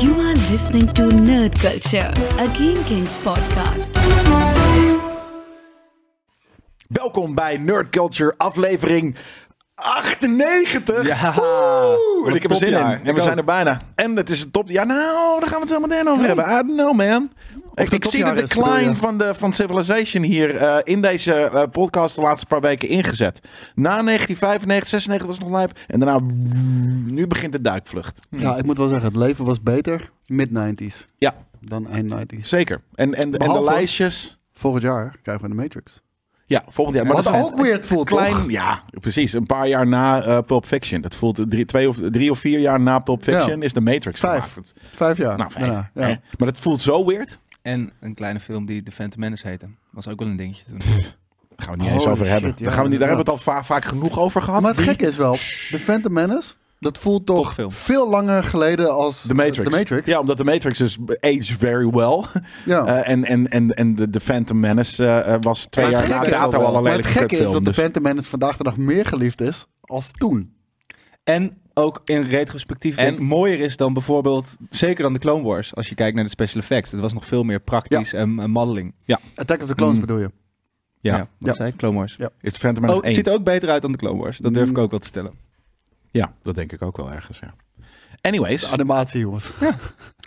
You are listening to Nerd Culture, a Game Kings podcast. Welkom bij Nerd Culture aflevering 98. Ja, Woe! wat en ik heb er zin in. topjaar. En we Ik zijn ook. er bijna. En het is een top. Ja, nou, daar gaan we het zo meteen over hebben. I don't know, man. het Ik, ik een zie de topjaar is, bedoel decline je? van, de, van Civilization hier eh, in deze eh, podcast de laatste paar weken ingezet. Na 1995, 96 was het nog lijp. En daarna, nu begint de duikvlucht. Ja, ik moet wel zeggen, het leven was beter mid-90s Ja, dan eind 90s. zeker. En, en, en de Behalve- lijstjes. Volgend jaar krijgen we de Matrix. Ja, volgend jaar. Maar Wat dat zijn- ook weird voelt, klein, toch? ja, precies. Een paar jaar na eh, Pulp Fiction. Dat voelt drie, twee of, drie of vier jaar na Pulp Fiction Ja. is de Matrix Vijf. gemaakt. Dat- Vijf jaar. Nou, vijf. daarna, Hè? ja. Maar dat voelt zo weird. En een kleine film die The Phantom Menace heette. Was ook wel een dingetje toen. Daar gaan we het niet Holy eens over shit, hebben. ja, daar, gaan we niet, daar hebben we inderdaad. het al va- vaak genoeg over gehad. Maar het Die- gekke is wel, de Phantom Menace, dat voelt toch Topfilm. veel. langer geleden als De Matrix. De Matrix. Ja, omdat de Matrix is aged very well. Ja. Eh, en en, en, en de, de Phantom Menace eh, eh, was twee Maar het jaar na gekke is dato wel- al een maar het lelijke gekke is kutfilm, dat de dus- Phantom Menace vandaag de dag meer geliefd is als toen. En ook in retrospectief en En- mooier is dan bijvoorbeeld, zeker dan de Clone Wars, als je kijkt naar de special effects. Het was nog veel meer praktisch en, en modeling. Attack of the Clones Mm. bedoel je? ja. dat Ja. zei ik, Clone Wars. Ja. Is de Phantom Oh, Menace het 1. ziet er ook beter uit dan de Clone Wars. Dat durf ik Mm. ook wel te stellen. Ja, dat denk ik ook wel ergens, ja. Anyways, Animatie, jongens.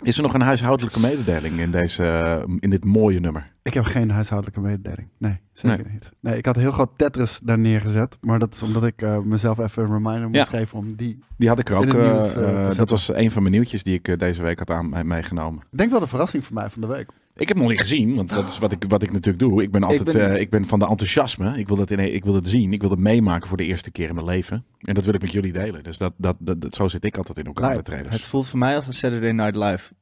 is er nog een huishoudelijke mededeling in, deze, eh, in dit mooie nummer? Ik heb geen huishoudelijke mededeling. Nee, zeker niet. Nee, ik had heel groot Tetris daar neergezet. Maar dat is omdat ik eh, mezelf even een reminder moest Ja. geven om die... Die had ik er In ook. het eh, nieuws, eh, te eh, zetten. dat was een van mijn nieuwtjes die ik eh, deze week had aan, meegenomen. Ik denk wel de verrassing voor mij van de week. Ik heb hem nog niet gezien, want dat is wat ik, wat ik natuurlijk doe. Ik ben altijd ben- eh, ik ben van de enthousiasme. Ik wil, dat in, e- ik wil dat zien. Ik wil dat meemaken voor de eerste keer in mijn leven. En dat wil ik met jullie delen. Dus dat, dat, dat, dat- zo zit ik altijd in elkaar Lijp. met trailers. Het voelt voor mij als een Saturday Night Live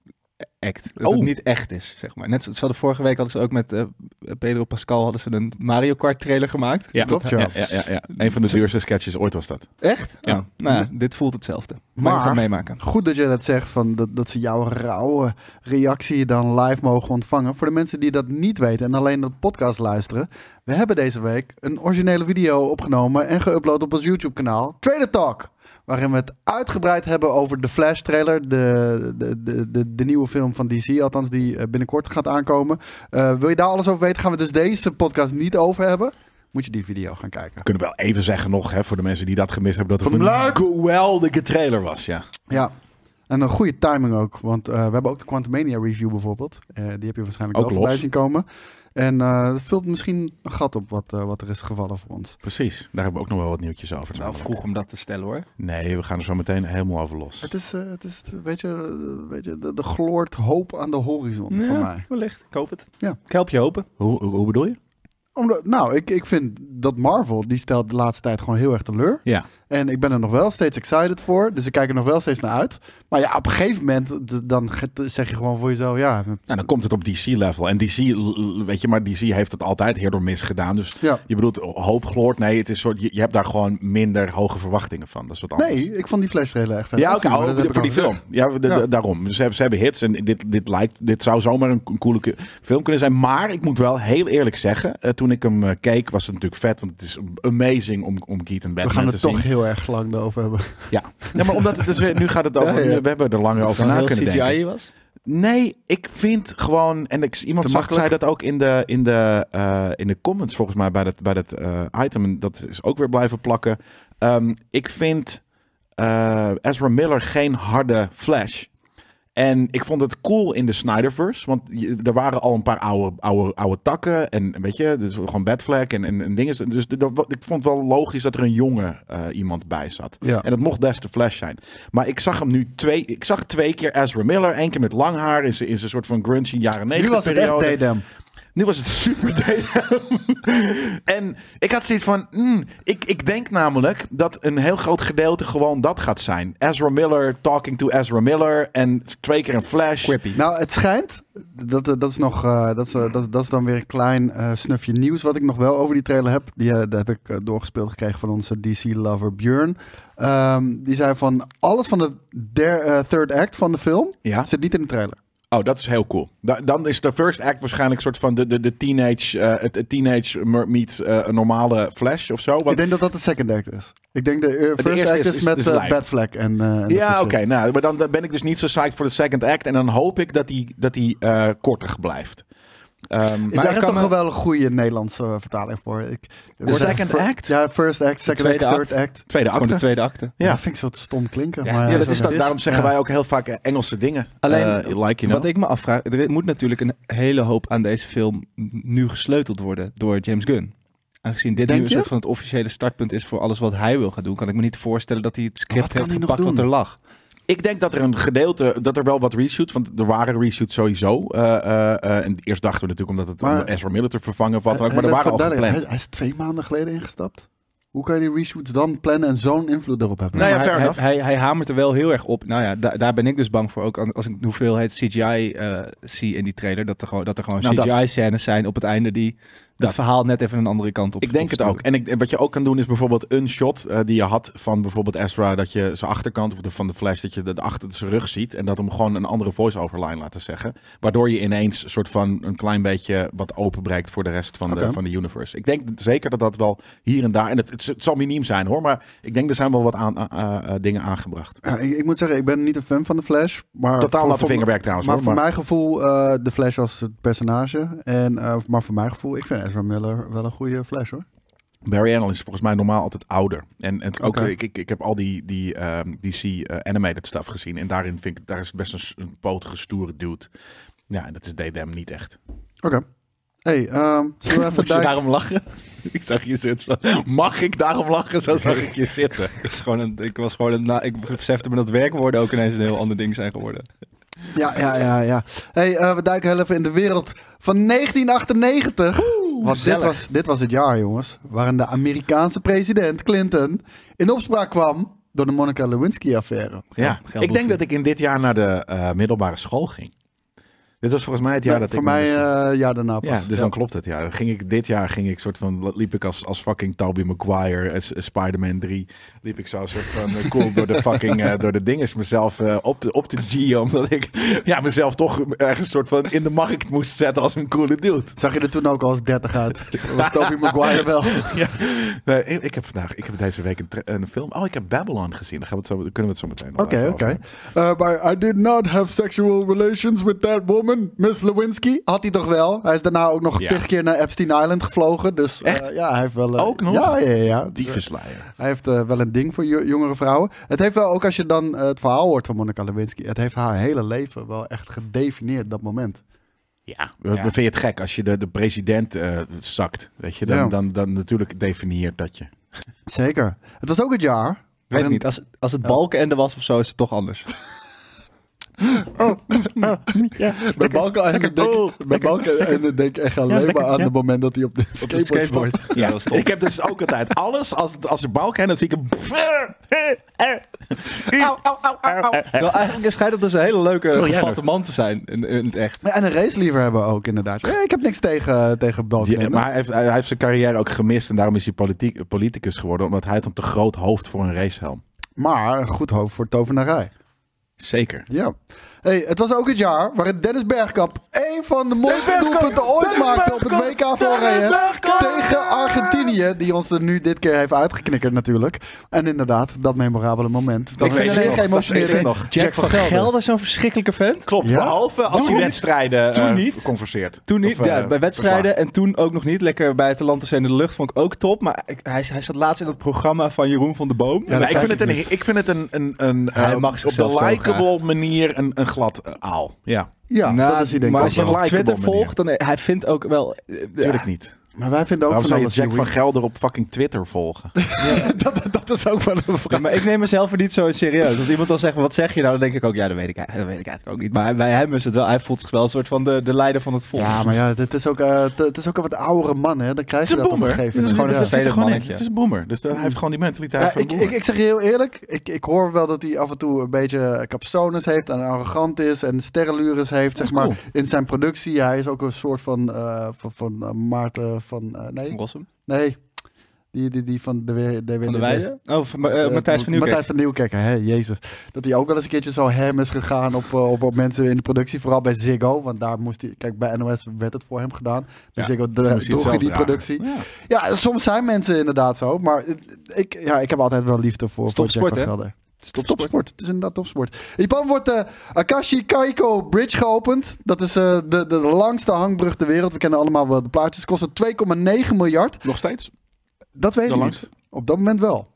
act. Dat Oh. het niet echt is, zeg maar. Net zo- ze hadden vorige week hadden ze ook met eh, Pedro Pascal hadden ze een Mario Kart trailer gemaakt. Ja, klopt, ja. ja. Ja, ja, ja. Een van de duurste sketches ooit was dat. Echt? Ja. Oh, nou ja, dit voelt hetzelfde. Maar Maar- we gaan meemaken. Goed dat je dat zegt, van dat, dat ze jouw rauwe reactie dan live mogen ontvangen. Voor de mensen die dat niet weten en alleen de podcast luisteren. We hebben deze week een originele video opgenomen en geüpload op ons YouTube kanaal. Trader Talk. Waarin we het uitgebreid hebben over de Flash trailer. De, de, de, de, de nieuwe film van DC, althans die eh, binnenkort gaat aankomen. Eh, wil je daar alles over weten? Gaan we dus deze podcast niet over hebben? Moet je die video gaan kijken. We kunnen wel even zeggen nog, hè, voor de mensen die dat gemist hebben, dat het Van een Luik. geweldige trailer was. Ja. Ja. En een goede timing ook, want eh, we hebben ook de Quantumania review bijvoorbeeld. Eh, die heb je waarschijnlijk Ook ook wel voorbij los. zien komen. En eh, dat vult misschien een gat op wat, eh, wat er is gevallen voor ons. Precies. Daar hebben we ook nog wel wat nieuwtjes over. Het is wel namelijk. vroeg om dat te stellen hoor. Nee, we gaan er zo meteen helemaal over los. Het is, eh, het is weet je, eh, weet je de, de gloort hoop aan de horizon voor mij. wellicht. Ik hoop het. Ja. Ik help je hopen. Hoe, hoe, hoe bedoel je? Omdat, nou, ik, ik vind dat Marvel, die stelt de laatste tijd gewoon heel erg teleur. Ja. En ik ben er nog wel steeds excited voor, dus ik kijk er nog wel steeds naar uit. Maar ja, op een gegeven moment, d- dan ge- zeg je gewoon voor jezelf, ja... Nou, dan komt het op DC-level. En DC, l- l- weet je, maar DC heeft het altijd heel door mis gedaan. Dus ja. je bedoelt hoop gloort. Nee, het is soort, je, je hebt daar gewoon minder hoge verwachtingen van. Dat is wat anders. Nee, ik vond die Flash trailer echt vet Ja, oké, uitzien, maar oh, dat heb ik voor al die gezegd. film. Ja, de- de- Ja. daarom. Dus ze hebben, ze hebben hits en dit, dit, lijkt, dit zou zomaar een, een coole ke- film kunnen zijn. Maar ik moet wel heel eerlijk zeggen, eh, toen ik hem eh, keek was het natuurlijk vet. Want het is amazing om, om Keaton Batman We gaan te het toch zien. heel erg lang over hebben. Ja, nee, maar omdat het dus weer- nu gaat het over, Ja, ja. we hebben er langer over Van na heel kunnen denken. CGI was. Nee, ik vind gewoon. En ik, iemand Te zag, zei makkelijk? dat ook in de, in, de, eh, in de comments, volgens mij, bij dat, bij dat eh, item. En dat is ook weer blijven plakken. Ehm, ik vind eh, Ezra Miller geen harde flash. En ik vond het cool in de Snyderverse. Want je- er waren al een paar oude, oude, oude takken. En weet je, dus gewoon Batfleck en, en, en dingen. Dus dat- ik vond het wel logisch dat er een jonge eh, iemand bij zat. Ja. En dat mocht des te Flash zijn. Maar ik zag hem nu twee... Ik zag twee keer Ezra Miller. Eén keer met lang haar in zijn in zijn soort van grungy jaren Nu negentig was het echt periode. Dedem. Nu was het super Datum. en ik had zoiets van, mm, ik, ik denk namelijk dat een heel groot gedeelte gewoon dat gaat zijn. Ezra Miller talking to Ezra Miller en twee keer een flash. Quippy. Nou, het schijnt, dat, dat, is nog, eh, dat, is, eh, dat, dat is dan weer een klein eh, snufje nieuws wat ik nog wel over die trailer heb. Die, eh, dat heb ik eh, doorgespeeld gekregen van onze DC-lover Björn. Ehm, die zei van, alles van de der- eh, third act van de film Ja. zit niet in de trailer. Oh, dat is heel cool. Da- dan is de first act waarschijnlijk een soort van de, de, de teenage, eh, het, het teenage mer- meet eh, een normale Flash of zo. Ik Want, denk dat dat de second act is. Ik denk de eh, first eerste act is- is, is- met is eh, live. Bad Flag. En, eh, en dat soort ja, shit. oké. nou, maar dan, dan ben ik dus niet zo psyched voor de second act. En dan hoop ik dat die, dat die eh, korter blijft. Ehm, Maar Daar ik is kan toch me- nog wel een goede Nederlandse eh, vertaling voor. Ik, de second act? Ja, first act, second act, tweede third act. Tweede Gewoon de acte. tweede acte. Ja. Ja, vind ik zo te stom klinken. Ja, maar Ja, dat zo is dat, het daarom zeggen Ja. wij ook heel vaak eh, Engelse dingen. Alleen, Eh, like you know. Wat ik me afvraag, er moet natuurlijk een hele hoop aan deze film nu gesleuteld worden door James Gunn. Aangezien dit Denk nu een je? soort van het officiële startpunt is voor alles wat hij wil gaan doen, kan ik me niet voorstellen dat hij het Wat script kan heeft hij nog gepakt wat doen? er lag. Ik denk dat er een gedeelte, dat er wel wat reshoots, want er waren reshoots sowieso. Eh, eh, eh, en eerst dachten we natuurlijk omdat het Maar- Eh, om Ezra Miller te vervangen valt, En- maar er en waren even al duidelijk, gepland. Hij, hij is twee maanden geleden ingestapt. Hoe kan je die reshoots dan plannen en zo'n invloed erop hebben? Nou ja, Maar fair hij, enough. hij, hij hamert er wel heel erg op. Nou ja, da- daar ben ik dus bang voor. Ook aan- als ik de hoeveelheid CGI eh, zie in die trailer. Dat er gewoon, dat er gewoon Nou, dat- CGI-scènes zijn op het einde die dat Dat. verhaal net even een andere kant op Ik denk het ook. opsturen. En ik, en wat je ook kan doen is bijvoorbeeld een shot eh, die je had van bijvoorbeeld Ezra, dat je zijn achterkant of de, van de flash, dat je de, de achter zijn rug ziet en dat hem gewoon een andere voice-over line laten zeggen. Waardoor je ineens een soort van een klein beetje wat openbreekt voor de rest van, Oké. de, van de universe. Ik denk zeker dat dat wel hier en daar, en het, het, het zal miniem zijn hoor, maar ik denk er zijn wel wat aan, aan- eh, eh, dingen aangebracht. Ja, ik, ik moet zeggen, ik ben niet een fan van de Flash. Maar Totaal voor- natte voor- vingerwerk trouwens Maar hoor. voor maar- mijn gevoel, eh, de Flash als het personage. En, eh, maar voor mijn gevoel, ik vind Ezra Miller wel een goede Flash hoor. Barry Allen is volgens mij normaal altijd ouder. En, en ook, Oké. ik, ik, ik heb al die, die ehm, DC eh, animated stuff gezien. En daarin vind ik, daar is het best een, s- een potige, stoere dude. Ja, en dat is Daydam niet echt. Oké. Hey, ehm zullen we Moet even je duiken? daarom lachen? ik zag je zitten. Mag ik daarom lachen? Zo zag ik je zitten. Het is gewoon een- ik was gewoon een, nou, ik besefte me dat werkwoorden ook ineens een heel ander ding zijn geworden. Ja, ja, ja, ja. Hey, eh, we duiken heel even in de wereld van 1998. Want dit gezellig. was, dit was het jaar, jongens, waarin de Amerikaanse president Clinton in opspraak kwam door de Monica Lewinsky-affaire. Ja, geld ik denk opviel. dat ik in dit jaar naar de eh, middelbare school ging. Dit was volgens mij het jaar Nee, dat voor ik... mij eh ja daarna pas. Ja, dus dan klopt het. Ja, dan ging ik dit jaar ging ik soort van liep ik als, als fucking Tobey Maguire, als, als Spider-Man 3, liep ik zo een soort van eh, cool door de fucking eh, door de dinges mezelf eh, op de op de G, omdat ik ja mezelf toch ergens soort van in de markt moest zetten als een coole dude. Zag je er toen ook als 30 uit? Was Tobey Maguire wel. Ja. Nee, ik, ik heb vandaag, ik heb deze week een, tra- een film. Oh, ik heb Babylon gezien. Dan gaan we het zo, dan kunnen we het zo meteen. nog Oké, even oké. over hebben. Eh, maar I did not have sexual relations with that woman, Miss Lewinsky. Had hij toch wel? Hij is daarna ook nog Ja. tig keer naar Epstein Island gevlogen. Dus eh, ja, hij heeft wel... eh, Ook nog? Ja, ja, ja. ja. Die Dus, verslaaier. Hij heeft eh, wel een ding voor jo- jongere vrouwen. Het heeft wel, ook als je dan eh, het verhaal hoort van Monica Lewinsky, het heeft haar hele leven wel echt gedefinieerd, dat moment. Ja. Vind je het gek als je de, de president eh, zakt? Weet je, dan, Ja. dan, dan, natuurlijk definieert dat je. Zeker. Het was ook het jaar. Weet waarin- niet, als, als het balkenende was of zo is het toch anders. Bij Balken en denk, bij Balken en denk ik echt alleen maar aan het moment dat hij op de Oh. Op skateboard, het skateboard. stapt. Ja, Ja, dat is top. ik heb dus ook altijd alles, als, als er balken en dan zie ik een... Au, au, au, au, au. Terwijl eigenlijk schijnt dat dus een hele leuke, jij gevatte man te zijn in, in het echt. Ja, En een race liefhebber ook, inderdaad. Ja, ik heb niks tegen, tegen Balken. Die- maar hij heeft, hij heeft zijn carrière ook gemist en daarom is hij politiek, politicus geworden. Omdat hij had een te groot hoofd voor een racehelm. maar een goed hoofd voor tovenarij. Zeker. Ja. Hey, het was ook het jaar waarin Dennis Bergkamp één van de mooiste doelpunten ooit maakte op het WK voor Oranje tegen Argentinië, die ons er nu dit keer heeft uitgeknikkerd natuurlijk. En inderdaad, dat memorabele moment. Dat Ik weet het was nog. zeer Ik weet geëmotioneerd. het nog. Jack is zo'n verschrikkelijke vent. Klopt, Ja? behalve als Toen hij niet. wedstrijden Toen eh, niet. converseert. Toen niet, Of, eh, ja, bij wedstrijden verslaat. en toen ook nog niet. Lekker bij Atlantis en in de lucht vond ik ook top. Maar ik- hij, hij zat laatst in dat programma van Jeroen van der Boom. Maar ik, kijk vind ik het een, niet. ik vind het een, een, een Hij eh, mag op zichzelf de zo likable manier een, een glad eh, aal. Ja, Ja, Nou, dat is hij denk ik Maar ook als je wel. Een hem op likable Twitter manier. volgt, dan eh, hij vindt ook wel... eh, tuurlijk niet. Maar wij vinden ook Waarom van zou je alles Jack van Louis. Gelder op fucking Twitter volgen? dat, dat is ook wel een Ja, vraag. maar ik neem mezelf er niet zo serieus. Als iemand dan zegt, wat zeg je nou? Dan denk ik ook, ja, dat weet ik, eigenlijk- dat weet ik eigenlijk ook niet. Maar bij hem is het wel, hij voelt zich wel een soort van de, de leider van het volk. Ja, maar ja, dit is ook, eh, t- het is ook een wat oudere man, hè. Dan Het krijg je is een dat op een boomer. gegeven Het moment. is gewoon Ja. een Tweede vervelend mannetje. mannetje. Het is een boomer. Dus dat- hij heeft gewoon die mentaliteit Ja, van een ik, boomer. ik, ik zeg je heel eerlijk, ik, ik hoor wel dat hij af en toe een beetje capsones heeft en arrogant is en sterrenlures heeft, zeg is maar, cool. in zijn productie. Hij is ook een soort van, eh, van, van eh, Maarten van, eh, nee, Rossum. nee, Die, die, die van de weer. De, Van de de- Weijden? Oh, van, eh, eh, Matthijs van Nieuwkerk. Matthijs van Nieuwkerk, hè, jezus. Dat hij ook wel eens een keertje zo hem is gegaan op, eh, op, op mensen in de productie. Vooral bij Ziggo, want daar moest hij... Kijk, bij NOS werd het voor hem gedaan. Bij Ja, Ziggo hij dro- het droeg zelf hij die dragen. productie. Ja. Ja, soms zijn mensen inderdaad zo. Maar eh, ik, ja, ik heb altijd wel liefde voor, voor Topsport, Jack hè? van Gelder. Het is Stopsport. topsport. Het is inderdaad topsport. In Japan wordt de Akashi Kaiko Bridge geopend. Dat is eh, de, de langste hangbrug ter wereld. We kennen allemaal wel de plaatjes. Kost het 2,9 miljard. Nog steeds? Dat weet De ik langste? niet. Op dat moment wel.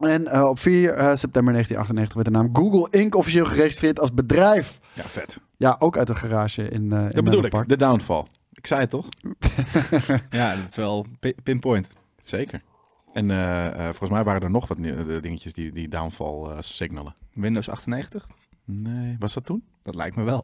En eh, op 4 september 1998 werd de naam Google Inc. officieel geregistreerd als bedrijf. Ja, vet. Ja, ook uit een garage in, eh in Dat bedoel Menlo Park. ik. De downfall. Ik zei het toch? Ja, dat is wel pi- pinpoint. Zeker. En eh, eh, volgens mij waren er nog wat nieuw- eh, dingetjes die, die downfall eh, signalen. Windows 98? Nee, was dat toen? Dat lijkt me wel.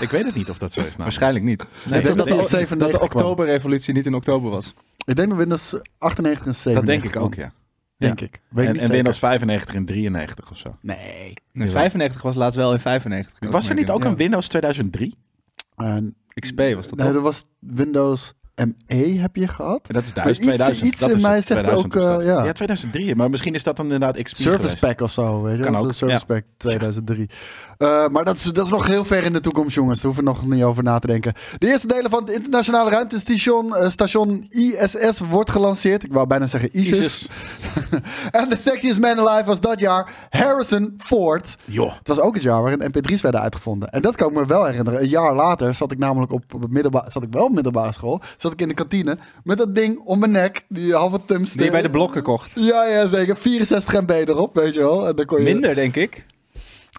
Ik weet het niet of dat zo is. Nou. Waarschijnlijk niet. Nee, Net zoals dat, dat, dat- die dat- in 97 Dat de kwam. oktoberrevolutie niet in oktober was. Ik denk dat Windows 98 en 97 dat denk ik kwam. ook, ja. Denk ik. Weet ik En, niet en zeker. Windows 95 en 93 of zo. Nee. Nee, Ja. 95 was laatst wel in 95. kan Was er ik niet me ook herinneren. een Windows 2003? En Ja. XP was dat nee, ook? dat was Windows ME heb je gehad. En dat is Maar thuis, iets- 2000. iets dat in is mij het, zegt 2000 ook, was dat. eh, ja. ja, 2003. Maar misschien is dat dan inderdaad XP Service geweest. Pack of zo, weet je. Kan Dat is ook, een Service Pack 2003. Eh, maar dat is, dat is nog heel ver in de toekomst, jongens. Daar hoeven we nog niet over na te denken. De eerste delen van het internationale ruimtestation eh, station ISS wordt gelanceerd. Ik wou bijna zeggen ISIS. Jezus. En de sexiest man alive was dat jaar Harrison Ford. Joh. Het was ook het jaar waarin MP3's werden uitgevonden. En dat kan ik me wel herinneren. Een jaar later zat ik namelijk op op middelba- zat ik wel op middelbare school. Zat ik in de kantine met dat ding om mijn nek. Die halve thumbstick. Die je bij de blokken kocht. Ja, ja, zeker. 64 MB erop, weet je wel. En dan kon je... Minder, denk ik.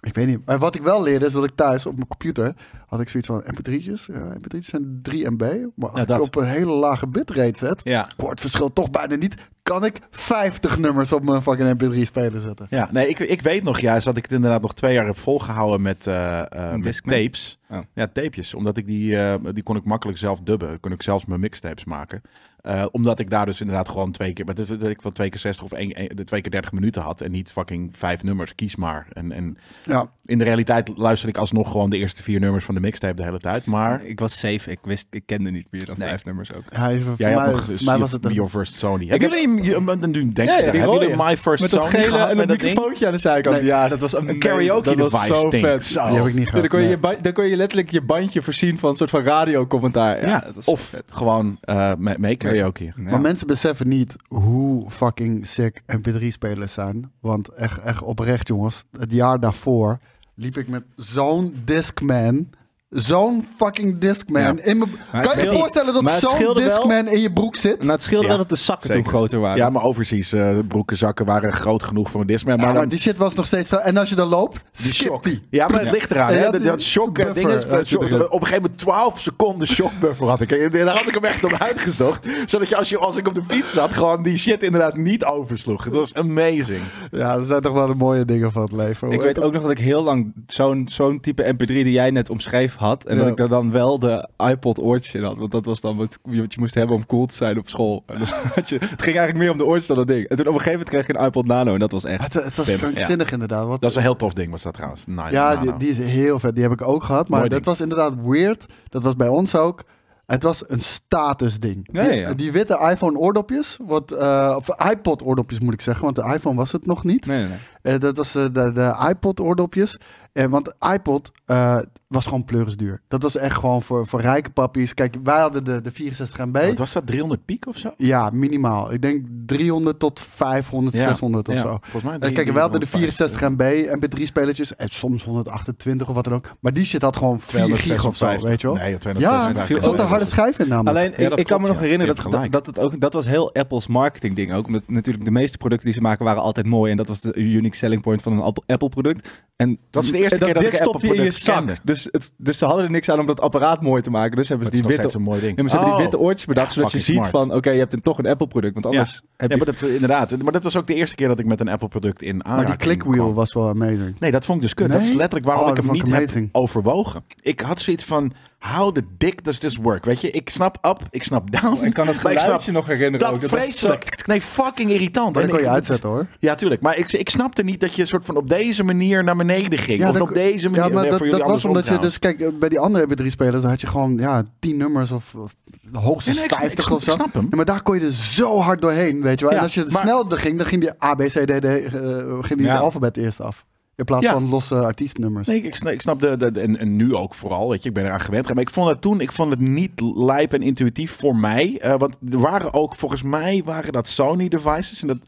Ik weet niet. Maar wat ik wel leerde is dat ik thuis op mijn computer had ik zoiets van mp3'tjes. Ja, mp3'tjes zijn 3 MB. Maar als Ja, dat. ik op een hele lage bitrate zet, Ja. kort verschil toch bijna niet, kan ik 50 nummers op mijn fucking mp3 speler zetten. Ja, nee, ik, ik weet nog juist dat ik het inderdaad nog twee jaar heb volgehouden met, eh, eh, met Discman? tapes. Oh. Ja, tapejes. Omdat ik die, eh, die kon ik makkelijk zelf dubben. Kon ik zelfs mijn mixtapes maken. Eh, omdat ik daar dus inderdaad gewoon twee keer, maar dat, dat ik wel twee keer 60 of één, één- de twee keer 30 minuten had. En niet fucking vijf nummers, kies maar. En, en Ja, in de realiteit luister ik alsnog gewoon de eerste vier nummers van de mixtape de hele tijd. Maar Ik was safe. Ik wist, ik kende niet meer dan Nee. vijf nummers ook. hij, voor jij had mij, nog dus voor mij was het een... Your First Sony. Hebben jullie, je- want dan denk ik, Ja, ja, daar, die hebben jullie rode. My First Met Sony dat gele gehad en met dat dat ding? microfoontje aan de zijkant. Nee. Ja, dat was een Een karaoke dat was device zo ding. vet. Zo. Die heb ik Ja, dan, niet gehad. kon je nee. je ba- dan kon je letterlijk je bandje voorzien van een soort van radiocommentaar. Ja, Ja, dat was zo of vet. gewoon eh, mee mee karaoke. Ja. Maar mensen beseffen niet hoe fucking sick MP3-spelers zijn. Want echt, echt oprecht, jongens. Het jaar daarvoor liep ik met zo'n Discman. Zo'n fucking Discman. Ja. In mijn- het kan je je scheelde- voorstellen dat maar het zo'n scheelde wel- Discman in je broek zit? Nou, het scheelde Ja, wel dat de zakken zeker. toen groter waren. Ja, maar overzies eh, broeken, zakken waren groot genoeg voor een Discman. Ja, Maar, maar, dan, die shit was nog steeds... zo- En als je dan loopt, skip die. Ja, maar het ligt eraan. Ja, Hè? dat Dat, is dat shock eh, buffer, ding is, eh, eh, shock- zit erin. op een gegeven moment 12 seconden shockbuffer had ik. En Daar had ik hem echt op uitgezocht. Zodat je als, je als ik op de fiets zat, gewoon die shit inderdaad niet oversloeg. Het was amazing. Ja, dat zijn toch wel de mooie dingen van het leven. Ik hoor. weet ook nog dat ik heel lang zo'n zo'n type MP3 die jij net omschreef had. En Ja. dat ik daar dan wel de iPod oortjes in had. Want dat was dan wat, wat je moest hebben om cool te zijn op school. En dan had je, het ging eigenlijk meer om de oortjes dan dat ding. En toen op een gegeven moment kreeg ik een iPod Nano. En dat was echt. Het, het was Pim, krankzinnig inderdaad. want- Dat is een heel tof ding was dat trouwens. Nine Ja, Nano. die, die is heel vet. Die heb ik ook gehad. Maar Mooi dat ding. was inderdaad weird. Dat was bij ons ook. Het was een statusding. Ja, die, ja, ja. die witte iPhone oordopjes, wat, eh, of iPod oordopjes moet ik zeggen, want de iPhone was het nog niet. Nee, nee, nee. Eh, dat was eh, de, de iPod oordopjes. Eh, want iPod eh, was gewoon pleurisduur. Dat was echt gewoon voor, voor rijke pappies. Kijk, wij hadden de, de 64 MB. Wat was dat? 300 piek of zo? Ja, minimaal. Ik denk 300 tot 500, Ja, 600 of ja. zo. Volgens mij En drie- kijk, wel hadden de 350. 64 MB MP3-spelertjes en soms 128 of wat dan ook. Maar die shit had gewoon 4 gig of zo, 256. weet je wel. Nee, 256. ja, Dat er zat een harde schijf in namelijk. Alleen, Ja, ik, dat ik kan me klopt, nog ja. herinneren Je dat, hebt dat, gelijk. dat het ook, dat was heel Apple's marketing ding ook. Omdat natuurlijk de meeste producten die ze maken waren altijd mooi. En dat was de unique selling point van een Apple- Apple product. En Dat is de eerste en dat, keer dat dit ik een stopte je in je Apple-product zak. kende. Dus, het, dus ze hadden er niks aan om dat apparaat mooi te maken. Dus hebben ze is die nog steeds witte een mooi ding. Oh. Ja, maar ze hebben die witte oortjes bedacht, Ja, zodat je ziet fucking smart. van, oké, je hebt een- toch een Apple-product, want anders heb ja, je... maar dat, inderdaad. Maar dat was ook de eerste keer dat ik met een Apple-product in aanraking maar die clickwheel kwam. was wel amazing. Nee, dat vond ik dus kut. Dat Nee? is letterlijk waarom Oh, ik dat hem vond niet ik amazing. heb overwogen. Ik had zoiets van, How the dick does this work? Weet je, ik snap up, ik snap down. Ik kan het maar ik snap geluidje nog herinneren. dat, ook, dat was vreselijk. Nee, fucking irritant. Dan En kon ik- je uitzetten hoor. Ja, tuurlijk. Maar ik, ik snapte niet dat je soort van op deze manier naar beneden ging. Ja, of dat- op deze manier. Ja, maar nee, dat, voor jullie dat was andersom omdat je trouwens. dus, kijk, bij die andere heb je drie spelers, dan had je gewoon ja, tien nummers of, of hoogstens Nee, nee, ik snap- 50 ik snap- of zo. ik snap hem. Ja, maar daar kon je dus zo hard doorheen, weet je wel. Ja, en als je maar- snel er ging, dan ging die A, B, C, D, D, eh, ging die Ja. de alfabet eerst af. In plaats Ja. van losse artiestnummers. Nee, ik snap, ik snap de, de, de- en, en nu ook vooral, weet je, ik ben eraan gewend. Maar ik vond het toen, ik vond het niet lijp en intuïtief voor mij. Eh, want er waren ook, volgens mij waren dat Sony devices. En dat,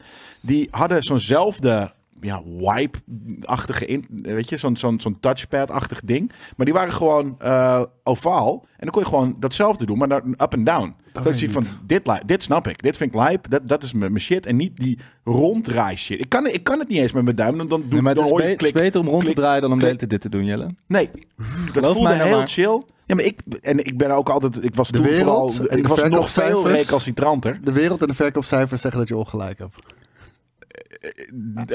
die hadden zo'nzelfde ja, wipe-achtige, in- weet je, zo'n zo'n zo'n touchpad-achtig ding. Maar die waren gewoon eh, ovaal. En dan kon je gewoon datzelfde doen, maar dan up en down. Dat, weet is ik ik van, dit, li- dit snap ik, dit vind ik lijp, dat, dat is mijn mijn shit. En niet die ronddraai shit. Ik kan, ik kan het niet eens met mijn duim, dan, dan, doe, Nee, maar het dan is, hoor je be- het is klik. beter om rond te klik, draaien dan om de klik. hele tijd dit te doen, Jelle. Nee, dat Geloof voelde mij nou heel maar. chill. Ja, maar ik, en ik ben ook altijd, ik was De toen wereld en vooral, de ik was nog veel verkoopcijfers. recalcitranter. De wereld en de verkoopcijfers zeggen dat je ongelijk hebt.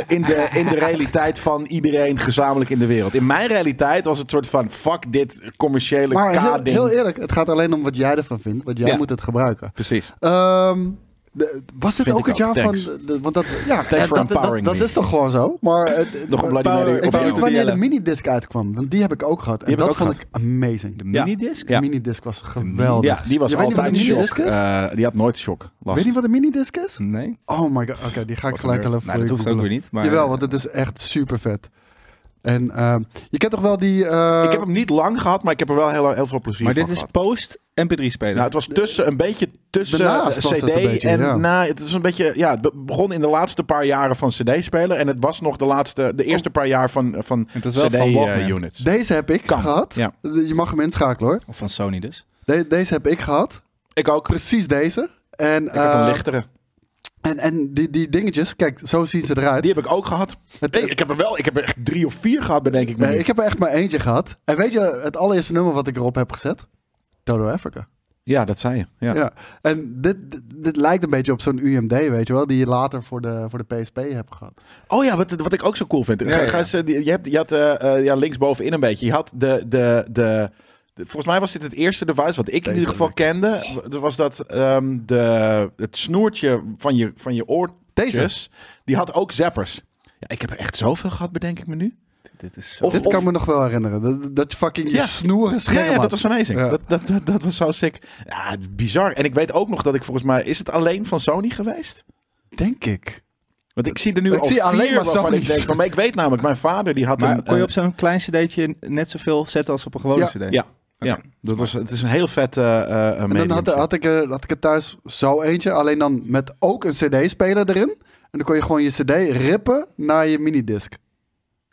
In de, in de realiteit van iedereen gezamenlijk in de wereld. In mijn realiteit was het soort van, fuck dit commerciële Maar heel, K-ding. heel eerlijk, het gaat alleen om wat jij ervan vindt, want jij Ja. moet het gebruiken. Precies. Ehm, de- was dit Vind ook ik het jaar ook, thanks. van... de- want dat, ja, Thanks for dat, dat, dat, empowering me. is toch gewoon zo? Maar, eh, het- Nog een Bloody Power- Mary ik op Ik weet jou. niet jou. wanneer de Jelle. minidisc uitkwam, want die heb ik ook gehad. En Die heb dat ik ook vond ik amazing. De Ja. minidisc? De Ja. minidisc was geweldig. Ja, die was Je weet niet wat altijd een een shock. minidisc is? Eh, die had nooit shock last. Weet je wat een minidisc is? Nee. Oh my god, oké, die ga ik Wat gelijk een al nerd. even Nou, dat hoeft ook weer niet. Maar, Jawel, want het is echt super vet. En ehm, je kent toch wel die... eh, ik heb hem niet lang gehad, maar ik heb er wel heel, heel veel plezier maar van dit is gehad. post MP3 spelen. Nou, het was tussen, een beetje tussen Daarnaast was CD het een beetje, en ja. na. Het is een beetje, ja, het be- begon in de laatste paar jaren van CD spelen en het was nog de laatste, de eerste paar jaar van van het is wel CD van Walkman. eh, units. Deze heb ik Kan, gehad. ja. Je mag hem inschakelen hoor. Of van Sony dus. De- deze heb ik gehad. Ik ook. Precies deze. En, Ik had eh, een lichtere. en, en die, die dingetjes, kijk, zo zien ze eruit. Die heb ik ook gehad. Het- Nee, ik heb er wel, ik heb er echt drie of vier gehad, bedenk ik me. Nee, nu. ik heb er echt maar eentje gehad. En weet je, het allereerste nummer wat ik erop heb gezet? Toto Africa. Ja, dat zei je. Ja. Ja. En dit, dit, dit lijkt een beetje op zo'n UMD, weet je wel, die je later voor de, voor de PSP hebt gehad. Oh ja, wat, wat ik ook zo cool vind. Ga- Ja, ja. ga eens, eh, die- je, hebt, je had eh, eh, ja, linksbovenin een beetje. Je had de, de, de, de- Volgens mij was dit het eerste device wat ik in Deze ieder geval kende. Dat was dat ehm, de, het snoertje van je, van je oortjes. Die had ook zappers. Ja, ik heb er echt zoveel gehad, bedenk ik me nu. Dit is zo... Of- dit kan me nog wel herinneren. Dat, dat je fucking je Ja. snoeren Ja, scherm ja, dat had. was amazing. Ja. Dat, dat, dat, dat was zo sick. Ja, bizar. En ik weet ook nog dat ik volgens mij... Is het alleen van Sony geweest? Denk ik. Want ik zie er nu Ik al zie vier alleen maar waarvan ik Sony's. denk... van, Maar ik weet namelijk, mijn vader die had maar eh, een... kon je een- op zo'n klein cd'tje net zoveel zetten als op een gewone Ja. cd? Ja, ja. Dat was, het is een heel vet eh, eh, En medium. dan had, had, ik er, had ik er thuis zo eentje, alleen dan met ook een cd-speler erin. En dan kon je gewoon je cd rippen naar je minidisc.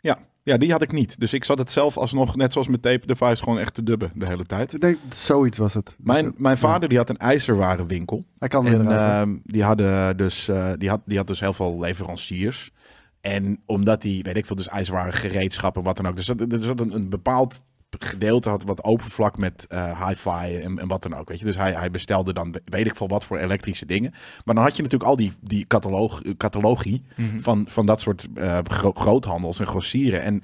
ja. ja, die had ik niet. Dus ik zat het zelf alsnog, net zoals met tape device, gewoon echt te dubben de hele tijd. Ik denk, zoiets was het. Mijn, mijn vader die had een ijzerwarenwinkel. Hij kan weer En eruit. hè? ehm, die, hadden dus, eh, die, had, die had dus heel veel leveranciers. En omdat die, weet ik veel, dus ijzerwaren gereedschappen, wat dan ook. Dus dat, dus dat een, een bepaald gedeelte had wat oppervlak met eh hi-fi en, en wat dan ook. Weet je? Dus hij, hij bestelde dan we- weet ik veel wat voor elektrische dingen. Maar dan had je natuurlijk al die, die catalog, eh, catalogie Mhm. van, van dat soort eh, gro- groothandels en grossieren. En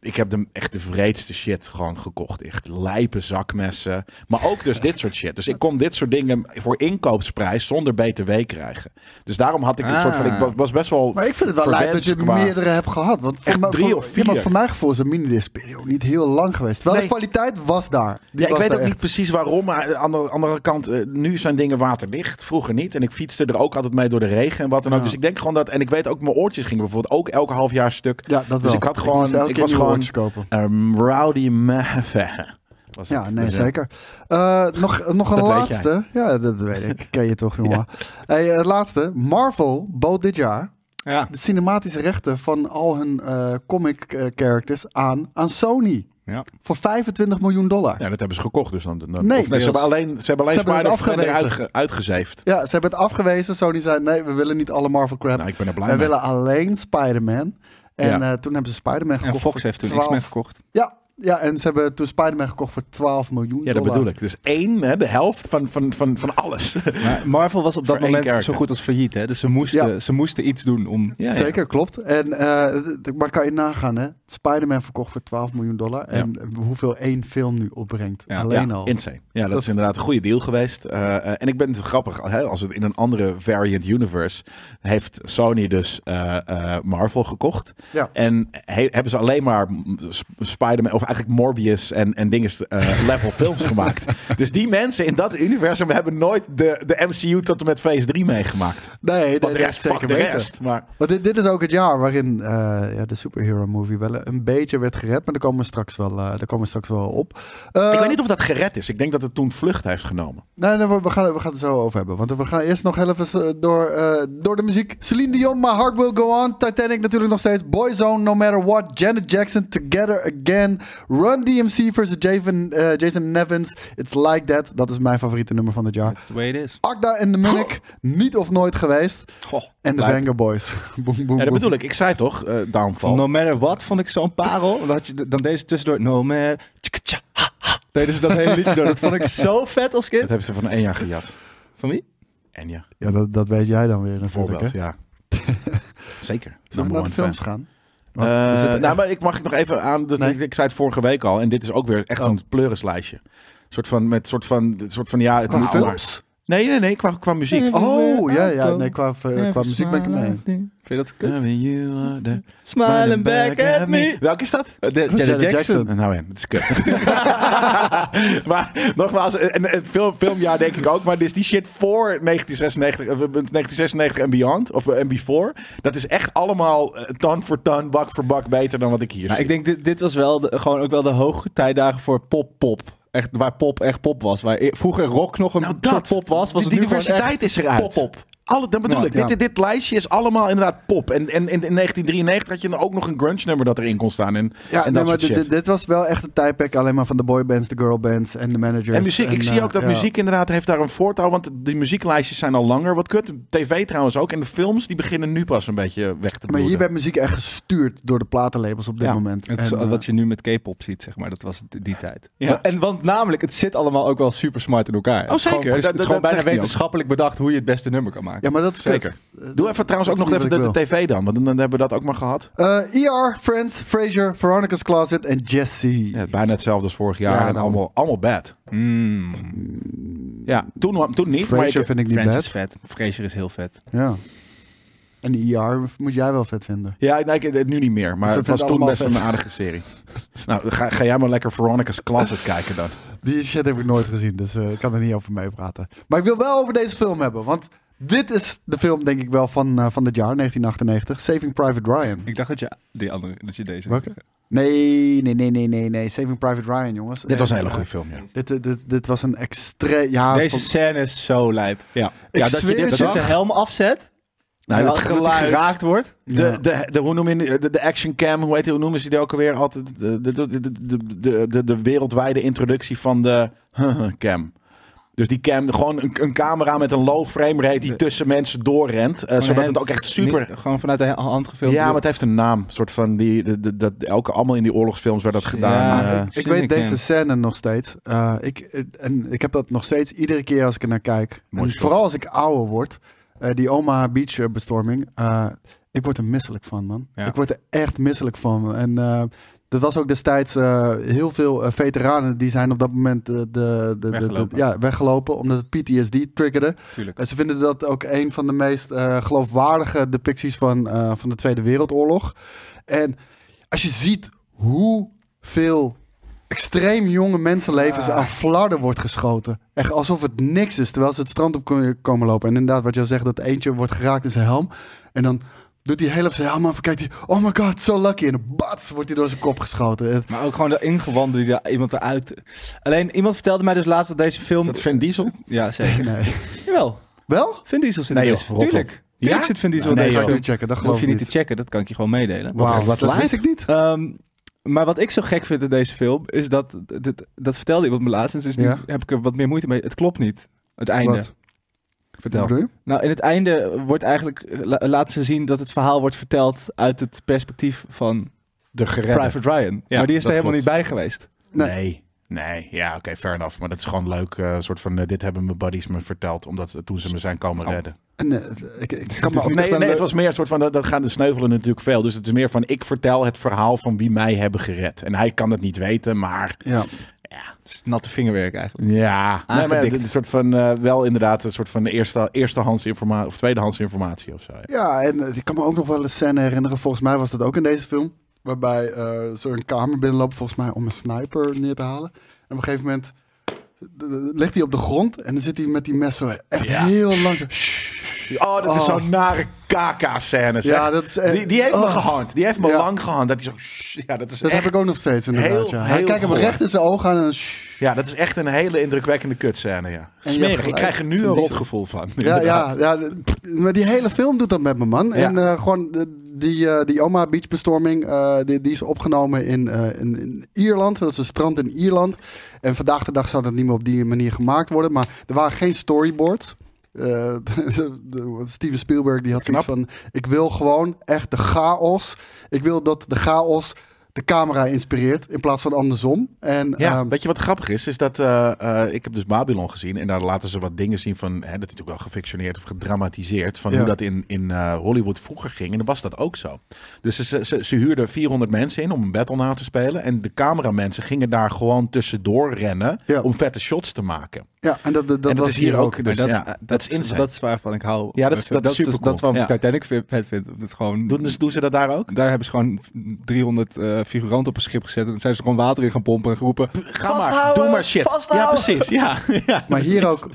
ik heb hem echt de vreedste shit gewoon gekocht. Echt lijpe zakmessen. Maar ook dus dit soort shit. Dus ik kon dit soort dingen voor inkoopsprijs zonder BTW krijgen. Dus daarom had ik dit Ah. soort van... Ik wa- was best wel Maar ik vind het wel leuk verwend dat je qua- meerdere hebt gehad. Want voor Echt mij- drie voor- of ja, maar vier. voor mijn gevoel is een minidisc-periode niet heel lang geweest. Wel, de Nee. kwaliteit was daar. Die Ja, ik was weet daar ook echt. niet precies waarom, maar aan de andere- andere kant, eh, nu zijn dingen waterdicht, vroeger niet. En ik fietste er ook altijd mee door de regen en wat dan ook. Ja. Dus ik denk gewoon dat, en ik weet ook, mijn oortjes gingen bijvoorbeeld ook elke half jaar stuk. Ja, dat wel. Dus ik had gewoon- moest elke ik keer was nieuwe gewoon- oortjes kopen. Ehm, rowdy Mave. was ik. Ja, nee, Dus, eh, zeker. Eh, nog, nog een Dat weet laatste. Ja, dat weet ik. Ken je toch, jongen. Hey, eh, laatste. Marvel bood dit jaar Ja. de cinematische rechten van al hun eh, comic eh, characters aan, aan Sony. Ja. Voor 25 miljoen dollar. Ja, dat hebben ze gekocht dus dan. dan Nee, of nee, ze hebben alleen, ze hebben alleen Ze hebben het Spider-Man afgewezen. eruit ge- uitgezeefd. Ja, ze hebben het afgewezen. Sony zei, nee, we willen niet alle Marvel crap. Nou, ik ben er blij Wij mee. willen alleen Spider-Man. En Ja. eh, toen hebben ze Spider-Man En gekocht. Fox voor heeft toen 12. X-Men verkocht. Ja, Ja, en ze hebben toen Spider-Man gekocht voor 12 miljoen Ja, dat dollar. bedoel ik. Dus één, hè, de helft van, van, van, van alles. Maar Marvel was op Voor dat één moment character. zo goed als failliet, hè? Dus ze moesten, Ja. ze moesten iets doen om... Ja, ja. Zeker, klopt. En, eh, d- maar kan je nagaan, hè? Spider-man verkocht voor 12 miljoen dollar. En hoeveel één film nu opbrengt. Ja. Alleen ja, al. Insane. Ja, dat, Dat- is inderdaad een goede deal geweest. Eh, eh, en ik ben het grappig, hè, als het in een andere variant universe heeft Sony dus eh, eh, Marvel gekocht. Ja. En he- hebben ze alleen maar m- Sp- Spider-Man, of eigenlijk Morbius en, en dingen eh, level films gemaakt. Dus die mensen in dat universum hebben nooit de, de MCU tot en met Phase 3 meegemaakt. Nee, nee, Wat dat de is rest, fuck de weten. rest. Maar Maar dit, dit is ook het jaar waarin eh, ja, de superhero movie wel een beetje werd gered. Maar daar komen we straks wel, eh, daar komen we straks wel op. Eh, ik weet niet of dat gered is. Ik denk dat het toen vlucht heeft genomen. Nee, nee, we, we gaan, we gaan het er zo over hebben. Want we gaan eerst nog heel even eh, door, eh, door de muziek. Celine Dion, My Heart Will Go On. Titanic natuurlijk nog steeds. Boyzone, No Matter What. Janet Jackson, Together Again. Run DMC versus Javen, eh, Jason Nevins. It's Like That. Dat is mijn favoriete nummer van het jaar. That's the way it is. Agda en de Munich. Niet of nooit geweest. En de Lijp. Venga Boys. boom, boom, Ja, dat boom. bedoel ik. Ik zei toch, eh downfall. No matter what vond ik zo'n parel. Dat je, dan deze tussendoor. No matter... tjikatja, ha, ha. Deden ze dat hele liedje door. Dat vond ik zo vet als Dat kind. hebben ze van één jaar gejat. Van wie? En ja. Ja, dat, dat weet jij dan weer natuurlijk. Bijvoorbeeld, hè? ja. Zeker. Zullen Number we naar de one films fan. gaan? Eh, Want we zitten nou, echt- maar ik mag ik nog even aan. Dat Nee. ik, ik zei het vorige week al. En dit is ook weer echt Oh. zo'n pleurislijstje. Soort van, met soort van, soort van ja, het Qua moet maar. films? Nee, nee, nee, qua, qua muziek. Oh, ja, ja. Nee, qua, qua muziek ben ik mee. Vind je dat kut? Coming you are the- Smiling back at me. Welke is dat? Eh, de- Janet Janet Jackson. Jackson. Nou ja, het is kut. maar nogmaals, en het film, filmjaar denk ik ook. Maar dus die shit voor 1996, eh, 1996 en beyond, of eh, en before. Dat is echt allemaal eh, ton voor ton, bak voor bak beter dan wat ik hier Nou, zie. ik denk, dit, dit was wel de, gewoon ook wel de hoogtijdagen voor pop-pop. Echt, waar pop echt pop was. Waar e- vroeger rock nog een Nou, dat. soort pop was, was De het nu gewoon diversiteit echt is eruit. Pop-pop. Alle, dat bedoel Ja, ik. ja. Dit, dit lijstje is allemaal inderdaad pop. En, en, en in 1993 had je dan ook nog een grunge nummer dat erin kon staan. En, Ja, en dat nee, maar soort dit, shit. dit- dit was wel echt een tijdperk alleen maar van de boybands, de girlbands en de managers. En muziek. ik zie eh, ook dat ja. muziek inderdaad heeft daar een voortouw. Want die muzieklijstjes zijn al langer. Wat kut. TV trouwens ook. En de films die beginnen nu pas een beetje weg te Maar hier bloeden. werd muziek echt gestuurd door de platenlabels op dit Ja, moment. Het is En, eh, wat je nu met K-pop ziet, zeg maar. Dat was die, die tijd. Ja. Maar- En want namelijk, het zit allemaal ook wel super smart in elkaar. Het is zeker. gewoon- Dat- het is dat- gewoon dat bijna zeg ik niet wetenschappelijk bedacht hoe je het beste nummer kan maken. ja, maar dat is Zeker. Doe even trouwens ook nog even de, de tv dan. Want dan hebben we dat ook maar gehad. ER, Eh, E Friends, Frasier, Veronica's Closet en Jessie. Ja, bijna hetzelfde als vorig jaar. Ja, en dan- allemaal, allemaal bad. Mm. Ja, toen, toen niet. Maar Frasier ik, vind ik niet Friends is bad. vet. Frasier is heel vet. Ja. En ER moet jij wel vet vinden. ja, nee, ik- het nu niet meer. Maar Ze het vinden was toen allemaal best vet. een aardige serie. Nou, ga, ga jij maar lekker Veronica's Closet kijken dan. Die shit heb ik nooit gezien, dus eh, ik kan er niet over meepraten. Maar ik wil wel over deze film hebben, want dit is de film, denk ik wel, van, eh, van dit jaar, 1998. Saving Private Ryan. Ik dacht dat je die andere, dat je deze. Welke? Nee, nee, nee, nee, nee, nee. Saving Private Ryan, jongens. Dit was een Eh, hele goede eh, film, ja. Dit, dit- dit, dit was een extreem... Ja, Deze van- scène is zo lijp. Ja, Ik Ja, dat je zweer dit het dat je je. zijn helm afzet. Nou, en dat dat geluid. geluid geraakt wordt. Ja. De, de, de, hoe, noem je, die- de, de action cam, hoe, heet, die- hoe noemen ze die ook alweer altijd? De, de, de, de, de, de, de wereldwijde introductie van de cam. Dus die cam, gewoon een, een camera met een low frame rate die De- tussen mensen doorrent. eh, zodat het hand- ook echt super... niet- gewoon vanuit de he- hand gefilmd. Ja, maar het heeft een naam. Soort van die, de, de- dat, elke, allemaal in die oorlogsfilms werd dat gedaan. Ja. Ah, eh. Ah, Ik Zin in weet deze Ken. scène nog steeds. Eh, ik, eh, en ik heb dat nog steeds iedere keer als ik er naar kijk. Mooi En shot. vooral als ik ouder word. eh, die Omaha Beach eh, bestorming. eh, ik word er misselijk van, man. Ja. Ik word er echt misselijk van. En eh, dat was ook destijds eh, heel veel eh, veteranen die zijn op dat moment eh, de, de, de, de- Weggelopen. ja, weggelopen. Omdat het PTSD triggerde. Tuurlijk. En ze vinden dat ook een van de meest eh, geloofwaardige depicties van, eh, van de Tweede Wereldoorlog. En als je ziet hoeveel extreem jonge mensenlevens Ah. aan flarden wordt geschoten. Echt alsof het niks is, terwijl ze het strand op ko- komen lopen. En inderdaad, wat jij zegt, dat eentje wordt geraakt in zijn helm. En dan doet hij heel even zijn helm af en kijkt hij... Oh my god, so lucky. En dan bats, wordt hij door zijn kop geschoten. Eh, Het- Maar ook gewoon de ingewanden die daar iemand eruit... Alleen, iemand vertelde mij dus laatst dat deze film... Is dat Vin Diesel? Ja, zeker. Nee. Jawel. Wel? Vin Diesel zit Nee, in joh, deze film. rot op. Tuurlijk. Tuurlijk zit Vin Diesel Nee, in Dat deze ga joh. film. ik niet checken, dat Dat geloof hoef je ik niet niet. te checken, dat kan ik je gewoon meedelen. Wauw, Wat dat lijp. wist ik niet. Ehm, maar wat ik zo gek vind in deze film, is dat... Dat, dat vertelde iemand me laatst, en dus nu Ja. heb ik er wat meer moeite mee. Het klopt niet, het einde. Wat? Vertel. Bedoel je? Nou, in het einde wordt eigenlijk... la- laat ze zien dat het verhaal wordt verteld uit het perspectief van de geredde. Private Ryan. Ja, maar die is er dat helemaal klopt. niet bij geweest. Nee. Nee. nee. ja, oké, fair enough. Maar dat is gewoon leuk. eh, soort van, eh, dit hebben mijn buddies me verteld, omdat eh, toen ze me zijn komen Oh. redden. En, eh, ik, ik kan me is niet- ook niet... Nee, echt een nee, het leuk- was meer een soort van, dat, dat gaan de sneuvelen natuurlijk veel. Dus het is meer van, ik vertel het verhaal van wie mij hebben gered. En hij kan het niet weten, maar Ja. Het is natte vingerwerk eigenlijk. ja. Nee, maar Aangedikt. het is een soort van, eh, wel inderdaad een soort van eerste, eerstehands informatie of tweedehands informatie of zo. ja. Ja, en eh, ik kan me ook nog wel een scène herinneren. Volgens mij was dat ook in deze film. Waarbij eh ze een kamer binnenloopt, volgens mij, om een sniper neer te halen. En op een gegeven moment eh, ligt hij op de grond en dan zit hij met die mes zo echt Ja. heel langzaam. Oh, dat is Oh. zo'n nare kaka-scène. zeg. Ja, dat is echt- die, die heeft me oh. gehand. Die heeft me Ja. lang gehand. Dat, die zo, shh, ja, dat, is Dat echt, heb ik ook nog steeds inderdaad. heel- ja. Hij heel kijkt hem goor. recht in zijn ogen aan en dan shh. ja, dat is echt een hele indrukwekkende kutscène. Ja. hebt Smerig. Ik gelijk. krijg er nu een Verlies- rot gevoel van. Ja, ja, inderdaad. ja, d- maar die hele film doet dat met me, man. En eh, gewoon de- die, eh, die Oma Beach bestorming, eh, die, die is opgenomen in, eh, in, in Ierland. Dat is een strand in Ierland. En vandaag de dag zou dat niet meer op die manier gemaakt worden. Maar er waren geen storyboards. Eh, de- de- Steven Spielberg die had zoiets van... Ik wil gewoon echt de chaos. Ik wil dat de chaos de camera inspireert in plaats van andersom. En, Ja, ehm, weet je wat grappig is? Is dat eh, eh, ik heb dus Babylon gezien en daar laten ze wat dingen zien van, hè, dat is natuurlijk wel gefictioneerd of gedramatiseerd, van Ja. hoe dat in, in eh, Hollywood vroeger ging. En dan was dat ook zo. Dus ze, ze, ze, ze huurden 400 mensen in om een battle na te spelen en de cameramensen gingen daar gewoon tussendoor rennen Ja. om vette shots te maken. ja, en dat, dat, dat en dat was is hier ook. Dus, Maar dat, ja, dat, dat is is insane. dat is waarvan ik hou. Ja, dat is- dat is supercool. dat is waarom Ja. ik Titanic vet- vet vind. Of dat gewoon, doen, dus- ze- doen ze dat daar ook? daar hebben ze gewoon 300 eh, figuranten op een schip gezet. En dan zijn ze gewoon water in gaan pompen en geroepen. Ga maar, doe maar shit. Ja, precies. Ja, ja. Maar hier ook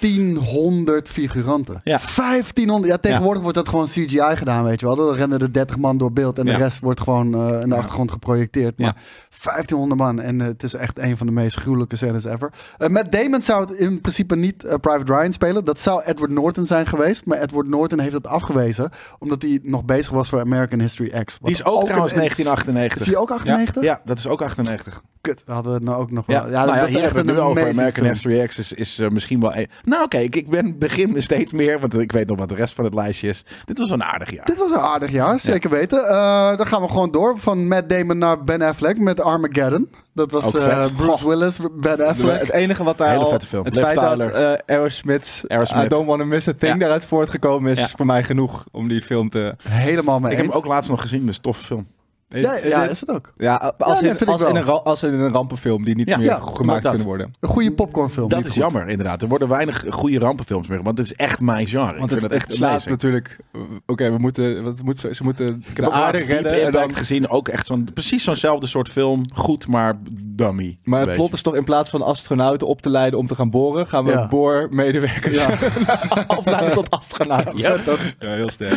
1500 figuranten. Ja. 1500. Ja, tegenwoordig wordt dat gewoon CGI gedaan, weet je wel. Dan rennen er 30 man door beeld en Ja. de rest wordt gewoon eh, in de achtergrond geprojecteerd. Maar Ja. 1500 man en eh, het is echt een van de meest gruwelijke scènes ever. Eh, Matt Damon zou het in principe niet eh, Private Ryan spelen. Dat zou Edward Norton zijn geweest. Maar Edward Norton heeft dat afgewezen omdat hij nog bezig was voor American History X. Wat Die is ook, een- trouwens Is 1998. die ook 98? Ja, dat is ook 98. Kut, daar hadden we het nou ook nog wel. Ja, Ja, nou ja, dat is hier echt hebben we het een nu over. amazing American film. History X is, is eh, misschien wel... een- Nou oké, ik, ik ben, begin steeds meer, want ik weet nog wat de rest van het lijstje is. Dit was een aardig jaar. Dit was een aardig jaar, zeker weten. Eh, dan gaan we gewoon door. Van Matt Damon naar Ben Affleck met Armageddon. Dat was Ook eh, vet. Bruce Willis, Ben Affleck. Het enige wat daar Hele al- vette film. Het Liv feit Tyler. dat eh, Aerosmith's Aerosmith. I Don't Wanna Miss a Thing Ja. daaruit voortgekomen is, Ja. voor mij genoeg om die film te... Helemaal mee ik heb hem eens. ook laatst nog gezien, dat is een toffe film. ja, ja, het- is het ook. ja, als, nee, in, vind ik als, in wel. een, ra- als in een rampenfilm die niet Ja. meer Ja, gemaakt dat. kunnen worden. Een goede popcornfilm. Dat Niet is goed. jammer, inderdaad. Er worden weinig goede rampenfilms meer, want het is echt mijn genre. Want ik het, vind het het echt slaat amazing. natuurlijk... eh, Oké, we moeten, wat moet ze, ze moeten Ik de heb ook aarde laatst Deep redden en dan... Impact gezien. Ook echt zo'n, precies zo'nzelfde soort film. Goed, maar dummy. Maar Een het plot beetje. is toch in plaats van astronauten op te leiden om te gaan boren, gaan we Ja. boormedewerkers opleiden tot astronauten. Ja. Ja, heel sterk.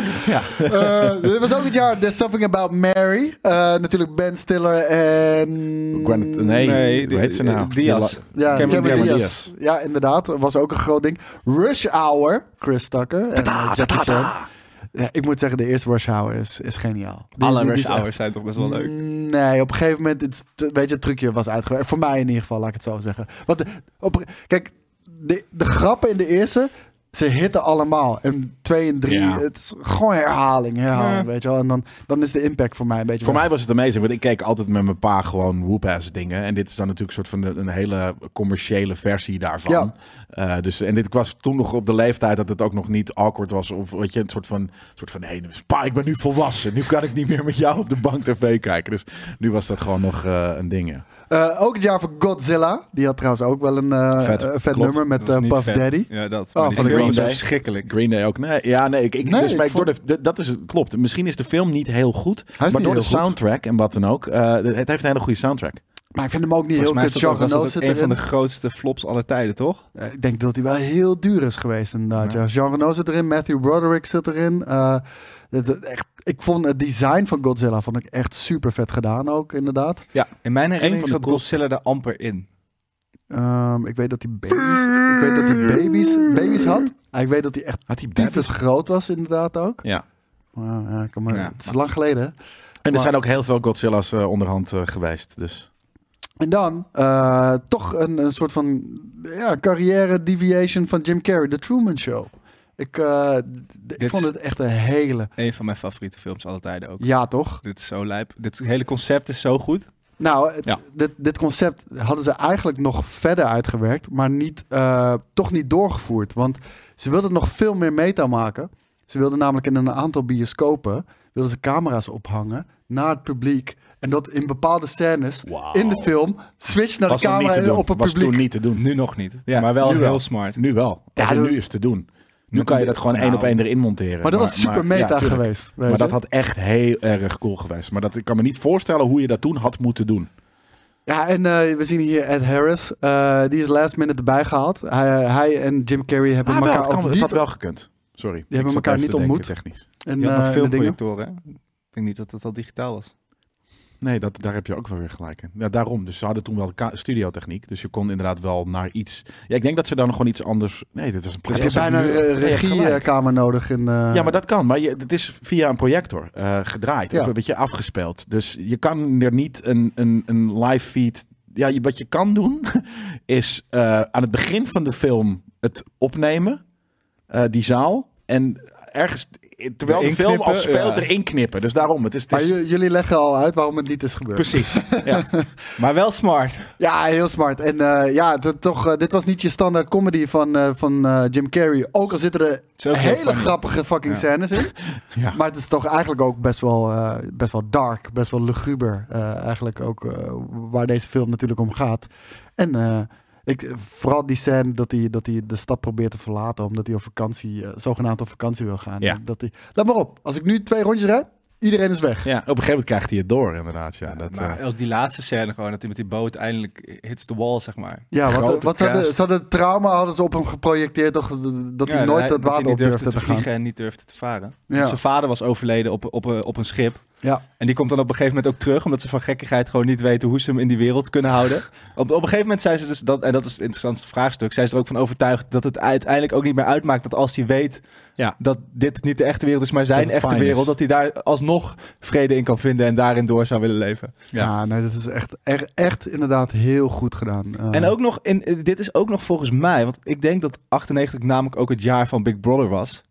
Eh, Dit was ook het jaar There's Something About Mary. Eh, natuurlijk Ben Stiller en... Gwyneth- nee, Nee, hoe heet ze die- nou? die- Diaz. Die la- Ja, Cameron Cameron Diaz. Diaz. Ja, inderdaad. Was ook een groot ding. Rush Hour. Chris Tucker en eh, Jackie Chan. Ja, ik moet zeggen, de eerste Rush Hour is, is geniaal. Die- Alle die- die rush is echt hours zijn toch best wel leuk. Mm, Nee, op een gegeven moment, het, weet je, het trucje was uitgewerkt. Voor mij in ieder geval, laat ik het zo zeggen. Want de- op, kijk, de, de grappen in de eerste, ze hitten allemaal. En twee en drie, Ja. het is gewoon herhaling, herhaling, Ja. weet je wel. En dan, dan is de impact voor mij een beetje Voor weg. mij was het amazing, want ik keek altijd met mijn pa gewoon whoop-ass dingen. En dit is dan natuurlijk een soort van een hele commerciële versie daarvan. Ja. Eh, dus, en dit, ik was toen nog op de leeftijd dat het ook nog niet awkward was. Of weet je, een soort van, soort van hé, pa, ik ben nu volwassen. Nu kan ik niet meer met jou op de bank tv kijken. Dus nu was dat gewoon nog eh, een ding. ja. Eh, ook het jaar voor Godzilla. Die had trouwens ook wel een eh, Vet. eh, vet Klopt. Dat nummer met was eh, niet Puff vet. Daddy. Ja, dat. Oh, Maar die van de film Green was Day. verschrikkelijk. Green Day ook. Nee, ja, nee, ik, ik, Nee, dus, maar ik ik door de, dat is, klopt. Misschien is de film niet heel goed. niet maar door heel de goed. soundtrack en wat dan ook. eh, het heeft een hele goede soundtrack. Maar ik vind hem ook niet Volgens mij heel is kut. dat ook, was Jean dat Reno ook een zit van erin. de grootste flops aller tijden, toch? Eh, Ik denk dat hij wel heel duur is geweest inderdaad. Ja. Ja. Jean Reno zit erin, Matthew Broderick zit erin. Eh, het- het- echt, ik vond het design van Godzilla vond ik echt super vet gedaan ook inderdaad. In mijn Eén herinnering van de zat Godzilla daar amper in. Ehm, ik weet dat hij baby's, ik weet dat hij baby's, baby's had. Ah, ik weet dat hij echt Had hij tyfus groot was inderdaad ook. Ja. Maar, ja, ik kan maar, Ja. Het is lang geleden. hè? En er Maar- zijn ook heel veel Godzilla's eh, onderhand eh, geweest. Dus. En dan eh, toch een, een soort van ja, carrière deviation van Jim Carrey, The Truman Show. Ik, eh, d- d- ik Dit vond is- het echt een hele... Een van mijn favoriete films alle tijden ook. Ja, toch? Dit is zo lijp. Dit hele concept is zo goed. Nou, het- Ja. dit, dit concept hadden ze eigenlijk nog verder uitgewerkt, maar niet, eh, toch niet doorgevoerd. Want ze wilden nog veel meer meta maken. Ze wilden namelijk in een aantal bioscopen wilden ze camera's ophangen naar het publiek. En dat in bepaalde scènes Wauw. in de film switch naar was de toen niet camera te en doen. op het was publiek. toen niet te doen. Nu nog niet. Ja, maar wel nu heel wel. smart. Nu wel. Ja, Ja, dat- nu is het te doen. Nu kan je dat gewoon Nou. één op één erin monteren. Maar dat was super eh, ja, meta tuurlijk. geweest. weet Maar dat je. had echt heel erg cool geweest. Maar dat, ik kan me niet voorstellen hoe je dat toen had moeten doen. Ja, en eh, we zien hier Ed Harris. Eh, die is last minute erbij gehaald. Hij, hij en Jim Carrey hebben Ah, wel, elkaar het kan- ook het niet... had wel gekund. Sorry. hebben Ik zat elkaar even niet te denken ontmoet. Technisch. in, Je had nog eh, in de dingen. filmprojectoren. hè? Ik denk niet dat het al digitaal was. Nee, dat, daar heb je ook wel weer gelijk in. Ja, daarom. Dus ze hadden toen wel ka- studiotechniek. Dus je kon inderdaad wel naar iets... Ja, ik denk dat ze dan gewoon iets anders... Nee, dit was een Heb je projector. bijna Dus Nu- Ja, je eh, een hebt gelijk. regiekamer nodig in... eh, Ja, maar dat kan. Maar je, het is via een projector eh, gedraaid. Ja. Of een beetje afgespeeld. Dus je kan er niet een, een, een live feed... Ja, je, wat je kan doen, is eh, aan het begin van de film het opnemen. eh, die zaal. En ergens, terwijl de Erin film al knippen, speelt, ja. erin knippen. Dus daarom. Het is, het Maar is- j- jullie leggen al uit waarom het niet is gebeurd. Precies. ja. Maar wel smart. Ja, heel smart. En eh, ja, dat, toch, eh, dit was niet je standaard comedy van, eh, van eh, Jim Carrey. Ook al zitten er is ook heel hele funny. grappige fucking Ja. scènes in. Ja. Maar het is toch eigenlijk ook best wel, eh, best wel dark, best wel luguber. eh, eigenlijk ook eh, waar deze film natuurlijk om gaat. En eh, ik, vooral die scène dat hij, dat hij de stad probeert te verlaten. Omdat hij op vakantie, eh, zogenaamd op vakantie wil gaan. Ja. Dat hij, let maar op, als ik nu twee rondjes rijd, iedereen is weg. Ja, op een gegeven moment krijgt hij het door, inderdaad. Ja, dat, eh, maar ook die laatste scène gewoon, dat hij met die boot eindelijk hits the wall, zeg maar. Ja, wat, Grote wat ze, hadden, kast. ze hadden trauma hadden ze op hem geprojecteerd. Toch, dat hij Ja, nooit dat water hij niet op durfde te te gaan. vliegen en niet durfde te varen. Ja. Want Zijn vader was overleden op, op, op een schip. Ja. En die komt dan op een gegeven moment ook terug, omdat ze van gekkigheid gewoon niet weten hoe ze hem in die wereld kunnen houden. Op, op een gegeven moment zijn ze dus, dat, en dat is het interessantste vraagstuk, zijn ze er ook van overtuigd dat het uiteindelijk ook niet meer uitmaakt dat als hij weet Ja. dat dit niet de echte wereld is, maar zijn het echte fijn is. wereld, dat hij daar alsnog vrede in kan vinden en daarin door zou willen leven. Ja. Ja, nee, dat is echt, er- echt inderdaad heel goed gedaan. Eh, En ook nog, in, eh, dit is ook nog volgens mij, want ik denk dat 98 namelijk ook het jaar van Big Brother was.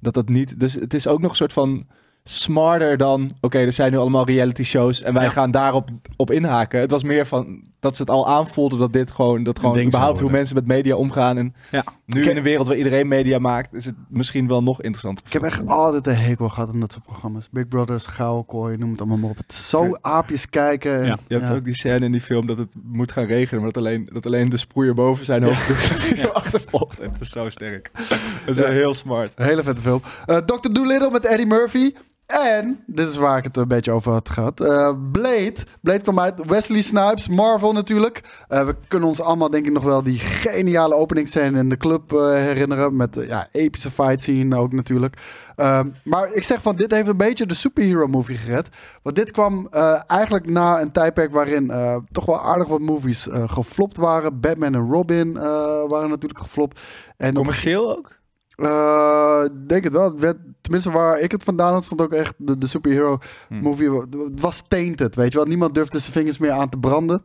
Dat dat niet, dus het is ook nog een soort van smarter dan, oké, er zijn nu allemaal reality shows en wij Ja. gaan daarop op inhaken. Het was meer van dat ze het al aanvoelden dat dit gewoon, dat gewoon ding zou überhaupt hoe worden. mensen met media omgaan. En Ja. nu Oké. in een wereld waar iedereen media maakt, is het misschien wel nog interessanter. Ik heb echt altijd een hekel gehad aan dat soort programma's. Big Brothers, Gouden noem het allemaal maar op. Het is zo aapjes kijken. Ja, Je hebt ook die scène in die film dat het moet gaan regenen, maar dat alleen, dat alleen de sproeier boven zijn hoofd doet. Ja. achtervolgt. Het is zo sterk. Het is heel smart. Hele vette film. Eh Dr. Doolittle met Eddie Murphy. En, dit is waar ik het een beetje over had gehad. eh, Blade. Blade kwam uit. Wesley Snipes. Marvel natuurlijk. Eh, we kunnen ons allemaal denk ik nog wel die geniale openingsscène in de club eh, herinneren. Met eh, ja, epische fight scene ook natuurlijk. Ehm, maar ik zeg van, dit heeft een beetje de superhero movie gered. Want dit kwam eh, eigenlijk na een tijdperk waarin eh, toch wel aardig wat movies eh, geflopt waren. Batman en Robin eh, waren natuurlijk geflopt. En op Commercieel ook? eh, Ik denk het wel. Het werd, tenminste, waar ik het vandaan had, stond ook echt de, de superhero Hmm. movie. Het was tainted, weet je wel. Niemand durfde zijn vingers meer aan te branden.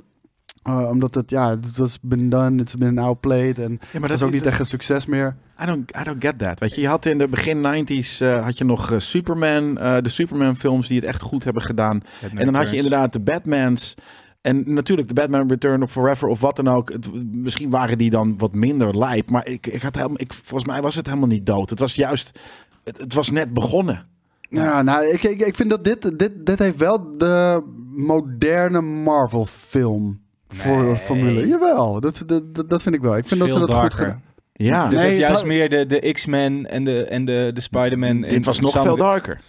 Eh, omdat het, ja, het was been done, it's been outplayed. En Ja, maar dat is ook niet echt een succes meer. I don't, I don't get that. Weet je, je had in de begin 90s eh, had je nog eh, Superman, eh, de Superman-films die het echt goed hebben gedaan. en dan had je inderdaad de Batmans. En natuurlijk de Batman Return of Forever of wat dan ook. Het, misschien waren die dan wat minder lijp. Maar ik, ik had helemaal, ik, volgens mij was het helemaal niet dood. Het was juist, het, het was net begonnen. Ja, nou, ik, ik, ik vind dat dit, dit, dit heeft wel de moderne Marvel film voor formule. Jawel, dat, dat, dat vind ik wel. Ik vind dat ze dat goed gedaan. Ja, Dit Nee, heeft het juist had- meer de, de X-Men en de, en de, de Spider-Man. dit was nog veel darker.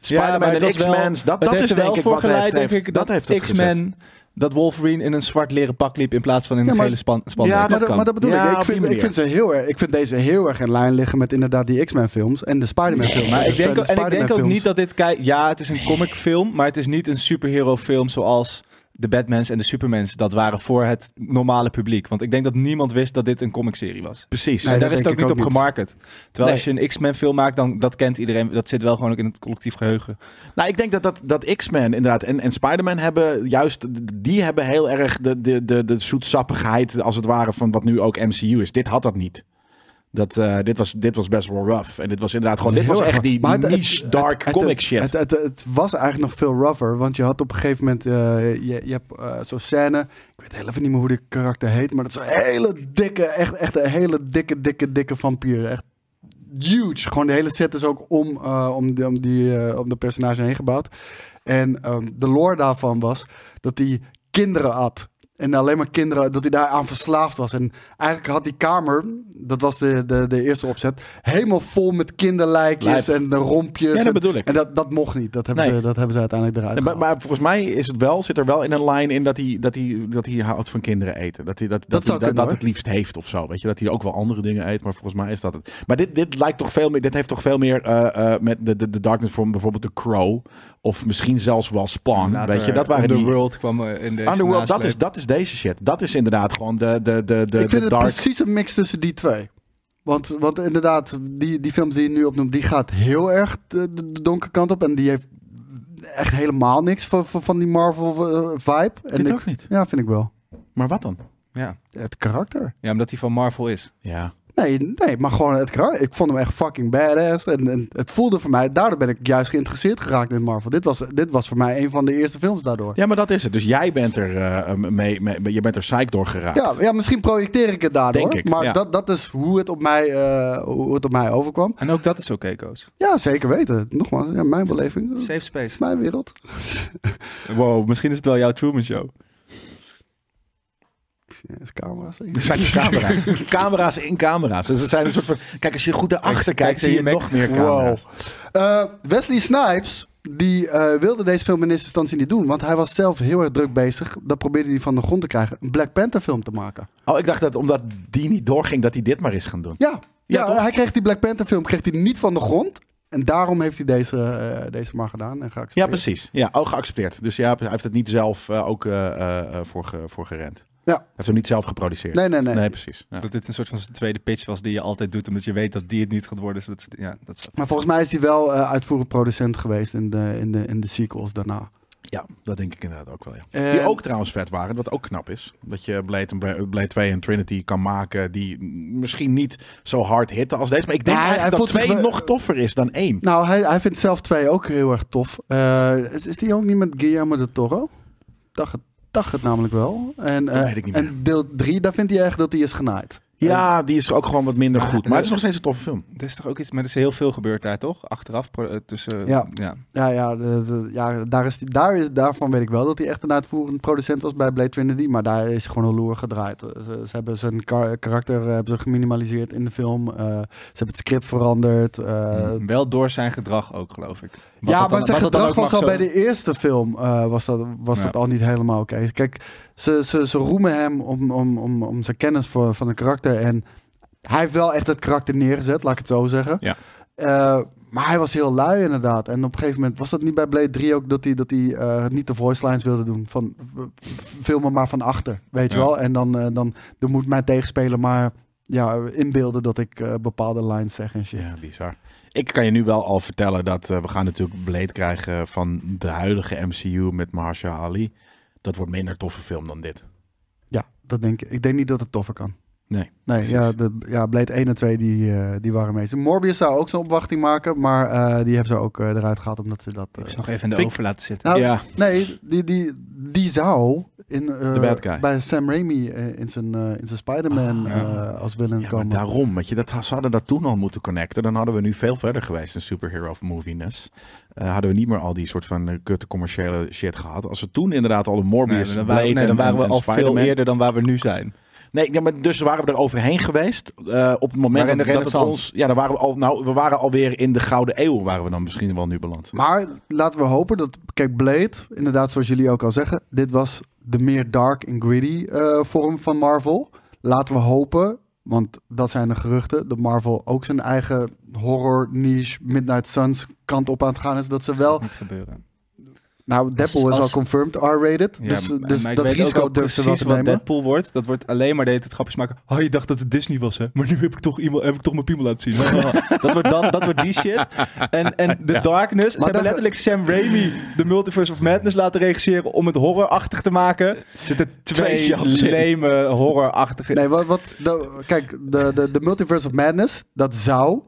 Spider-Man en X-Men, dat, dat is denk ik wat heeft, heeft, dat heeft het gezet. X-Men, dat Wolverine in een zwart leren pak liep in plaats van in Ja, een maar- gele span spandoek. Ja, maar, dat, kan. maar dat bedoel Ja, ik. Ik op die vind, ik, manier. vind ze heel erg, ik vind deze heel erg in lijn liggen met inderdaad die X-Men films en de Spider-Man films. Maar ik Dus, eh, denk, de ook- en ik denk ook Spider-Man niet dat dit... kijk- Ja, het is een comicfilm, maar het is niet een superhero film zoals de Batmans en de Supermans. Dat waren voor het normale publiek. Want ik denk dat niemand wist dat dit een comicserie was. Precies. Nee, en dat daar is het ook denk niet op ik ook gemarket. Terwijl Nee. als je een X-Men film maakt, dan dat kent iedereen. Dat zit wel gewoon ook in het collectief geheugen. Nou, ik denk dat, dat, dat X-Men inderdaad en, en Spider-Man hebben juist, die hebben heel erg de, de, de, de zoetsappigheid als het ware van wat nu ook MCU is. Dit had dat niet. Dat, eh, dit, was, dit was best wel rough. En dit was inderdaad gewoon. Dit Heel was erg echt die, rough. die Maar het- niche dark Het- comic het- shit. Het, het, het was eigenlijk nog veel rougher, want je had op een gegeven moment, eh, je, je hebt eh, zo'n scène, ik weet heel even niet meer hoe de karakter heet, maar dat is een hele dikke, echt, echt een hele dikke, dikke, dikke vampier. Echt huge. Gewoon de hele set is ook om, eh, om, de, om, die, eh, om de personage heen gebouwd. En ehm, de lore daarvan was dat hij kinderen had. En alleen maar kinderen, dat hij daar aan verslaafd was. En eigenlijk had die kamer, dat was de, de, de eerste opzet, helemaal vol met kinderlijkjes Lijp. en de rompjes. Ja, dat en- bedoel ik. En dat, dat mocht niet. Dat hebben, Nee. ze, dat hebben ze uiteindelijk eruit Nee, maar, gehaald. maar volgens mij is het wel, zit er wel in een lijn in dat hij, dat hij, dat hij houdt van kinderen eten. Dat hij dat, dat, Dat hij zou dat, kunnen, dat het liefst heeft of zo. Weet je? Dat hij ook wel andere dingen eet, maar volgens mij is dat het. Maar dit, dit lijkt toch veel meer. Dit heeft toch veel meer eh, eh, met de, de, de Darkness van bijvoorbeeld The Crow. Of misschien zelfs wel Spawn. Later, weet je, dat waren die. Underworld kwam eh, in deze Underworld, dat is, nasleep. dat is deze shit. Dat is inderdaad gewoon de, de, de, de, ik vind de het dark. precies een mix tussen die twee. Want, want inderdaad, die, die films die je nu opnoemt, die gaat heel erg de, de, de donkere kant op. En die heeft echt helemaal niks van, van, van die Marvel-vibe. Dit ik, ook niet. Ja, vind ik wel. Maar wat dan? Ja. Het karakter. ja, omdat hij van Marvel is. Ja. Nee, nee, maar gewoon het karakter. Ik vond hem echt fucking badass. En, en het voelde voor mij, daardoor ben ik juist geïnteresseerd geraakt in Marvel. Dit was, dit was voor mij een van de eerste films daardoor. ja, maar dat is het. Dus jij bent er, eh, mee, mee- je bent er psych door geraakt. Ja, ja, misschien projecteer ik het daardoor. Denk ik, maar ja. dat, dat is hoe het, op mij, eh, hoe het op mij overkwam. En ook dat is oké, Koos. Ja, zeker weten. Nogmaals, ja, mijn beleving. Het Safe is space. mijn wereld. Wow, misschien is het wel jouw Truman Show. Ja, is camera's. Er zijn camera's. camera's in camera's. Dus het zijn een soort van. Kijk, als je goed erachter Kijk, kijkt, zie je kijk, nog meer Wow. camera's. Eh, Wesley Snipes, die eh, wilde deze film in eerste instantie niet doen. Want hij was zelf heel erg druk bezig. Dat probeerde hij van de grond te krijgen. Een Black Panther film te maken. Oh, ik dacht dat omdat die niet doorging, dat hij dit maar is gaan doen. Ja, ja, Ja, toch? hij kreeg die Black Panther film kreeg hij niet van de grond. En daarom heeft hij deze, eh, deze maar gedaan en Ja, geaccepteerd. precies. Ja, ook geaccepteerd. Dus ja, hij heeft het niet zelf eh, ook eh, eh, eh, voor, ge- voor gerend. Ja. Hij heeft hem niet zelf geproduceerd. Nee, nee, nee. precies. Ja. Dat dit een soort van tweede pitch was die je altijd doet, omdat je weet dat die het niet gaat worden. Zodat, ze- ja, dat is Maar volgens mij is hij wel eh uitvoerend producent geweest in de, in de, in de sequels daarna. Ja, dat denk ik inderdaad ook wel. Ja. Eh, Die ook trouwens vet waren, wat ook knap is. Dat je Blade, en Bra- Blade 2 en Trinity kan maken die misschien niet zo hard hitten als deze. Maar ik denk Nee, hij eigenlijk dat voelt zich twee wel- nog toffer is dan één. Nou, hij, hij vindt zelf twee ook heel erg tof. Eh, is, is die ook niet met Guillermo de Toro? Dacht het, dacht het namelijk wel. En, eh, Dat weet ik niet meer. en deel drie, daar vindt hij echt dat hij is genaaid. Ja, die is ook gewoon wat minder goed. Maar het is nog steeds een toffe film. Er is toch ook iets, maar er is heel veel gebeurd daar, toch? Achteraf pro- eh, tussen. Ja. ja. Ja, ja, de- de- ja daar is, die- daar is, daarvan weet ik wel dat hij echt een uitvoerend producent was bij Blade Trinity. Maar daar is gewoon een loer gedraaid. Eh, Ze, ze hebben zijn kar- karakter eh, hebben ze geminimaliseerd in de film. Eh, ze hebben het script veranderd. eh, Mhm. Wel door zijn gedrag ook, geloof ik. Wat dat ja, dan- maar wat zijn dat dan gedrag ook mag was al zo- bij de eerste film eh, was dat, was Ja. dat al niet helemaal oké. Kijk, ze, ze, ze roemen hem om, om, om, om zijn kennis voor, van het karakter. En hij heeft wel echt het karakter neergezet, laat ik het zo zeggen. Ja. Eh, maar hij was heel lui inderdaad. En op een gegeven moment was dat niet bij Blade 3 ook dat hij, dat hij eh, niet de voice lines wilde doen. Van eh, film me maar van achter, weet Ja. je wel. En dan, eh, dan, dan moet mijn tegenspeler maar ja, inbeelden dat ik eh, bepaalde lines zeg en shit. Ja, bizar. Ik kan je nu wel al vertellen dat eh, we gaan natuurlijk Blade krijgen van de huidige MCU met Mahershala Ali. Dat wordt minder toffe film dan dit. Ja, dat denk ik. Ik denk niet dat het toffer kan. Nee, Nee, precies. ja, de, ja, Blade 1 en 2 die, eh, die waren meestal. Morbius zou ook zijn opwachting maken, maar eh, die hebben ze ook eh, eruit gehaald omdat ze dat... eh, Ik heb ze nog even in de Vind- over laten zitten. nou, ja, Nee, die, die, die zou in, eh, The bad guy. bij Sam Raimi eh, in zijn, eh, in zijn Spider-Man Ah, ja. eh, als willen ja maar komen. daarom. Weet je, dat, ze hadden dat toen al moeten connecten. Dan hadden we nu veel verder geweest in superhero moviness. Eh hadden we niet meer al die soort van eh, kutte commerciële shit gehad. Als we toen inderdaad al een Nee, Morbius, dan Blade waren, nee, en- dan waren we en- en al veel Spider-Man- eerder dan waar we nu zijn. Nee, ja, maar dus waren we er overheen geweest. eh, op het moment Maar in dat, de dat het ons... renaissance. Ja, dan waren we, al, nou, we waren alweer in de Gouden Eeuw. Waren we dan misschien wel nu beland. Maar laten we hopen dat... Kijk, Blade, inderdaad zoals jullie ook al zeggen... dit was de meer dark en gritty eh, vorm van Marvel. Laten we hopen, want dat zijn de geruchten... dat Marvel ook zijn eigen horror niche Midnight Suns kant op aan het gaan is. Dat ze wel Niet gebeuren. Nou, Deadpool is als- al confirmed R-rated. Ja, dus maar- dus maar ik dat weet ook risico al durft ze wel te precies wat nemen. Deadpool wordt. Dat wordt alleen maar de hele tijd grapjes maken. Oh, je dacht dat het Disney was, hè? Maar nu heb ik toch, iemand, heb ik toch mijn piemel laten zien. dat, wordt dan, dat wordt die shit. En, en The Darkness. ze dat- hebben letterlijk Sam Raimi de Multiverse of Madness laten regisseren om het horrorachtig te maken. Er zitten twee, Twee shots in. leme horrorachtige... Nee, wat, wat de- kijk, de, de, de Multiverse of Madness, dat zou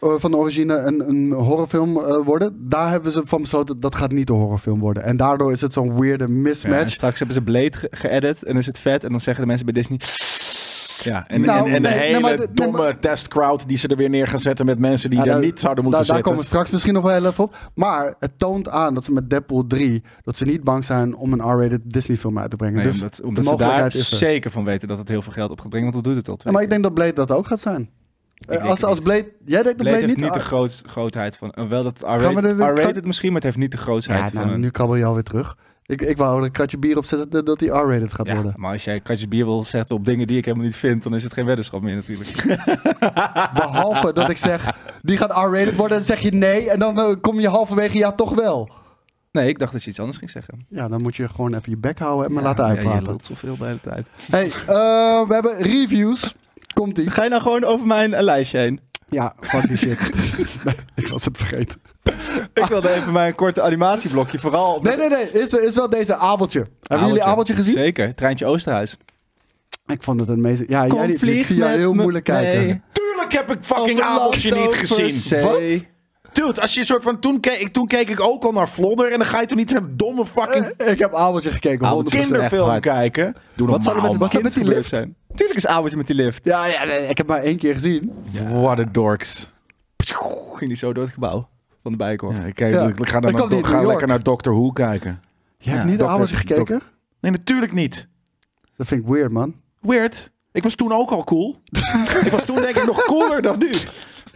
eh, van origine een, een horrorfilm eh, worden. Daar hebben ze van besloten, dat gaat niet een horrorfilm worden. En daardoor is het zo'n weirde Ja, en mismatch. straks hebben ze Blade ge- geëdit en dan is het vet. En dan zeggen de mensen bij Disney... Ja, en, Nou, en, en nee, de nee, hele maar de- nee, domme testcrowd die ze er weer neer gaan zetten met mensen die Ja, daar daar- niet zouden eh, Daar- moeten daar zitten. komen we straks misschien nog wel heel even op. Maar het toont aan dat ze met Deadpool 3... dat ze niet bang zijn om een R-rated Disney film uit te brengen. Nee, dus omdat omdat de ze daar mogelijkheid is er. zeker van weten dat het heel veel geld op gaat brengen. Want dat doet het al Ja, twee maar ik keer. denk dat Blade dat ook gaat zijn. Eh, denk als, het als Blade... Jij denkt dat Blade, Blade heeft niet niet... Ah, de groot, grootheid van... en wel dat Gaan we R-rated, er weer- R-rated misschien, maar het heeft niet de grootheid ja, van... nou, een- nu krabbel je alweer terug. Ik, ik wou er een kratje bier op zetten dat- dat die R-rated gaat Ja, worden. maar als jij een kratje bier wil zetten op dingen die ik helemaal niet vind... dan is het geen weddenschap meer natuurlijk. Behalve dat ik zeg, die gaat R-rated worden. Dan zeg je nee. En dan eh, kom je halverwege, ja, toch wel. Nee, ik dacht dat je iets anders ging zeggen. Ja, dan moet je gewoon even je bek houden en me laten Ja, je uitpraten. lult zoveel de hele tijd. hey, eh, we hebben reviews. Komt-ie. Ga je nou gewoon over mijn eh, lijstje heen? Ja, fuck die shit. Nee, ik was het vergeten. Ik wilde even mijn korte animatieblokje vooral... Ah. Nee, nee, nee. Is, is wel deze Abeltje. Hebben Abeltje. jullie Abeltje gezien? Zeker, Treintje Oosterhuis. Ik vond het een meest... Ja, jij niet. Ik Conflict zie jou met heel me- moeilijk kijken. Nee. Tuurlijk heb ik fucking Abeltje niet gezien. Wat? Wat? Dude, als je een soort van... Toen keek, toen keek ik ook al naar Vlodder en dan ga je toen niet zo'n domme fucking Eh, Ik heb Abeltje gekeken, Abeltje. 100%. echt kinderfilm hard. kijken. Doe Wat zou er normaal, met het man. kind Met die gebeurd lift? zijn? Tuurlijk is Abeltje met die lift. Ja, ja, nee, ik heb maar één keer gezien. man. What a dorks. Ging die zo door het gebouw van de Bijenkorf. Ja, ik, kijk, Ja. ik ga, dan Ik kan naar- niet ga New lekker York. naar Doctor Who kijken. Je hebt Ja, niet dat- Abeltje dat- gekeken? Nee, natuurlijk niet. Dat vind ik weird, man. Weird. Ik was toen ook al cool. ik was toen denk ik nog cooler dan nu.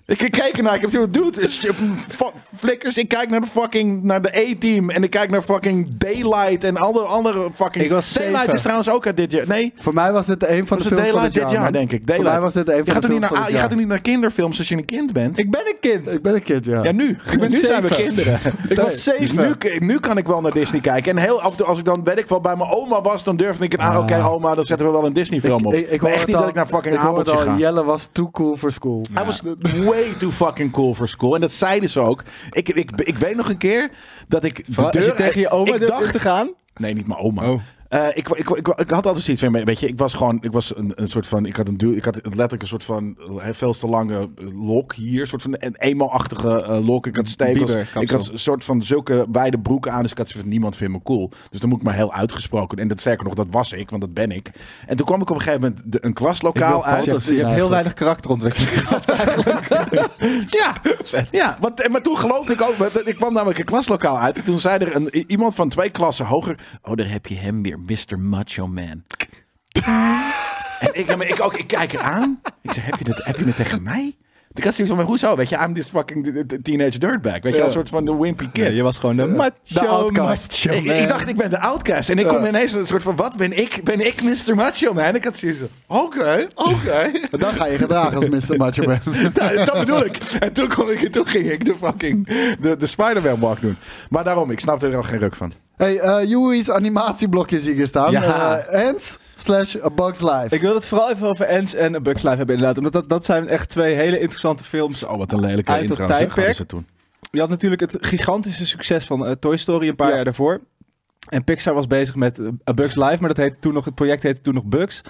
Ik, ik keek ernaar, ik heb zo'n dude, is- f- flikkers, ik kijk naar de fucking, naar de A-team en ik kijk naar fucking Daylight en alle andere fucking... Ik was Daylight zeven. is trouwens ook uit dit jaar, nee, Voor mij was dit was een van de het films van Daylight het dit jaar, jaar, man. denk ik. Voor Daylight. mij was dit een je van gaat de toch niet naar, films van a- het je gaat jaar. toch niet naar kinderfilms als je een kind bent? Ik ben een kind. Ik ben een kind, ja. ja, nu. Ik ben nu zijn we zeven. kinderen. Ik was Dus zeven. nu, nu kan ik wel naar Disney kijken. En heel af en toe, als ik dan, weet ik wel, bij mijn oma was, dan durfde ik een aan. Oké, oma, dan zetten we wel een Disney-film op. Ik, hoor echt het niet al- dat ik naar fucking ik hoor het Abeltje al, ga. Jelle was too cool for school. Hij was way too fucking cool for school. En dat zeiden ze ook. Ik, ik, ik weet nog een keer dat ik. de Vooral als je deur- tegen je oma ik durft in dacht, te gaan. Nee, niet mijn oma. Oh. Eh, ik, ik, ik, ik had altijd zoiets van, weet je, ik was gewoon, ik was een, een soort van, ik had, een, duur- ik had letterlijk een soort van eh, veel te lange lok hier, een soort van een emo-achtige eh, lok. Ik had stekels, Bieber, kapsel. ik had een soort van zulke wijde broeken aan, dus ik had zoiets van, niemand vindt me cool. Dus dan moet ik maar heel uitgesproken. En dat sterker nog, dat was ik, want dat ben ik. En toen kwam ik op een gegeven moment de- een klaslokaal uit. Je hebt, je hebt heel weinig karakterontwikkeling. Ja, ja want, en- maar toen geloofde ik ook. want Ik kwam namelijk een klaslokaal uit. En toen zei er een, iemand van twee klassen hoger. Oh, daar heb je hem weer, Mr. Macho Man. en ik, maar ik, ook, ik kijk er aan. Ik zei: heb je, dat, heb je het tegen mij? Ik had zoiets van, maar hoezo? Weet je, I'm this fucking d- d- teenage dirtbag. Weet je, als een soort van de wimpy kid. je was gewoon de macho, de outcast. macho ik, man. ik dacht, ik ben de outcast. En ik kom ineens een soort van, wat ben ik? Ben ik Mr. Macho Man? ik had zoiets van, oké, oké. En dan ga je gedragen als Mr. Macho Man. Ja, dat bedoel ik. En toen, kon ik, toen ging ik de fucking de, de Spider-Man walk doen. Maar daarom, ik snapte er al geen ruk van. hey, eh Joey's animatieblokje zie ik hier staan. Ja. Eh, Ants slash A Bug's Life. Ik wil het vooral even over Ants en A Bug's Life hebben inderdaad. Omdat dat, dat zijn echt twee hele interessante films. Oh, wat een lelijke Uit dat intro. zeg, tijdperk. hadden ze toen. Je had natuurlijk het gigantische succes van eh, Toy Story een paar Ja. jaar daarvoor. En Pixar was bezig met eh, A Bug's Life, maar dat heette toen nog, het project heette toen nog Bugs.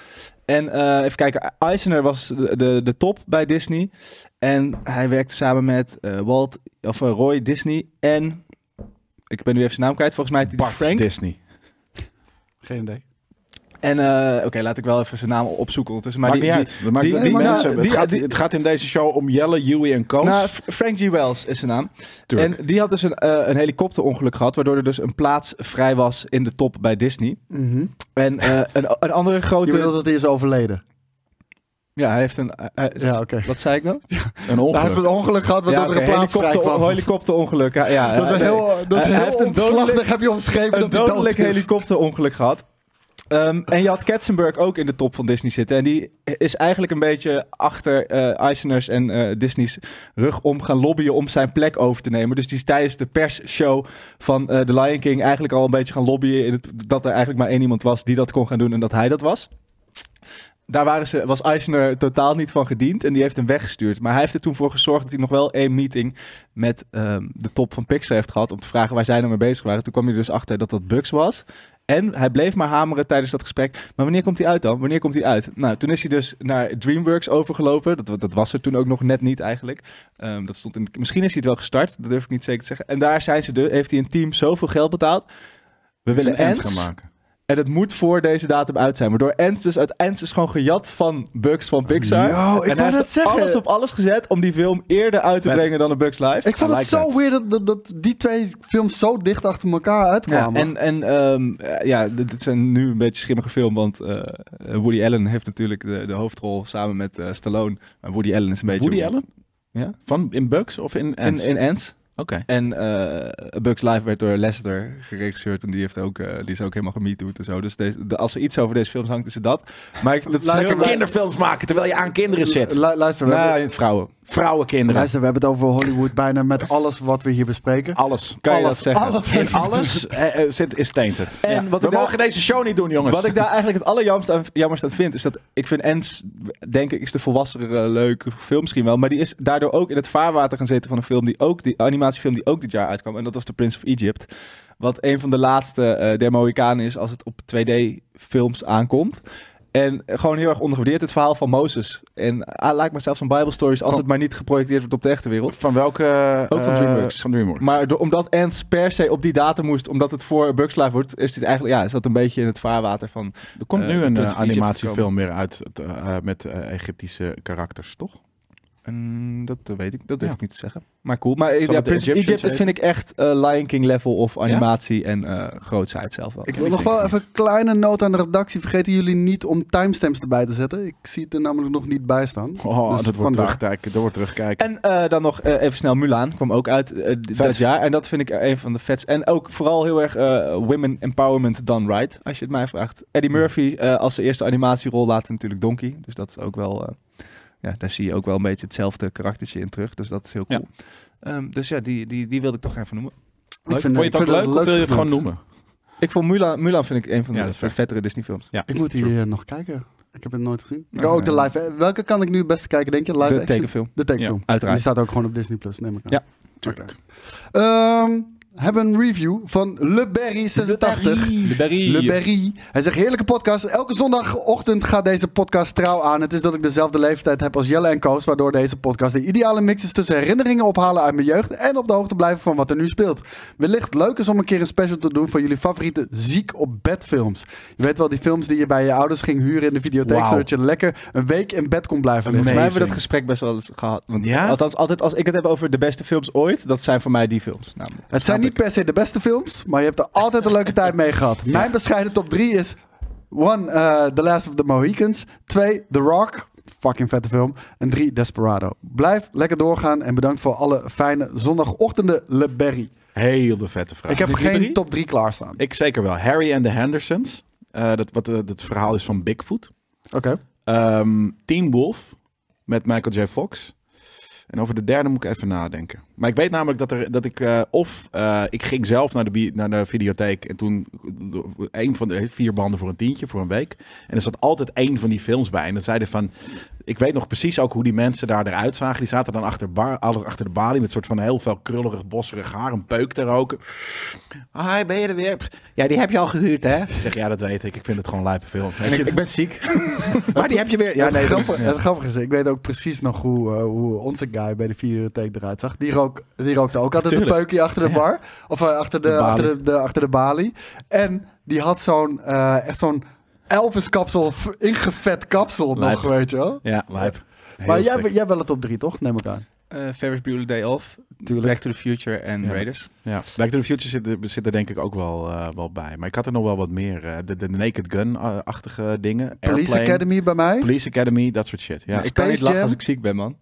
En eh, even kijken, Eisner was de, de, de top bij Disney. En hij werkte samen met eh, Walt, of eh, Roy Disney en... Ik ben nu even zijn naam kwijt, volgens mij heet hij Bart Frank. Disney. Geen idee. En eh, oké, laat ik wel even zijn naam opzoeken ondertussen. Maar maakt die, niet die- uit. Dat maakt die- niet die- uit. die- Mensen, die- het, gaat, die- het gaat in deze show om Jelle, Huey en Koos. nou, F- Frank G. Wells is zijn naam. Tuurlijk. En die had dus een, eh, een helikopterongeluk gehad, waardoor er dus een plaats vrij was in de top bij Disney. En eh, een, een andere Mhm. eh, Je bedoelt grote... dat hij is overleden? Ja, hij heeft een... hij- hij- Ja, oké. Wat zei ik nou? een Hij heeft ongeluk. een ongeluk gehad waardoor ja, er een oké, plaats vrij helikopter- kwam. helikopterongeluk. Ja, ja, dat is ja, een nee. heel, dat is Hij- hij heel heeft een omslachtig, dodelijk- heb je omschreven een dat hij dood dodelijk is. helikopterongeluk gehad. Ehm, en je had Katzenberg ook in de top van Disney zitten. En die is eigenlijk een beetje achter eh Eisner's en eh, Disney's rug om gaan lobbyen om zijn plek over te nemen. Dus die is tijdens de persshow van eh The Lion King eigenlijk al een beetje gaan lobbyen. In het, dat er eigenlijk maar één iemand was die dat kon gaan doen en dat hij dat was. Daar waren ze, was Eisner totaal niet van gediend en die heeft hem weggestuurd. Maar hij heeft er toen voor gezorgd dat hij nog wel één meeting met ehm, de top van Pixar heeft gehad. Om te vragen waar zij nou mee bezig waren. Toen kwam hij er dus achter dat dat Bugs was. En hij bleef maar hameren tijdens dat gesprek. Maar wanneer komt hij uit dan? Wanneer komt hij uit? Nou, toen is hij dus naar DreamWorks overgelopen. Dat, dat was er toen ook nog net niet eigenlijk. Ehm, dat stond in, misschien is hij het wel gestart. Dat durf ik niet zeker te zeggen. En daar zijn ze de, heeft hij een team zoveel geld betaald. We willen ends Ants. gaan maken. En het moet voor deze datum uit zijn. Waardoor Ants dus uit Ants is gewoon gejat van Bugs van Pixar. Yo, ik en wou hij net heeft zeggen. alles op alles gezet om die film eerder uit te Vet. brengen dan een Bugs Life. Ik vond I het like zo that. weird dat, dat, dat die twee films zo dicht achter elkaar Ja, uitkwamen. en en ehm, eh, ja, dit dit zijn nu een beetje schimmige film, want eh, Woody Allen heeft natuurlijk de, de hoofdrol samen met eh, Stallone. Maar Woody Allen is een beetje... Woody Allen? Ja. Van in Bugs of in In, Ants? in Ants. Oké. En eh, A Bugs Life werd door Lester geregisseerd en die, heeft ook, eh, die is ook helemaal gemetoed en zo. Dus deze, de- als er iets over deze film hangt, is het dat. Maar ik, dat is Luister, heel... wij- Kinderfilms maken terwijl je aan kinderen zit. Lu- luister, we hebben, Nou, vrouwen. Vrouwenkinderen. luister, we hebben het over Hollywood bijna met alles wat we hier bespreken. Alles. Kan je dat alles, zeggen? alles. In alles eh, eh, zit is tainted. En Ja. wat We ik daar- mogen deze show niet doen, jongens. Wat ik daar eigenlijk het allerjammerst aan, jammerst aan vind, is dat ik vind Ents, denk ik, is de volwassenere leuke film misschien wel. Maar die is daardoor ook in het vaarwater gaan zitten van een film die ook, die animatiefilm die ook dit jaar uitkwam. En dat was The Prince of Egypt. Wat een van de laatste eh der Mohikanen is als het op 2D-films aankomt. En gewoon heel erg ondergewaardeerd het verhaal van Mozes. En ah, I like myself some Bible stories als Van- het maar niet geprojecteerd wordt op de echte wereld. Van welke... eh, Ook van DreamWorks. Van DreamWorks. Maar door- omdat Ants per se op die datum moest, omdat het voor Bugs Life wordt, is dit eigenlijk, ja, is dat een beetje in het vaarwater van Er komt Eh, nu de een Prince eh, of Egypt animatiefilm weer uit het, eh, met eh, Egyptische karakters, toch? Mm, dat eh, weet ik, dat Ja. durf ik niet te zeggen. Maar cool. Maar eh, Zal ja, het de Prince of Egyptians Egypt dat vind ik echt eh, Lion King level of animatie en eh grootheid zelf wel. Ik wil nog wel even een kleine noot aan de redactie. Vergeten jullie niet om timestamps erbij te zetten. Ik zie het er namelijk nog niet bij staan. Oh, Dus dat wordt vandaar. terugkijken. Dat wordt terugkijken. En eh, dan nog eh, even snel Mulan kwam ook uit eh, d- dat jaar. En dat vind ik eh, een van de vets. En ook vooral heel erg eh, women empowerment done right, als je het mij vraagt. Eddie Murphy eh, als zijn eerste animatierol laat natuurlijk Donkey. Dus dat is ook wel... eh, ja, daar zie je ook wel een beetje hetzelfde karaktertje in terug. Dus dat is heel Ja. cool. Ehm, dus ja, die, die, die wilde ik toch even noemen. Ik Vond je het ook ik vind leuk of wil je het segment. gewoon noemen? Ik vond Mulan, Mulan vind ik een van Ja, de dat is waar. vettere Disney films. Ik moet hier eh, nog kijken. Ik heb het nooit gezien. Ik Nou, kan ook de eh, live. Welke kan ik nu het beste kijken, denk je? Live de action? tekenfilm. De tekenfilm. Die Uiteraard. staat ook gewoon op Disney Plus, neem ik aan. Ja, tuurlijk. Oké. Ehm, hebben een review van Le Berry 86. De Berry. Le Berry. Hij zegt, heerlijke podcast. Elke zondagochtend gaat deze podcast trouw aan. Het is dat ik dezelfde leeftijd heb als Jelle en Koos... waardoor deze podcast de ideale mix is tussen herinneringen ophalen uit mijn jeugd... en op de hoogte blijven van wat er nu speelt. Wellicht leuk is om een keer een special te doen... van jullie favoriete ziek op bedfilms. Je weet wel, die films die je bij je ouders ging huren in de videotheek... Wauw. zodat je lekker een week in bed kon blijven liggen. Amazing. Volgens mij hebben we dat gesprek best wel eens gehad. Want Ja? Althans, altijd als ik het heb over de beste films ooit, dat zijn voor mij die films. Namelijk. Het zijn niet per se de beste films, maar je hebt er altijd een leuke tijd mee gehad. Mijn bescheiden top 3 is: 1. The Last of the Mohicans. 2. The Rock. Fucking vette film. En 3. Desperado. Blijf lekker doorgaan en bedankt voor alle fijne zondagochtenden, Le Berry. Hele vette vraag. Ik heb Le geen Berry? top 3 klaarstaan. Ah, Ik zeker wel. Harry en de Hendersons. Eh, dat, wat eh, het verhaal is van Bigfoot. Oké. Ehm Teen Wolf met Michael J. Fox. En over de derde moet ik even nadenken. Maar ik weet namelijk dat, er, dat ik... eh, of eh, ik ging zelf naar de, bi- naar de videotheek. En toen een van de vier banden voor een tientje voor een week. En er zat altijd één van die films bij. En dan zeiden van... Ik weet nog precies ook hoe die mensen daar eruit zagen. Die zaten dan achter, bar, achter de balie met soort van heel veel krullerig, bosserig haar. Een peuk te roken. Hi, ben je er weer? Pff, Ja, die heb je al gehuurd, hè? Ik zeg, ja, dat weet ik. Ik vind het gewoon lijpe film. En ik, ik ben ziek. Maar die heb je weer... Ja, het, nee, dat- grappige, het grappige is, ik weet ook precies nog hoe, eh, hoe onze guy bij de videotheek eruit zag. Die, rook, die rookte ook altijd Tuurlijk. een peukje achter de bar. Of eh, achter, de, De balie. achter, de, de- achter de balie. En die had zo'n, eh, echt zo'n Elvis-kapsel, v- ingevet kapsel nog, Lijp. weet je wel. Ja, lijp. Heel maar jij, sick. jij wel het top 3, toch? Neem ik aan. Eh Ferris Bueller Day Off, Back to the Future en Ja. Raiders. Ja. Back to the Future zit, er- zit er denk ik ook wel, eh, wel bij. Maar ik had er nog wel wat meer. eh, de, de Naked Gun-achtige dingen. Police Airplane, Academy bij mij. Police Academy, dat soort shit. Ja. Space ik kan niet lachen Jam. als ik ziek ben, man.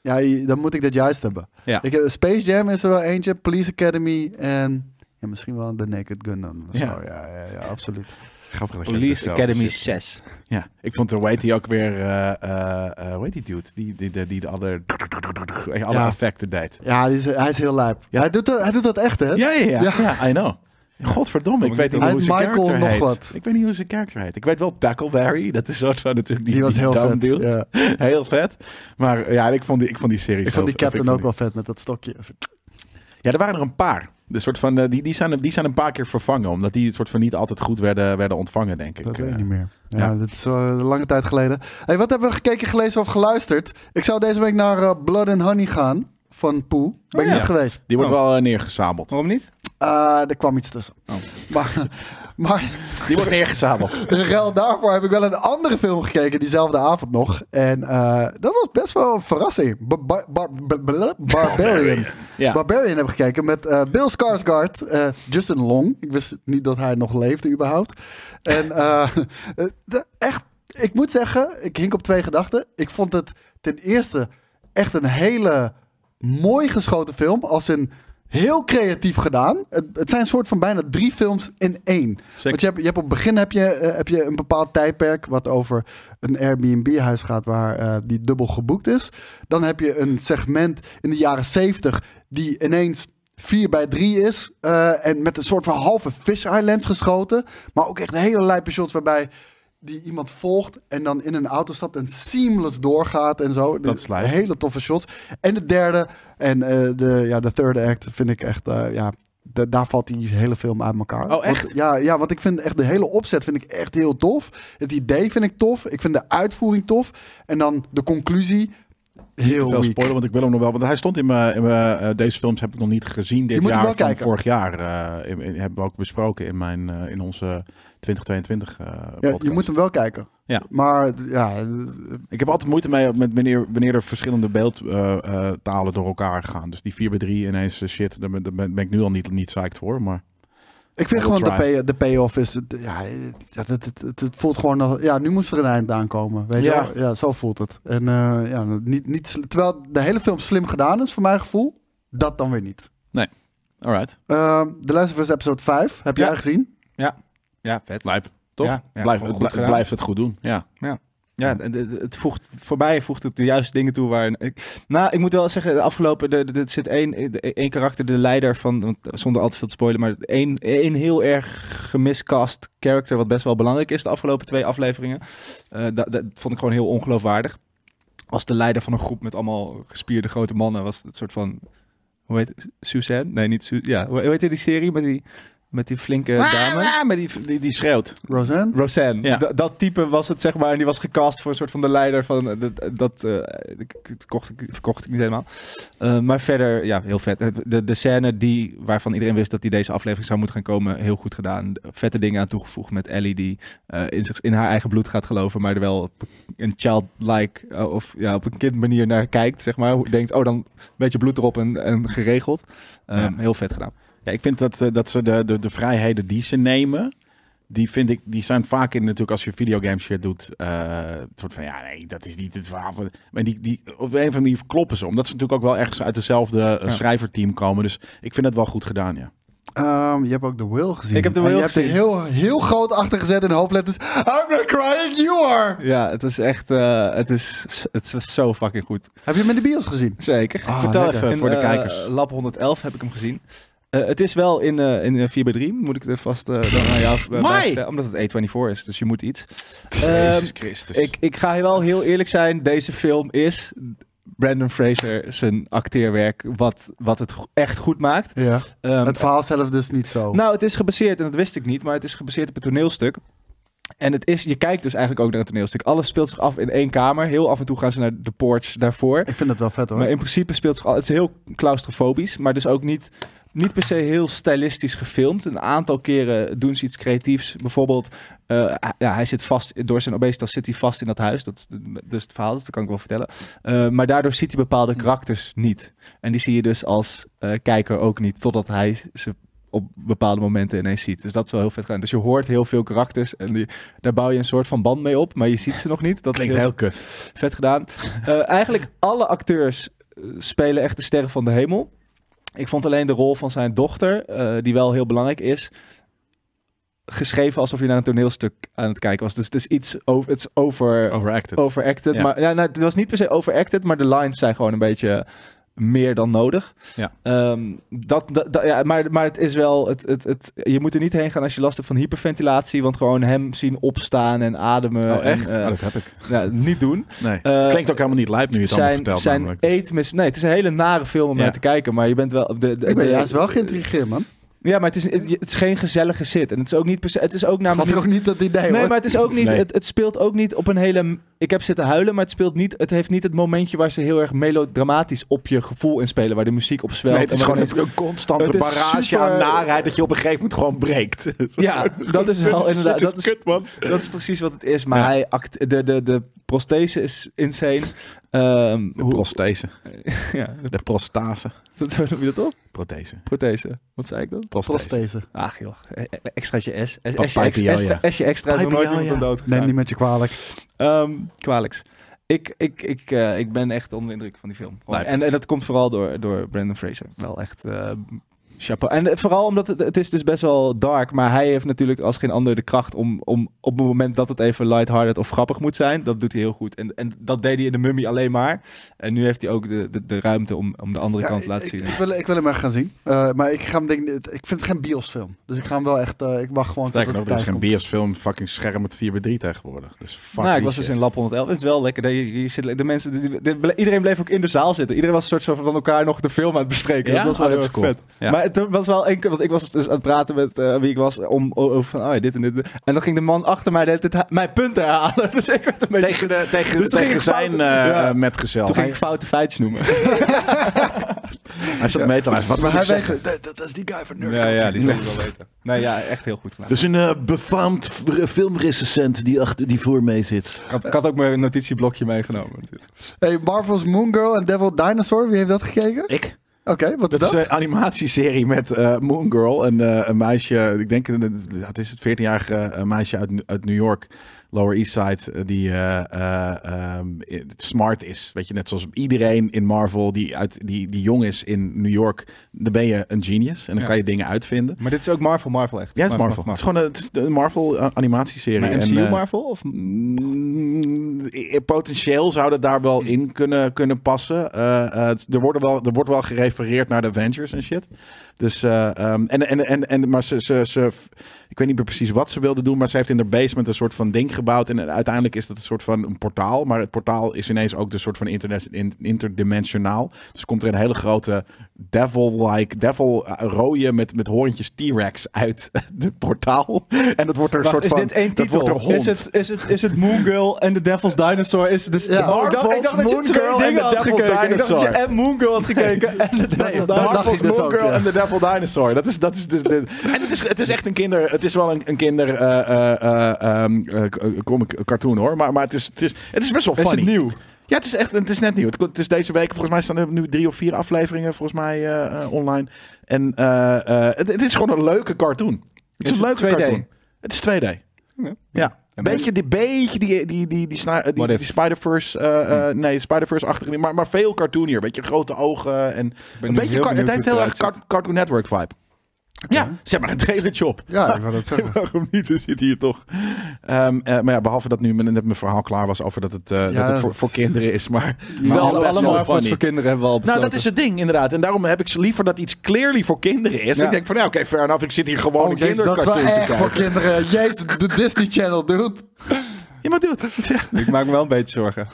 Ja, je- dan moet ik dat juist hebben. Ja. Ik heb, Space Jam is er wel eentje, Police Academy en ja, misschien wel The Naked Gun dan. Ja. Zo, ja, ja, ja, absoluut. Grappig dat je het Police zelf Academy dus zit. 6. Ja, ik vond er, hoe heet die ook weer, eh, eh, eh, hoe heet die dude? Die, die, die, die de alle, alle Ja. effecten deed. Ja, die is, hij is heel lijp. Ja. Hij, doet dat, hij doet dat echt, hè? Ja, ja, ja. Ja. Ja, I know. Godverdomme, ik Kom weet ik niet niet hoe op. zijn Michael karakter nog heet. wat. Ik weet niet hoe zijn karakter heet. Ik weet wel Tackleberry, dat is soort van natuurlijk die, die was heel dumb vet. dude. ja. Heel vet. Maar eh, ja, ik vond die, ik vond die serie Ik vond die captain ook wel. wel vet met dat stokje. Ja, er waren er een paar. De soort van, eh, die, die, zijn, die zijn een paar keer vervangen. Omdat die soort van niet altijd goed werden, werden ontvangen, denk ik. Dat weet Eh, ik niet meer. Ja, ja. dat is een lange tijd geleden. Hey, wat hebben we gekeken, gelezen of geluisterd? Ik zou deze week naar eh, Blood and Honey gaan van Poe. Ben ik Oh, ja. niet geweest. Die wordt Oh. wel eh, neergezabeld. Waarom niet? Eh, er kwam iets tussen. Oh. Maar, maar Die wordt neergezabeld. Dus in ruil daarvoor heb ik wel een andere film gekeken diezelfde avond nog. En eh, dat was best wel een verrassing. Ba- ba- ba- ba- ba- Barbarian. Ja. Barbarian heb ik gekeken met eh, Bill Skarsgård, eh, Justin Long. Ik wist niet dat hij nog leefde überhaupt. En eh, eh, de- echt, ik moet zeggen, ik hink op twee gedachten. Ik vond het ten eerste echt een hele mooi geschoten film. Als in heel creatief gedaan. Het, het zijn een soort van bijna drie films in één. Want je hebt, je hebt op het begin heb je, eh, heb je een bepaald tijdperk wat over een Airbnb-huis gaat waar eh, die dubbel geboekt is. Dan heb je een segment in de jaren 70 die ineens 4 bij 3 is eh, en met een soort van halve fisheye lens geschoten. Maar ook echt hele lijpe shots waarbij die iemand volgt en dan in een auto stapt en seamless doorgaat en zo. Dat is lijp. Hele toffe shots. En de derde en eh, de, ja, de third act vind ik echt, eh, ja, da- daar valt die hele film uit elkaar. Oh, Want- echt? ja, ja, want ik vind echt de hele opzet vind ik echt heel tof. Het idee vind ik tof. Ik vind de uitvoering tof. En dan de conclusie heel Te veel weak. spoiler, want ik wil hem nog wel. Want hij stond in mijn. in mijn, eh, deze films heb ik nog niet gezien. Dit moet hem jaar wel van kijken. vorig jaar. eh, in- in- hebben we ook besproken in, mijn, eh, in onze 2022 eh Ja, podcast. je moet hem wel kijken. Ja. Maar d- ja, d- Ik heb altijd moeite mee met wanneer, wanneer er verschillende beeldtalen door elkaar gaan. Dus die 4 bij 3 ineens eh, shit. Daar ben, daar ben ben ik nu al niet, niet psyched voor. Maar ik vind I will gewoon de, try. pay, de payoff is... d- Ja, het, het, het, het voelt gewoon... Nog, ja, nu moest er een eind aankomen. Weet je Ja. wel? Ja, zo voelt het. En eh, ja, niet, niet, sli- terwijl de hele film slim gedaan is, voor mijn gevoel. Dat dan weer niet. alright. Ehm The Last of Us episode 5. Heb Ja. jij gezien? Ja, vet. Lijp. Toch? Ja, ja, Blijf, gewoon het, goed bl- het gedaan. blijft het goed doen. Ja. Ja, het- het, het voegt, voor mij voegt het de juiste dingen toe. Waar, ik, nou, ik moet wel zeggen, de afgelopen, de- de- er zit één, de- één karakter, de leider van, want zonder al te veel te spoilen, maar één, één heel erg gemiscast character, wat best wel belangrijk is de afgelopen twee afleveringen. Eh, da- dat vond ik gewoon heel ongeloofwaardig. Als de leider van een groep met allemaal gespierde grote mannen, was het soort van, hoe heet het, Suzanne? Nee, niet Suzanne. Ja, hoe hoe heette die serie met die, met die flinke dame? Ah, maar die, die, die schreeuwt. Roseanne? Roseanne. Ja. Da- dat type was het, zeg maar. En die was gecast voor een soort van de leider van... eh, Dat, dat eh, ik- ik- kocht ik, verkocht ik niet helemaal. Eh, maar verder, ja, heel vet. Eh, De, de scène die, waarvan iedereen wist dat die deze aflevering zou moeten gaan komen... heel goed gedaan. Vette dingen aan toegevoegd met Ellie die eh, in, zich, in haar eigen bloed gaat geloven... maar er wel op een childlike eh, of ja, op een kind manier naar kijkt, zeg maar. Hoe- Denkt, oh, dan een beetje bloed erop en, en geregeld. Eh, Ja. Heel vet gedaan. Ja, ik vind dat, eh, dat ze de, de, de vrijheden die ze nemen, die vind ik, die zijn vaak in natuurlijk als je videogame shit doet, eh, het soort van ja, nee, dat is niet het verhaal. van- Maar die, die, op de een of andere manier kloppen ze, omdat ze natuurlijk ook wel ergens uit dezelfde eh, Ja. schrijverteam komen. Dus ik vind dat wel goed gedaan, ja. Ehm, je hebt ook The Will gezien. Ik heb The En Will je hebt er gezien. heel, heel groot achter gezet in de hoofdletters. I'm not crying, you are. Ja, het is echt... eh, het, is, het was zo fucking goed. Heb je hem in de bios gezien? Zeker. Ah, Vertel lekker. even voor de eh, kijkers. Lab 111 heb ik hem gezien. Eh, het is wel in, eh in eh, 4x3, moet ik er vast eh, dan aan jou eh, bij Why? vertellen, Omdat het A24 is, dus je moet iets. Jezus Ehm, Christus. ik, ik ga wel heel eerlijk zijn, deze film is Brandon Fraser zijn acteerwerk wat, wat het go- echt goed maakt. Ja. Ehm, Het verhaal zelf dus niet zo. nou, het is gebaseerd, en dat wist ik niet, maar het is gebaseerd op een toneelstuk. En het is, je kijkt dus eigenlijk ook naar het toneelstuk. Alles speelt zich af in één kamer. Heel af en toe gaan ze naar de porch daarvoor. ik vind het wel vet hoor. Maar in principe speelt zich al. Het is heel claustrofobisch, maar dus ook niet, niet per se heel stylistisch gefilmd. Een aantal keren doen ze iets creatiefs. Bijvoorbeeld, eh, hij- ja, hij zit vast door zijn obesitas zit hij vast in dat huis. Dat is de- dus het verhaal, dus dat kan ik wel vertellen. Eh, maar daardoor ziet hij bepaalde karakters niet. En die zie je dus als eh, kijker ook niet, totdat hij ze op bepaalde momenten ineens ziet. Dus dat is wel heel vet gedaan. Dus je hoort heel veel karakters en die, daar bouw je een soort van band mee op, maar je ziet ze nog niet. Dat is klinkt heel kut. Vet gedaan. Eh, eigenlijk alle acteurs eh, spelen echt de sterren van de hemel. Ik vond alleen de rol van zijn dochter, eh, die wel heel belangrijk is, geschreven alsof je naar een toneelstuk aan het kijken was. Dus het is iets over, het is over, Overacted. Oh, overacted. Ja. Maar ja, nou, het was niet per se overacted, maar de lines zijn gewoon een beetje meer dan nodig. Ja. Ehm, dat, dat, dat- ja, maar, maar het is wel, het, het, het, je moet er niet heen gaan als je last hebt van hyperventilatie, want gewoon hem zien opstaan en ademen. oh, echt? En, eh, Oh, dat heb ik. ja, niet doen. Nee. Eh, Klinkt ook helemaal niet lijp nu je het allemaal zijn, vertelt. zijn namelijk. eetmis... Nee, het is een hele nare film om Ja. naar te kijken, maar je bent wel... De, de- Ik ben de- juist wel geïntrigeerd, man. Ja, maar het is, het, het is geen gezellige zit. En het is ook niet... per se- Het is ook Had namelijk... ik ook niet- niet dat idee, Nee, hoor. maar het is ook niet. Nee. Het, het speelt ook niet op een hele. Ik heb zitten huilen, maar het speelt niet. Het heeft niet het momentje waar ze heel erg melodramatisch op je gevoel inspelen, waar de muziek op zwelt. Nee, het en is waar gewoon ineens- een, een constante Het is barrage super- aan naarheid dat je op een gegeven moment gewoon breekt. Ja, dat is wel inderdaad. Dit Dat is is, kut, man. dat is precies wat het is. Maar Ja. hij act, de, de, de prosthese is insane. Ehm, De hoe- prostese. ja, de- De prostase. dat noem je dat toch? Prothese. Prothese. Wat zei ik dan? Prostese. Prosthese. Ach joh, E- e- extraatje S. S- Pa- S'je extra, pijpje, ja. extra, S'je extra is nog nooit Pijpje, iemand ja. aan dood Neem gegaan. niet met je kwalijk. Ehm, kwalijks. Ik, ik, ik, eh, ik ben echt onder de indruk van die film. Gewoon. Nou, Lijp. En, en dat komt vooral door, door Brandon Fraser. Wel echt eh, chapeau. En eh, vooral omdat het, het is dus best wel dark. Maar hij heeft natuurlijk als geen ander de kracht om, om op het moment dat het even lighthearted of grappig moet zijn. Dat doet hij heel goed. En, en dat deed hij in de mummy alleen maar. En nu heeft hij ook de, de, de ruimte om, om de andere Ja, kant te laten ik- zien. Ik, wil, ik wil hem echt gaan zien. Eh, maar ik, ga hem denk, ik vind het geen biosfilm. Dus ik ga hem wel echt... eh, ik wacht gewoon Sterker nog, tot het er is thuis geen komt. biosfilm, fucking scherm met 4x3 tegenwoordig. Dus fuck nou, ik die was dus shit. in Lab 111. Het is wel lekker. De, je zit, de mensen, die- die- iedereen bleef ook in de zaal zitten. Iedereen was een soort zo van elkaar nog de film aan het bespreken. Ja? Dat was wel Oh, heel dat erg is cool. vet. Ja. Maar het was wel één keer, want ik was dus aan het praten met eh, wie ik was om over van, oh ja, dit en dit. En dan ging de man achter mij de hele tijd ha- mijn punten herhalen. Dus ik werd een beetje... Tegen, de, tegen, Dus toen ging tegen ik zijn eh fouten- Ja. eh, metgezel. toen ging Hij, ik foute feitjes noemen. hij zat mee te luisteren. Wat Maar moet hij ik zeggen? weet... Dat, dat is die guy van Nerd ja, ja, die Nee. zal ik wel weten. Nee, ja, echt heel goed gedaan. Dus een eh, befaamd v- filmrecensent die, achter, die voor mee zit. ik, had, ik had ook mijn notitieblokje meegenomen. natuurlijk. Hey, Marvel's Moon Girl en Devil Dinosaur. Wie heeft dat gekeken? Ik? Oké, wat is Dat, dat? is eh, een animatieserie met eh, Moon Girl. En eh, een meisje, ik denk, eh, het is het 14-jarige eh, meisje uit, uit New York, Lower East Side, eh, die eh, eh, ehm, eh, smart is. Weet je, net zoals iedereen in Marvel die, uit, die, die jong is in New York, dan ben je een genius. En dan Ja. kan je dingen uitvinden. Maar dit is ook Marvel, Marvel echt. Ja, het is Marvel. Het is gewoon een, het is een Marvel eh, animatieserie. Maar En, MCU eh, Marvel? Of? Mm, Potentieel zou dat daar Hmm. wel in kunnen, kunnen passen. Eh, eh, het- er, worden wel, er wordt wel gerefereerd naar de Avengers en shit. Dus, eh, ehm, en, en, en, en, maar ze, ze, ze, ik weet niet meer precies wat ze wilde doen, maar ze heeft in haar basement een soort van ding gebouwd. En uiteindelijk is dat een soort van een portaal. Maar het portaal is ineens ook de soort van interna- in- interdimensionaal. Dus komt er een hele grote devil-like, devil eh, rode met, met hoorntjes T-Rex uit het portaal. En dat wordt er een Wacht, soort van... is dit één dat wordt titel? er hond. Is het, is, het, is het Moon Girl en The Devil's Dinosaur? Is het dus Ja. ik dacht- ik dacht dat je Moon twee Girl en dingen The had Devil's gekeken. Ik dacht dat je Dinosaur. en Moon Girl had gekeken en The Devil's dat Dinosaur. dacht Marvel's ik dus Moon ook, Girl ja. en The Devil Dinosaur. Dat is, dat is dus de, en het is, het is echt een kinder... Het is wel een, een kinder eh, eh, eh, ehm, eh, k- eh, comic cartoon hoor. Maar, maar het, is, het, is, het is best wel funny. nieuw? Ja, het is, echt, het is net nieuw. Het, het is deze week, volgens mij staan er nu drie of vier afleveringen volgens mij eh, eh, online. En eh, eh, het, het is gewoon een leuke cartoon. Het is, Is een het leuke 2D? cartoon. Het is 2D. Ja. Ja. En beetje, die, beetje die, die, die, die, sna- eh, die, What if? die Spider-Verse, eh, eh, nee, Spider-Verse-achtige, maar, maar veel cartoonier. Weet je, grote ogen en een beetje, car- het heeft heel erg car- Cartoon Network vibe. Ja, zeg maar een trailertje op. Ja, ik wou dat zeggen. Waarom niet? We zitten hier toch. Ehm, eh, maar ja, behalve dat nu mijn- net mijn verhaal klaar was over dat het, eh, dat het voor, dat- voor kinderen is. Maar, Maar wel alle, best alle wel Marvels funny. voor kinderen hebben we al Nou, besloten. dat is het ding inderdaad. En daarom heb ik ze liever dat iets clearly voor kinderen is. Ja. Ik denk van, nou, oké, fair enough. Ik zit hier gewoon Oh, een jezus, dat is wel kindercartoon te erg kijken. voor kinderen. Jezus, de Disney Channel, dude. Ja, maar doe het. Ja. Ik maak me wel een beetje zorgen.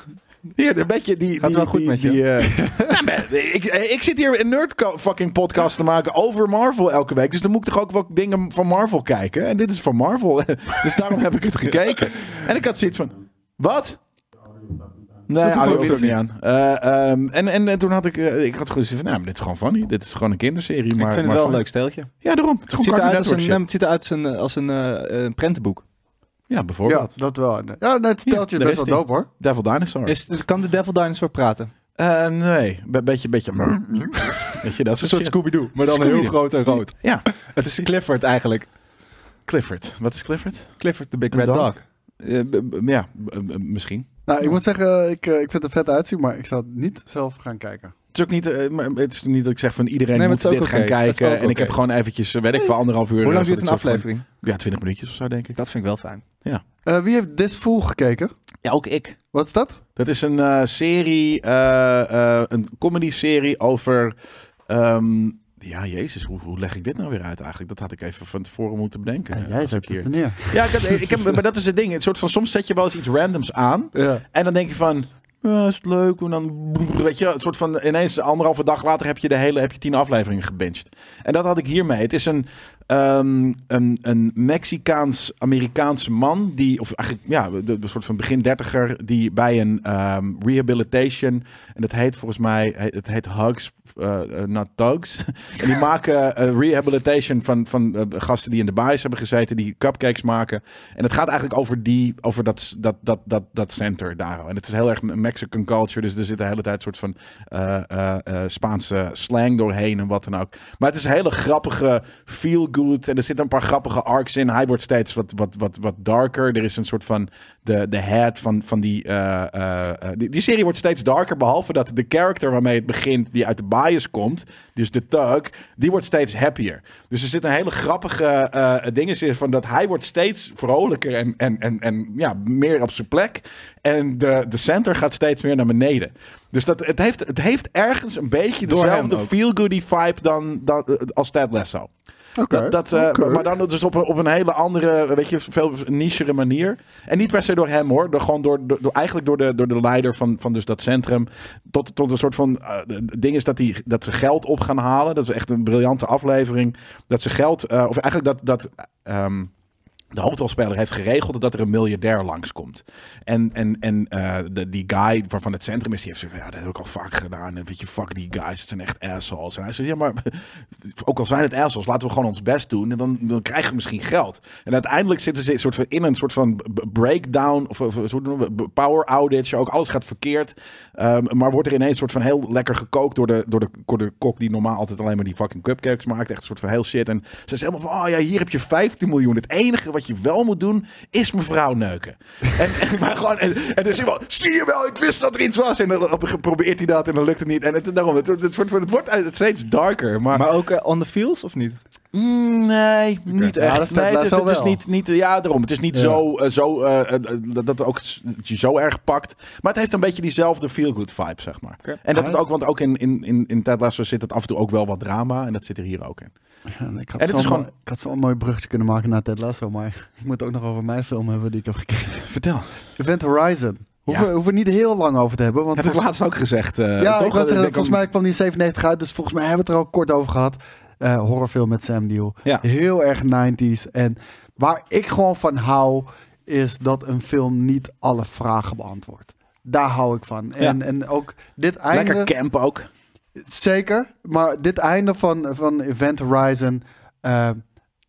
Hier, een beetje die... Gaat die, wel goed die, met je. die, eh, nou, maar ik, ik zit hier een nerd fucking podcast te maken over Marvel elke week. Dus dan moet ik toch ook wel dingen van Marvel kijken. En dit is van Marvel. dus daarom heb ik het gekeken. En ik had zoiets van... Wat? Nee, Dat hij doet hoeft hij ook niet aan. Eh, ehm, en, en, en toen had ik... eh, ik had gewoon zoiets van... Nou, maar dit is gewoon funny. Dit is gewoon een kinderserie. Maar, ik maar vind het wel een funny. leuk steeltje. Ja, daarom. Het is Het gewoon ziet Cartoon eruit als Network een, ehm, shit. het ziet eruit als een, als een eh, eh, prentenboek. Ja, Ja, bijvoorbeeld. dat wel. Ja, nee, het Ja, stelt je daar best is wel die. dope, hoor. Devil Dinosaur. Is, het- kan de Devil Dinosaur praten? Eh, nee, een beetje... beetje Weet je, dat is Een soort Scooby-Doo, maar dan heel Scooby-Doo. groot en rood. Ja, Het is Clifford eigenlijk. Clifford. Wat is Clifford? Clifford the Big Een Red dog. Dog. Eh, b- b- ja, b- b- misschien. Nou, ik moet zeggen, ik, eh, ik vind het er vet uitzien, maar ik zou het niet zelf gaan kijken. Het is ook niet, eh, maar het is niet dat ik zeg van iedereen Nee, maar moet het is dit ook gaan oké. Dat is kijken. ook En ik oké. heb gewoon eventjes, eh, weet ik, voor anderhalf uur. Hoe eh, lang zat duurt ik zo een gewoon- aflevering? ja, twintig minuutjes of zo, denk ik. Dat vind ik wel fijn. Eh, wie heeft Disfool gekeken? Ja, ook ik. Wat is dat? Dat is een eh, serie, eh, eh, een comedy-serie over. ehm, ja, Jezus, hoe, hoe leg ik dit nou weer uit eigenlijk? Dat had ik even van tevoren moeten bedenken. Ja, eh, jij als zet ik hier- het er neer. Ja, ik had- ik heb, maar dat is het ding. Een soort van, soms zet je wel eens iets randoms aan. Ja. En dan denk je van, ja, is het leuk? En dan, weet je, een soort van, ineens anderhalve dag later heb je de hele, heb je tien afleveringen gebinged. En dat had ik hiermee. Het is een, ehm, een, een Mexicaans-Amerikaanse man, die, of eigenlijk, ja, de- de, soort van begin dertiger, die bij een ehm, rehabilitation, en dat heet volgens mij, he- het heet Hugs, eh, eh, Not Thugs. en die maken eh, rehabilitation van, van eh, gasten die in de baas hebben gezeten, die cupcakes maken. En het gaat eigenlijk over, die, over dat, dat, dat, dat, dat center daar. En het is heel erg Mexican culture. Dus er zit de hele tijd een soort van eh, eh, eh, Spaanse slang doorheen en wat dan ook. Maar het is een hele grappige feel good. En er zitten een paar grappige arcs in. Hij wordt steeds wat, wat, wat, wat darker. Er is een soort van de, de head van, van die, eh, eh, eh, die. Die serie wordt steeds darker. Behalve dat de character waarmee het begint, die uit de bias komt. Dus de thug, die wordt steeds happier. Dus er zit een hele grappige eh ding in. Van dat hij wordt steeds vrolijker en, en, en, en ja, meer op zijn plek. En de, de center gaat steeds meer naar beneden. Dus dat, het, heeft, het heeft ergens een beetje Door hem dezelfde ook. feel-goody vibe dan, dan, eh, als Ted Lasso. Oké. Dat, dat, eh, Oké. Maar dan dus op een, op een hele andere, weet je, veel nichere manier. En niet per se door hem hoor. Door, gewoon door, door, door- eigenlijk door de, door de leider van, van dus dat centrum. Tot, tot een soort van eh, ding is dat, die, dat ze geld op gaan halen. Dat is echt een briljante aflevering. Dat ze geld, eh, of eigenlijk dat, dat ehm, de hoofdrolspeler heeft geregeld dat er een miljardair langskomt. En, en, en eh, de, die guy waarvan het centrum is, die heeft zo van, ja, dat heb ik al vaak gedaan. En weet je, fuck die guys, het zijn echt assholes. En hij zegt, ja, maar ook al zijn het assholes, laten we gewoon ons best doen. En dan, dan krijgen we misschien geld. En uiteindelijk zitten ze in, soort van, in een soort van b- breakdown, of, of hoe noemen we, het? power outage. Ook alles gaat verkeerd. Ehm, maar wordt er ineens een soort van heel lekker gekookt door de, door, de, door de kok die normaal altijd alleen maar die fucking cupcakes maakt. Echt een soort van heel shit. En ze is helemaal van, oh ja, hier heb je 15 miljoen. Het enige wat je wel moet doen, is mevrouw neuken. en, en, maar gewoon, en, en dus iemand, zie je wel, ik wist dat er iets was. En dan op- probeert hij dat en dan lukt het niet. En het, daarom, het, het, wordt, het wordt steeds darker. Maar, Maar ook eh, on the feels of niet? Mm, nee, niet Nou, echt. dat staat nee, het, is- wel het is wel. niet, niet, ja, daarom. Het is niet Ja. zo, eh, zo eh, eh, dat dat ook s- dat je zo erg pakt. Maar het heeft een beetje diezelfde feel-good vibe, zeg maar. Oké. En dat Ah, het ook, want ook in, in, in, in Ted Lasso zit het af en toe ook wel wat drama. En dat zit er hier ook in. Ja, ik En had het is zo'n gewoon- mooi- ik had zo'n mooi brugje kunnen maken naar Ted Lasso, maar ik moet het ook nog over mijn film hebben die ik heb gekeken. Vertel. Event Horizon. Hoeven Ja. we hoeven we niet heel lang over te hebben. Want heb ik volgens- laatst ook gezegd. eh, ja, toch? ik wou zeggen, denk volgens om- mij kwam die in 97 uit, dus volgens mij hebben we het er al kort over gehad. Eh, horrorfilm met Sam Neill. Ja. Heel erg 90s. En waar ik gewoon van hou, is dat een film niet alle vragen beantwoordt. Daar hou ik van. En, en ook dit einde... Lekker camp ook. Zeker, maar dit einde van, van Event Horizon, eh,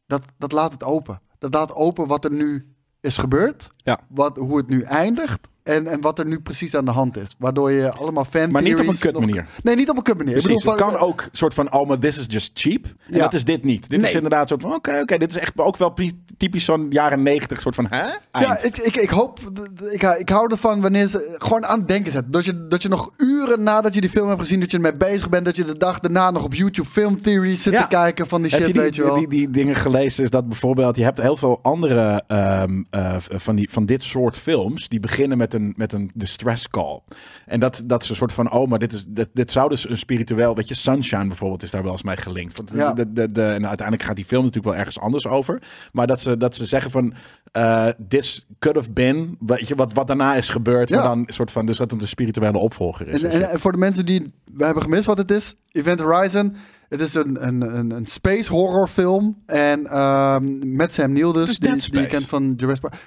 dat, dat laat het open. Dat laat open wat er nu is gebeurd, Ja. wat, hoe het nu eindigt en, en wat er nu precies aan de hand is. Waardoor je allemaal fan Maar niet op een theories kut nog- manier. Nee, niet op een kut manier. Precies, ik bedoel, het van, kan ook soort van, oh, maar this is just cheap. En Ja. dat is dit niet. Dit is Nee. inderdaad soort van, oké, oké, dit is echt ook wel pri- typisch zo'n jaren negentig soort van, hè? Eind. Ja, ik, ik, ik hoop, d- d- ik, ik hou ervan wanneer ze gewoon aan het denken zetten. Dat je, dat je nog uren nadat je die film hebt gezien, dat je ermee bezig bent, dat je de dag daarna nog op YouTube film theories zit Ja. te kijken van die shit, Heb je die, weet je wel. die, die dingen gelezen? Is dat bijvoorbeeld, je hebt heel veel andere ehm, eh, van, die, van dit soort films. Die beginnen met een, met een distress call. En dat, dat is een soort van, oh, maar dit, is, dit, dit zou dus een spiritueel... Weet je, Sunshine bijvoorbeeld is daar wel eens mee gelinkt. Want Ja. de, de, de, en uiteindelijk gaat die film natuurlijk wel ergens anders over. Maar dat ze, dat ze zeggen van, eh this could have been... Weet je, wat, wat daarna is gebeurd. Ja. Maar dan een soort van, dus dat het een spirituele opvolger is. En, Dus en, en voor de mensen die we hebben gemist wat het is, Event Horizon. Het is een, een, een, een space horror film. En ehm, met Sam Neill dus, Het is die, Dead die je Space. kent van Jurassic Park.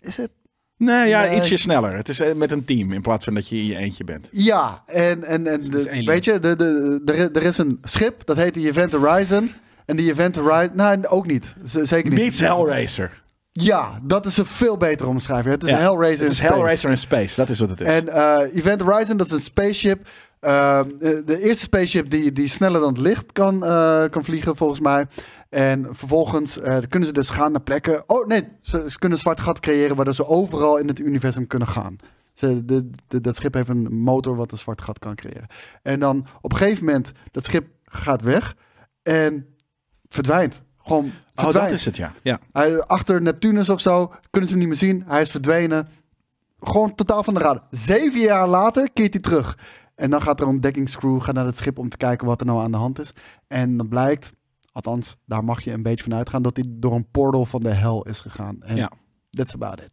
Is het? nee, ja, Nee. ietsje sneller. Het is eh, met een team in plaats van dat je in je eentje bent. Ja, en, en, Dus en is de- alien. weet je, de, de, de, er- er is een schip, dat heet de Event Horizon. En die Event Horizon, nou ook niet, Z- zeker niet. Beats Hellraiser. Ja, dat is een veel betere omschrijving. Het is Ja, een Hellraiser Het in is space. Hellraiser in Space, dat is wat het is. Oh, En eh, Event Horizon, dat is een spaceship. Ehm, de de eerste spaceship die, die sneller dan het licht kan, eh, kan vliegen, volgens mij. En vervolgens eh, kunnen ze dus gaan naar plekken. Oh nee, ze, ze kunnen een zwart gat creëren waardoor ze overal in het universum kunnen gaan. Ze, de, de- dat schip heeft een motor wat een zwart gat kan creëren. En dan op een gegeven moment, dat schip gaat weg en verdwijnt. Gewoon Oh, dat verdwijnt. is het, ja. ja. Hij- achter Neptunus of zo, kunnen ze hem niet meer zien. Hij is verdwenen. Gewoon totaal van de radar. Zeven jaar later keert hij terug. En dan gaat er een ontdekkingscrew gaat naar het schip om te kijken wat er nou aan de hand is. En dan blijkt, althans, daar mag je een beetje van uitgaan, dat hij door een portal van de hel is gegaan. En Ja. that's about it.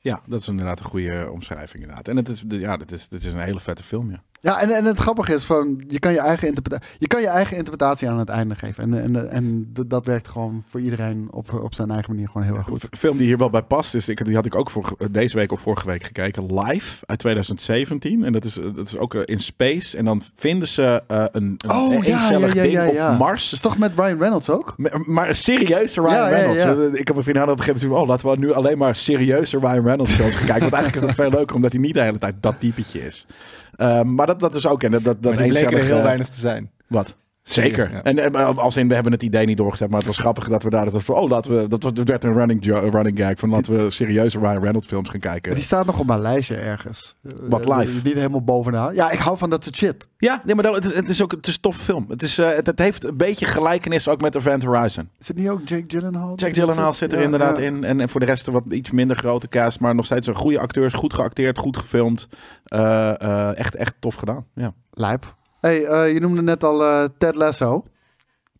Ja, dat is inderdaad een goede eh, omschrijving inderdaad. En het is, ja, dit is, dit is een hele vette film, ja. Ja, en, en het grappige is, van, je, kan je, eigen interpreta- je kan je eigen interpretatie aan het einde geven. En, en, en d- dat werkt gewoon voor iedereen op, op zijn eigen manier gewoon heel erg goed. Een film die hier wel bij past is, ik, die had ik ook voor, eh, deze week of vorige week gekeken, Live uit 2017. En dat is, dat is ook eh, in space. En dan vinden ze eh, een, een Oh, ja, eencellig ja, ja, ja, ding ja. op Mars. Dat is toch met Ryan Reynolds ook? Maar- Maar serieuze Ryan Ja, ja, Reynolds. ja. Eh, Ik heb mijn vriendin aan op een gegeven moment gezegd, oh, laten we nu alleen maar serieuze Ryan Reynolds films gaan kijken. Want eigenlijk is dat veel leuker, omdat hij niet de hele tijd dat typetje is. Eh, maar dat, dat is ook... En dat, dat, dat maar die bleken er eencellige- heel weinig te zijn. Wat? Zeker. Ja. En, en als in, we hebben het idee niet doorgezet, maar het was grappig dat we daar... Dat was, van, oh, laten we... Dat, was- dat werd een running, jo- running gag van laten we serieuze Ryan Reynolds films gaan kijken. Maar die staat nog op mijn lijstje ergens. Wat Eh, live? Niet helemaal bovenaan. Ja, ik hou van dat soort shit. Ja, nee, maar dat, het, is- het is ook het is een tof film. Het, is, eh, het, het heeft een beetje gelijkenis ook met Event Horizon. Zit niet ook Jake Gyllenhaal? Jack Gyllenhaal zit er Ja, inderdaad ja. in. En, en voor de rest een wat iets minder grote cast. Maar nog steeds een goede acteurs. Goed geacteerd, goed gefilmd. Eh, eh, echt, echt tof gedaan. Ja. Lijp. hey, eh, je noemde net al eh, Ted Lasso.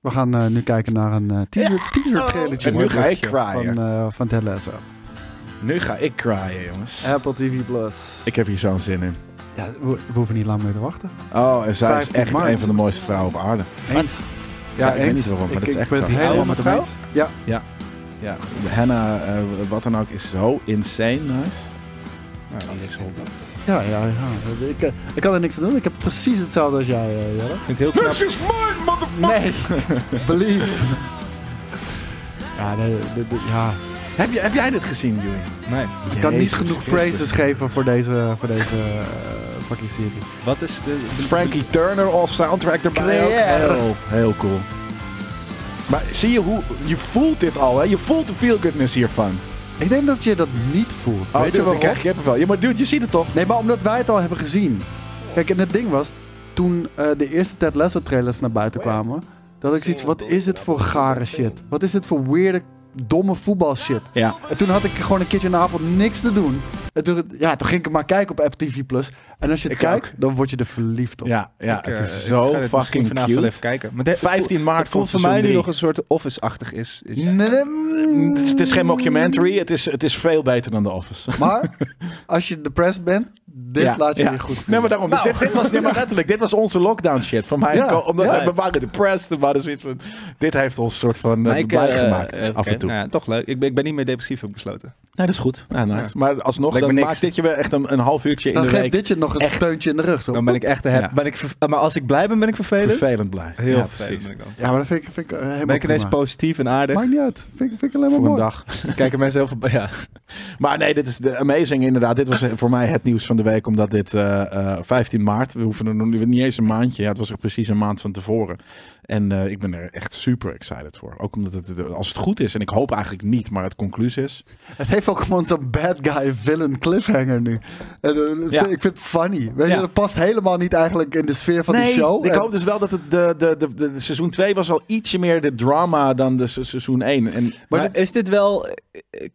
We gaan eh, nu kijken naar een eh, teaser, teaser trailertje Oh. En nu ga ik van, cryen. eh, van Ted Lasso. eh, Nu ga ik cryen, jongens. Apple TV Plus. Ik heb hier zo'n zin in. Ja, we, we hoeven niet lang meer te wachten. Oh, en zij is 15 echt maart. een van de mooiste vrouwen op aarde. Eens. Ja, Ja, ik weet eens. niet waarom, maar dat is echt ben zo. het Die oude helemaal met hem mevrouw? eens. Ja, Ja. Hannah, eh, wat dan ook, is zo insane nice. Nou, ja, ja. ja. Ik, eh, ik kan er niks aan doen. Ik heb precies hetzelfde als jij, eh, Jelle. Ik vind het heel knap. is mine, motherfucker! Nee. Believe. Ja, nee, de- de- ja. Heb, je, heb jij dit gezien, Julian? Nee. ik kan niet Jezus genoeg Christus. praises geven voor deze, voor deze eh, fucking serie. Wat is de... Frankie Turner als soundtrack erbij. ook. Creëer. Heel, heel cool. Maar zie je hoe... Je voelt dit al, hè? Je voelt de feel-goodness hiervan. Ik denk dat je dat niet voelt. Oh, Weet je waarom? krijg je wel. Ja, maar dude, je ziet het toch? Nee, maar omdat wij het al hebben gezien. Kijk, en het ding was, toen eh, de eerste Ted Lasso trailers naar buiten kwamen, dat had ik zoiets, wat is dit voor gare shit? Wat is dit voor weirde, domme voetbalshit? Ja. En toen had ik gewoon een keertje in de avond niks te doen. En toen, ja, toen ging ik hem maar kijken op Apple TV+. Plus. En als je het Ik kijkt, dan word je er verliefd op. Ja, ja Ik, eh, het is ik zo ga dit misschien fucking vanavond wel cute. even kijken. Maar de- 15 maart het voelt komt voor mij nu nog nog een soort office-achtig is. Dus is Nee, nee, Het is- mm. het is geen mockumentary, het is, het is veel beter dan The Office. Maar als je depressed bent, dit Ja, laat je ja. je goed voelen. Nou, Nee, maar daarom. Dus Nou. dit, dit was, nee, maar letterlijk, dit was onze lockdown shit. Van mij, en Ja, Ko- omdat ja. wij- we waren depressed, we waren zoiets van... Dit heeft ons soort van Maar eh, ik, blij eh, gemaakt, eh, af oké. en toe. Nou ja, toch leuk. Ik ben, ik ben niet meer depressief, heb ik besloten. Nee, dat is goed. Ja, nice. Ja. Maar alsnog, Lijkt dan me niks. maakt dit je wel echt een, een half uurtje in Dan de geeft week dit je nog een Echt. steuntje in de rug. Zo. Dan ben ik echt... de hap- Ja. Ben ik ver- maar als ik blij ben, ben ik vervelend. vervelend blij. Heel Ja, vervelend ben ik dan. Ja, maar dat vind ik, vind ik eh, helemaal Ben ik ineens prima. positief en aardig. Maakt niet uit. Vind, ik- vind ik alleen maar Voor een mooi. dag. Kijken mensen heel veel... Ja. Maar nee, dit is de amazing inderdaad. Dit was voor mij het nieuws van de week, omdat dit eh, eh, 15 maart, we hoeven er nog niet- niet eens een maandje, ja, het was er precies een maand van tevoren. En eh, ik ben er echt super excited voor. Ook omdat het, als het goed is, en ik hoop eigenlijk niet, maar het concluus is. Het heeft ook gewoon zo'n bad guy villain cliffhanger nu. En, eh, Ja. Ik vind het funny. Weet je, Ja. dat past helemaal niet eigenlijk in de sfeer van die show. ik En- hoop dus wel dat het de, de, de, de, de seizoen 2 was al ietsje meer de drama dan de se- seizoen 1. En Maar, Maar is dit wel...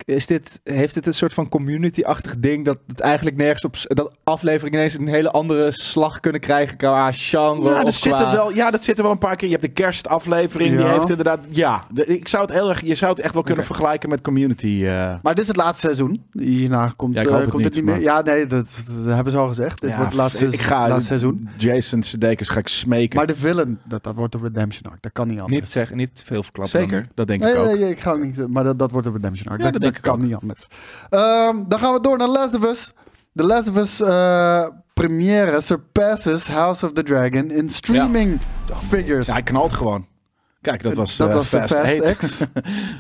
Is dit, heeft dit een soort van community-achtig ding... dat het eigenlijk nergens op... dat afleveringen ineens een hele andere slag kunnen krijgen... qua genre Ja, dat of zit, qua... er wel, ja, dat zit er wel een paar keer. Je hebt de kerstaflevering, die Ja. heeft inderdaad... Ja, de- ik zou het heel erg, je zou het echt wel kunnen Oké. vergelijken met Community. eh. Maar dit is het laatste seizoen. Hierna komt, Ja, ik eh, hoop het komt het niet, niet meer. Ja, nee, dat, dat hebben ze al gezegd. Dit Ja, wordt het laatste, ik ga- laatste seizoen. Jason Sudeikis ga ik smeken. Maar de villain, dat, dat wordt de redemption arc. Dat kan niet anders. Niet, zeggen, niet veel verklappen. Zeker, dat denk Nee, ik ook. nee, nee, ik ga ook niet. eh, Maar dat, dat wordt een redemption arc. Ja, dat dat, dat denk ik kan ook. niet anders. Ehm, dan gaan we door naar Last of Us. De Last of Us eh, première surpasses House of the Dragon in streaming figures. Ja, hij knalt gewoon. Kijk, dat was, dat eh, was de Fast Fast Eight. X.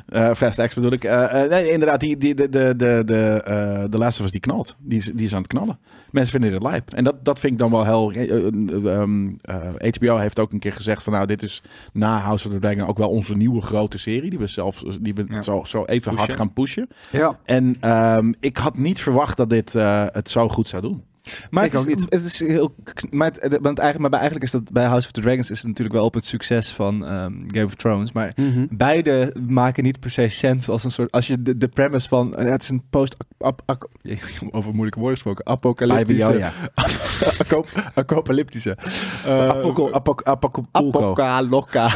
Eh, Fast X bedoel ik. Eh, eh, nee, inderdaad, die, die, de, de, de, de, eh, de Last of Us die knalt. Die is, die is aan het knallen. Mensen vinden het lijp. En dat, dat vind ik dan wel heel... eh, eh, ehm, eh, HBO heeft ook een keer gezegd van... Nou, dit is na House of the Dragon ook wel onze nieuwe grote serie. Die we zelf die we Ja. zo, zo even hard Pushen. gaan pushen. Ja. En ehm, ik had niet verwacht dat dit eh, het zo goed zou doen. Maar, Ik het is, ook niet. Het is heel. kn- Maar, het, het- want eigenlijk, maar bij- eigenlijk is dat bij House of the Dragons is het natuurlijk wel op het succes van ehm, Game of Thrones. Maar Mhm. beide maken niet per se sens als een soort. Als je de, de premise van. eh, Het is een post. ap- ap- over moeilijke woorden gesproken. Apocalyptische. oh ja. acop- Apocalyptische. eh, Apoco- apoc- Acapulco. Apoca, loca.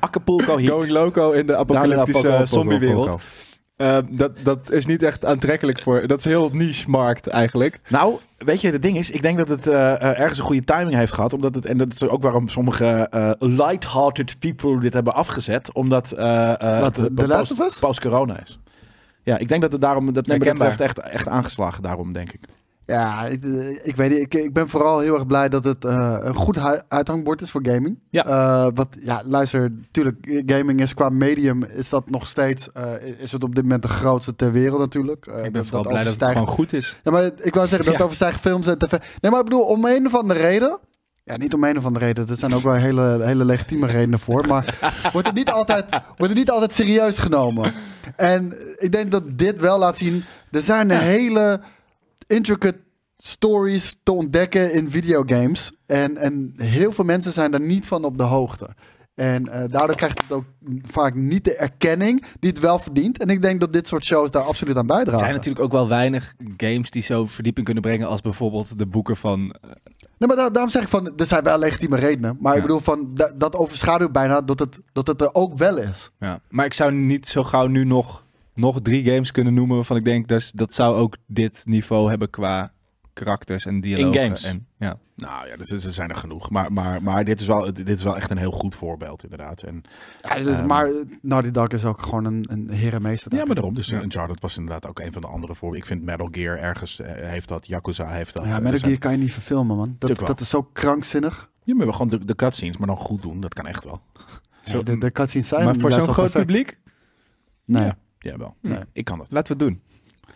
Acapulco Heat. Going loco in de Down in apocalyptische Acapulco, zombiewereld. Acapulco. Eh, dat, dat is niet echt aantrekkelijk voor. Dat is een heel niche markt eigenlijk. Nou, weet je, het ding is, ik denk dat het eh, eh, ergens een goede timing heeft gehad. Omdat het, en dat is ook waarom sommige eh, light-hearted people dit hebben afgezet. Omdat eh, eh, Wat, het de post- Last of Us? post-corona is. Ja, ik denk dat het daarom, dat nee, maar dat Herkenbaar. heeft echt, echt aangeslagen daarom, denk ik. Ja, ik, eh, ik weet niet. Ik, ik ben vooral heel erg blij dat het eh, een goed hui- uithangbord is voor gaming. Ja. Eh, wat, ja, luister, natuurlijk, gaming is qua medium is dat nog steeds, eh, is het op dit moment de grootste ter wereld natuurlijk. Eh, ik ben dat- vooral dat blij dat het overstijgt- gewoon goed is. Ja, maar ik wou zeggen, dat Ja. overstijgt films en tv. Nee, maar ik bedoel, om een of andere reden. Ja, niet om een of andere reden. Er zijn ook wel hele, hele legitieme redenen voor. Maar wordt het, niet altijd, wordt het niet altijd serieus genomen. En ik denk dat dit wel laat zien. Er zijn hele intricate stories te ontdekken in videogames. En, en heel veel mensen zijn daar niet van op de hoogte. En eh, daardoor krijgt het ook vaak niet de erkenning die het wel verdient. En ik denk dat dit soort shows daar absoluut aan Er bijdragen. zijn natuurlijk ook wel weinig games die zo verdieping kunnen brengen als bijvoorbeeld de boeken van... Nee, maar da- daarom zeg ik van, er zijn wel legitieme redenen. Maar ik Ja. bedoel van, da- dat overschaduwt bijna dat het, dat het er ook wel is. Ja. Maar ik zou niet zo gauw nu nog, nog drie games kunnen noemen waarvan ik denk dus, dat zou ook dit niveau hebben qua karakters en dialogen. In games. En, ja. Nou ja, dus er zijn er genoeg. Maar, maar, maar dit, is wel, dit is wel echt een heel goed voorbeeld, inderdaad. En, Ja, dit is- Ehm. maar Naughty Dog is ook gewoon een, een herenmeester. daar. ja, maar daarom. Dus Ja. Uncharted was inderdaad ook een van de andere voorbeelden. Ik vind Metal Gear ergens eh, heeft dat. Yakuza heeft dat. ja, Eh, Metal er zijn- Gear kan je niet verfilmen, man. Dat, Tuurlijk wel. dat is zo krankzinnig. Ja, maar gewoon de, de cutscenes, maar dan goed doen. Dat kan echt wel. Zo- Ja, de, de cutscenes zijn maar voor best zo'n groot wel perfect. publiek, Nee. Ja, ja wel. Nee. Ik kan het. laten we het doen.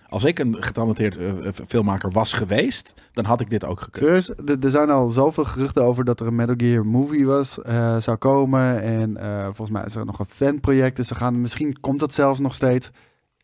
Als ik een getalenteerd eh, eh, filmmaker was geweest, dan had ik dit ook gekund. Serieus, er er zijn al zoveel geruchten over dat er een Metal Gear movie was, eh, zou komen. En eh, volgens mij is er nog een fanproject. Dus ze gaan, misschien komt dat zelfs nog steeds.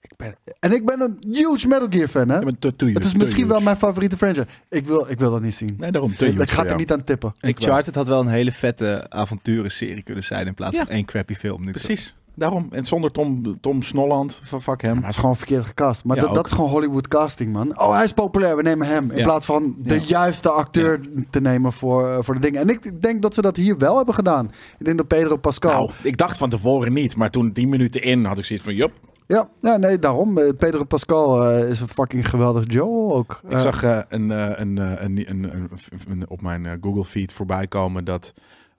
Ik ben, en ik ben een huge Metal Gear fan, hè? Ja, maar te- te Het huge, is te misschien huge. wel mijn favoriete franchise. Ik wil, ik wil dat niet zien. Nee, daarom te Ik, huge ik ga voor er jou. niet aan tippen. Ik wel. Uncharted had wel een hele vette avonturenserie kunnen zijn in plaats Ja. van één crappy film. Nu Precies. Daarom. En zonder Tom, Tom Snolland, van fuck hem. Maar hij is gewoon verkeerd gecast. Maar Ja, dat, ook. dat is gewoon Hollywood casting, man. Oh, hij is populair, we nemen hem. In Ja. plaats van de Ja. juiste acteur te nemen voor, eh, voor de dingen. En ik, ik denk dat ze dat hier wel hebben gedaan. Ik denk dat Pedro Pascal... Nou, ik dacht van tevoren niet, maar toen tien minuten in had ik zoiets van, jup. Ja, ja, nee, daarom. Eh, Pedro Pascal eh, is een fucking geweldig Joel ook. Ik Eh, zag eh, een, eh, een, eh, een, een, een- een- op mijn eh, Google feed voorbij komen dat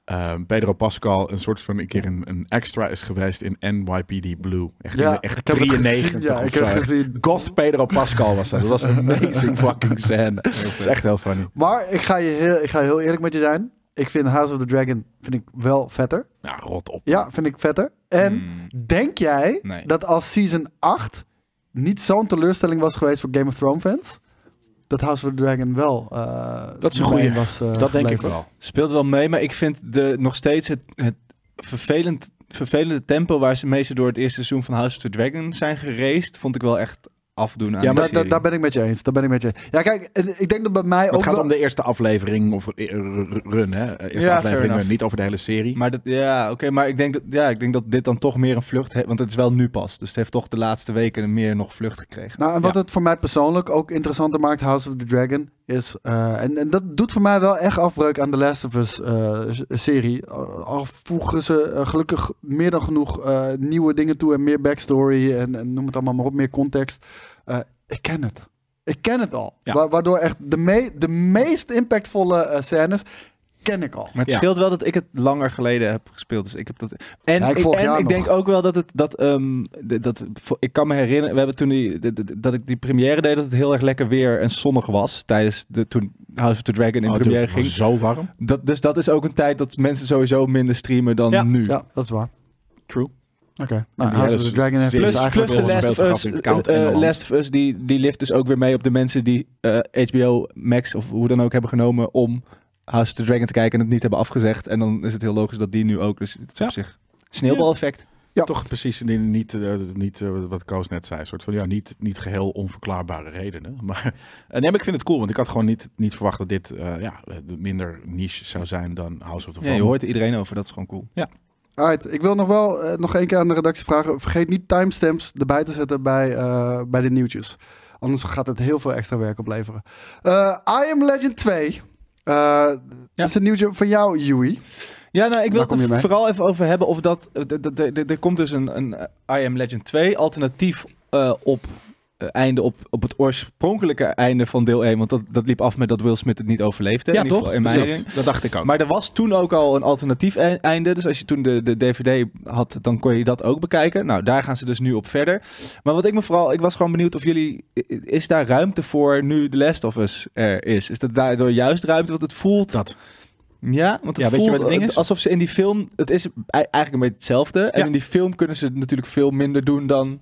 eh, Pedro Pascal een soort van een keer een, een extra is geweest in NYPD Blue. Echt, in ja, de- echt ik heb het 93 gezien. Ja, of ik heb zo. het gezien. Goth Pedro Pascal was dat. Dat was een amazing fucking scène. Dat is echt heel funny. Maar ik ga, je heel, ik ga heel eerlijk met je zijn. Ik vind House of the Dragon vind ik wel vetter. Nou, rot op. Ja, vind ik vetter. En... Hmm. Denk jij Nee. dat als season 8 niet zo'n teleurstelling was geweest voor Game of Thrones fans, dat House of the Dragon wel eh, Dat is een nummer goeie. één was eh, dat denk ik geleverd? wel. Speelt wel mee, maar ik vind de, nog steeds het, het vervelend, vervelende tempo waar ze meestal door het eerste seizoen van House of the Dragon zijn geraced, vond ik wel echt afdoen Ja, aan de maar Daar, serie. daar, daar ben ik met je eens. Daar ben ik met je. eens. Ja, kijk, eh, ik denk dat bij mij Het ook gaat wel... om de eerste aflevering of eh, run, hè? Eerste fair aflevering, enough. run, niet over de hele serie. Maar dat, ja, oké, maar ik denk, dat, ja, ik denk dat dit dan toch meer een vlucht heeft, want het is wel nu pas. Dus het heeft toch de laatste weken meer nog vlucht gekregen. Nou, en wat het voor mij persoonlijk ook interessanter maakt, House of the Dragon, is... eh, en, en dat doet voor mij wel echt afbreuk aan de Last of Us eh, s- serie. Al al voegen ze eh, gelukkig meer dan genoeg eh, nieuwe dingen toe en meer backstory en, en noem het allemaal maar op, meer context. Eh, ik ken het. Ik ken het al. Ja. Wa- waardoor echt de, me- de meest impactvolle eh, scènes ken ik al. Maar het Ja. scheelt wel dat ik het langer geleden heb gespeeld. Dus ik heb dat. En Ja, ik ik, volg en jou ik nog. denk ook wel dat het. Dat, ehm, d- dat, vo- ik kan me herinneren. We hebben toen die, d- d- dat ik die première deed. Dat het heel erg lekker weer en zonnig was. Tijdens de. Toen House of the Dragon in Oh, dude, première het was ging. zo warm. Dat, dus dat is ook een tijd dat mensen sowieso minder streamen dan Ja. nu. Ja, dat is waar. True. Oké. Nou, Ja, House dat of is the Dragon heeft zeer- dus Plus- eigenlijk... plus de wel- les- Last beeld of Us, gehad in het koud eh, eh, Engeland. Last of Us die, die lift dus ook weer mee op de mensen die eh, HBO Max of hoe dan ook hebben genomen om House of the Dragon te kijken en het niet hebben afgezegd. En dan is het heel logisch dat die nu ook. Dus het is Ja. op zich sneeuwbaleffect. Ja. Toch precies die niet, eh, niet eh, wat Koos net zei. Een soort van ja, niet, niet geheel onverklaarbare redenen. Maar eh, nee, maar ik vind het cool, want ik had gewoon niet, niet verwacht dat dit eh, ja, eh, minder niche zou zijn dan House of the Ja, je Fall. hoort er iedereen over, dat is gewoon cool. Alright, ik wil nog wel eh, nog één keer aan de redactie vragen. Vergeet niet timestamps erbij te zetten bij, eh, bij de nieuwtjes. Anders gaat het heel veel extra werk opleveren. Eh, I Am Legend 2. Eh, Dat is een nieuwtje van jou, Yui. Ja, nou, ik wil Waar kom het je mee? er vooral even over hebben of dat... eh, d- d- d- d- Er komt dus een, een eh, I Am Legend 2 alternatief eh, op eh, einde op, op het oorspronkelijke einde van deel 1. Want dat, dat liep af met dat Will Smith het niet overleefde. Ja, in ieder toch? geval In mijn Precies. Dat dacht ik ook. maar er was toen ook al een alternatief e- einde. Dus als je toen de, de DVD had, dan kon je dat ook bekijken. Nou, daar gaan ze dus nu op verder. Maar wat ik me vooral... Ik was gewoon benieuwd of jullie... i- i- Is daar ruimte voor nu The Last of Us er is? Is dat daardoor juist ruimte? Want het voelt... dat. Ja, want het Ja, weet je voelt wat het ding is? alsof ze in die film... Het is e- eigenlijk een beetje hetzelfde. En Ja. in die film kunnen ze natuurlijk veel minder doen dan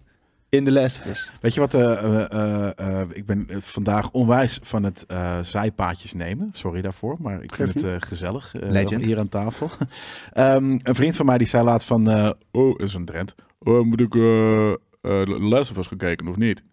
in The Last of Us. Weet je wat? eh, eh, eh, eh, ik ben eh, vandaag onwijs van het eh, zijpaadjes nemen. Sorry daarvoor, maar ik vind Geeft het eh, gezellig eh, Legend. hier aan tafel. Ehm, een vriend van mij die zei laat van, eh, oh, is een Drent. Oh, moet ik eh eh Les of Us gekeken of niet?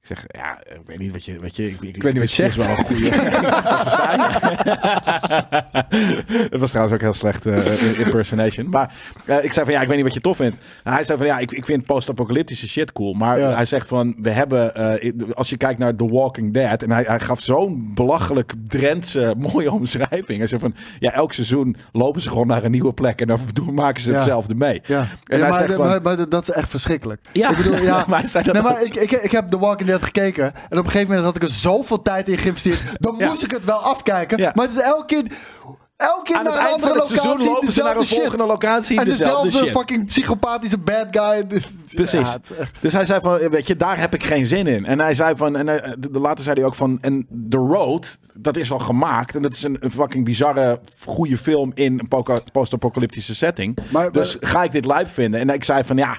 Ik zeg, ja, eh, ik weet niet wat je... Wat je ik, Ik weet niet wat je het is wel een goeie. Dat versta je. Het was trouwens ook heel slecht eh, impersonation. Maar eh, ik zei van, ja, ik weet niet wat je tof vindt. Nou, hij zei van, ja, ik, ik vind post-apocalyptische shit cool. Maar Ja. hij zegt van, we hebben... eh, als je kijkt naar The Walking Dead... En hij, hij gaf zo'n belachelijk Drentse mooie omschrijving. Hij zei van, ja, elk seizoen lopen ze gewoon naar een nieuwe plek... en dan doen, maken ze Ja. hetzelfde mee. Ja, En Ja, hij maar, zegt de- van- maar, maar dat is echt verschrikkelijk. Ja. ik bedoel, ja. Maar hij zei dat nee, ook. maar ik, ik, ik heb The Walking Dead gekeken. En op een gegeven moment had ik er zoveel tijd in geïnvesteerd. Dan Ja. moest ik het wel afkijken. Ja. Maar het is elke keer, elke keer Aan naar het een eind van andere het seizoen locatie. lopen ze naar een dezelfde shit. volgende locatie. En dezelfde dezelfde shit. fucking psychopathische bad guy. Precies. Ja, het is echt- Dus hij zei van, weet je, daar heb ik geen zin in. En hij zei van, en hij- de- later zei hij ook van, en The Road, dat is al gemaakt. En dat is een, een fucking bizarre, goede film in een poca- post-apocalyptische setting. Maar- dus ga ik dit live vinden? En ik zei van, ja,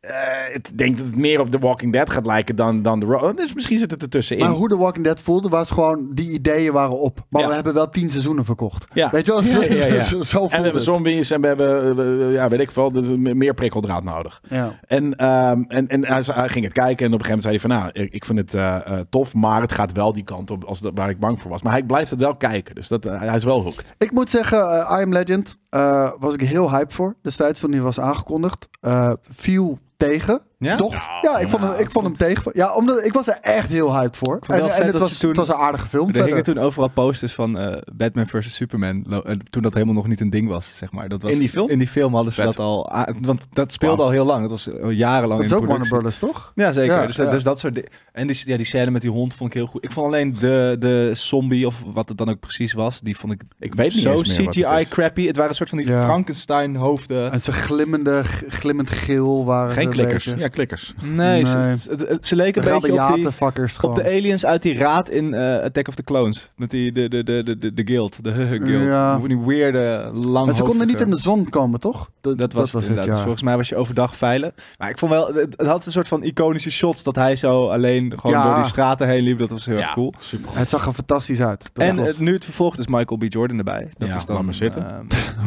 eh, ik denk dat het meer op The Walking Dead gaat lijken dan, dan The Road. Dus misschien zit het ertussenin. Maar hoe The Walking Dead voelde, was gewoon die ideeën waren op. Maar Ja. we hebben wel tien seizoenen verkocht. Ja. Weet je wel? Ja, ja, ja. en Zo, zo we voelde hebben het. zombies en we hebben, eh, eh, ja, weet ik veel, dus meer prikkeldraad nodig. Ja. En, ehm, en, en hij, hij ging het kijken en op een gegeven moment zei hij van... nou, ik- ik vind het eh, eh, tof, maar het gaat wel die kant op als dat, waar ik bang voor was. Maar hij blijft het wel kijken, dus dat, eh, hij is wel hooked. Ik moet zeggen, eh, I Am Legend eh, was ik heel hype voor. Destijds toen hij was aangekondigd. Eh, viel tegen. Ja? Toch? Ja, ik vond hem, ik vond hem tegen. Ja, omdat ik was er echt heel hype voor. vond En, wel en vet het, dat was, ze toen- het was een aardige film. Er hingen verder. toen overal posters van eh, Batman vs. Superman. lo- en Toen dat helemaal nog niet een ding was, zeg maar. Dat was In die film? In die film hadden ze Vet. dat al... a- Want dat speelde al heel lang. Dat was al jarenlang Dat is in ook Warner productie. Brothers, toch? Ja, zeker. Ja, dus, ja. dus dat soort dingen. En die, ja, die scène met die hond vond ik heel goed. Ik vond alleen de, de zombie, of wat het dan ook precies was, die vond ik Ik weet niet zo eens meer wat het CGI is. crappy. Het waren een soort van die Ja. Frankenstein hoofden. En ze glimmende, g- glimmend geel waren ze Geen een klikkers. beetje. Ja, klikkers. Nee, Ze, Nee. het- het- het- ze leken een beetje op die, Rabiate fuckers op gewoon. de aliens uit die raad in eh, Attack of the Clones. Met die, de, de, de, de, de, de guild, de huh guild. Ja. Die weirde, lang maar ze konden niet in de zon komen, toch? Dat, Dat was, het inderdaad. Dus volgens mij was je overdag veilig. Maar ik vond wel, het, het had een soort van iconische shots dat hij zo alleen gewoon Ja. door die straten heen liep. Dat was heel erg Ja, cool. super. Het zag er fantastisch uit. Dat en klopt. het, nu het vervolg is Michael B. Jordan erbij. Dat Ja, is dan, laat maar zitten. ehm,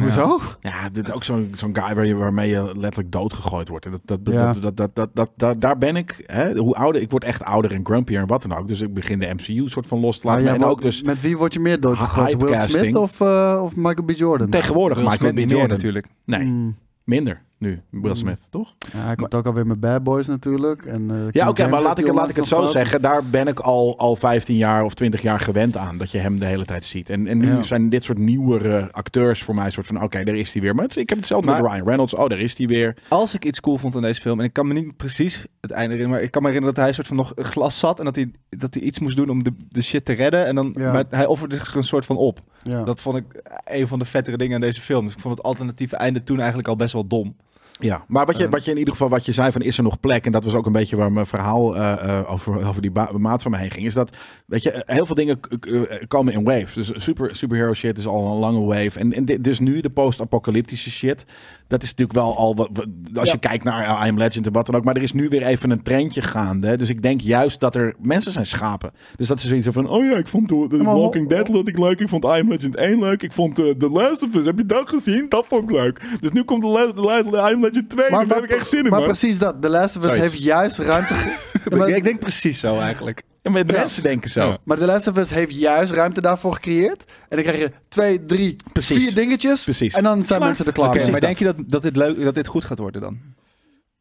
Hoezo? Ja, dit is ook zo'n zo'n guy waar je, waarmee je letterlijk doodgegooid wordt. En Dat, dat, dat, Ja. dat, dat, dat, dat- dat- daar ben ik. Hè? Hoe ouder, ik word echt ouder en grumpier en wat dan ook. Dus ik begin de MCU soort van los te laten. Maar ja, en wat- ook dus Met wie word je meer doodgegooid? Will Hypecasting. Smith of, eh, of Michael B. Jordan? tegenwoordig Will Michael Smith B. niet meer Jordan. natuurlijk. Nee, Mm. minder nu. Will Mm. Smith, toch? Ja, hij komt ook alweer met Bad Boys natuurlijk. En, eh, King Ja, oké, James maar heeft laat ik, hij laat ik het onlangs zo nog gehad. zeggen. Daar ben ik al, al 15 jaar of 20 jaar gewend aan. Dat je hem de hele tijd ziet. En, en nu Ja. zijn dit soort nieuwere acteurs voor mij. Een soort van, oké, daar is hij weer. Maar het, is- ik heb hetzelfde met Maar- Ryan Reynolds. Oh, daar is hij weer. Als ik iets cool vond aan deze film, en ik kan me niet precies het einde herinneren, maar ik kan me herinneren dat hij soort van nog een glas zat en dat hij, dat hij iets moest doen om de, de shit te redden. En dan, Ja. Maar hij offerde zich een soort van op. Ja. Dat vond ik een van de vettere dingen aan deze film. Dus ik vond het alternatieve einde toen eigenlijk al best wel dom. Ja, maar wat je, Eh. wat je in ieder geval wat je zei van is er nog plek? En dat was ook een beetje waar mijn verhaal eh, eh, over, over die ba- maat van me heen ging. Is dat, weet je, eh, heel veel dingen k- k- eh, komen in waves. Dus super, superhero shit is al een lange wave. En, en dit- dus nu de post-apocalyptische shit. Dat is natuurlijk wel al, wat- wat- als Ja. je kijkt naar eh, I Am Legend en wat dan ook. Maar er is nu weer even een trendje gaande. hè. Dus ik denk juist dat er mensen zijn schapen. Dus dat is zoiets van, oh ja, ik vond The, The Ja, maar- Walking Dead vond ik leuk. Ik vond I Am Legend 1 leuk. Ik vond eh, The Last of Us. Heb je dat gezien? Dat vond ik leuk. Dus nu komt The Last The Last- I Am Legend 2. daar heb ik echt zin in, maar man. precies dat. The Last of Us Zoiets. heeft juist ruimte... ge- Ja, maar, Ik denk precies zo eigenlijk. En met Ja. mensen denken zo. Ja. maar The Last of Us heeft juist ruimte daarvoor gecreëerd. En dan krijg je twee, drie, Precies. vier dingetjes. Precies. En dan zijn mensen er klaar Oké, mee. maar dat. denk je dat, dat, dit leuk, dat dit goed gaat worden dan?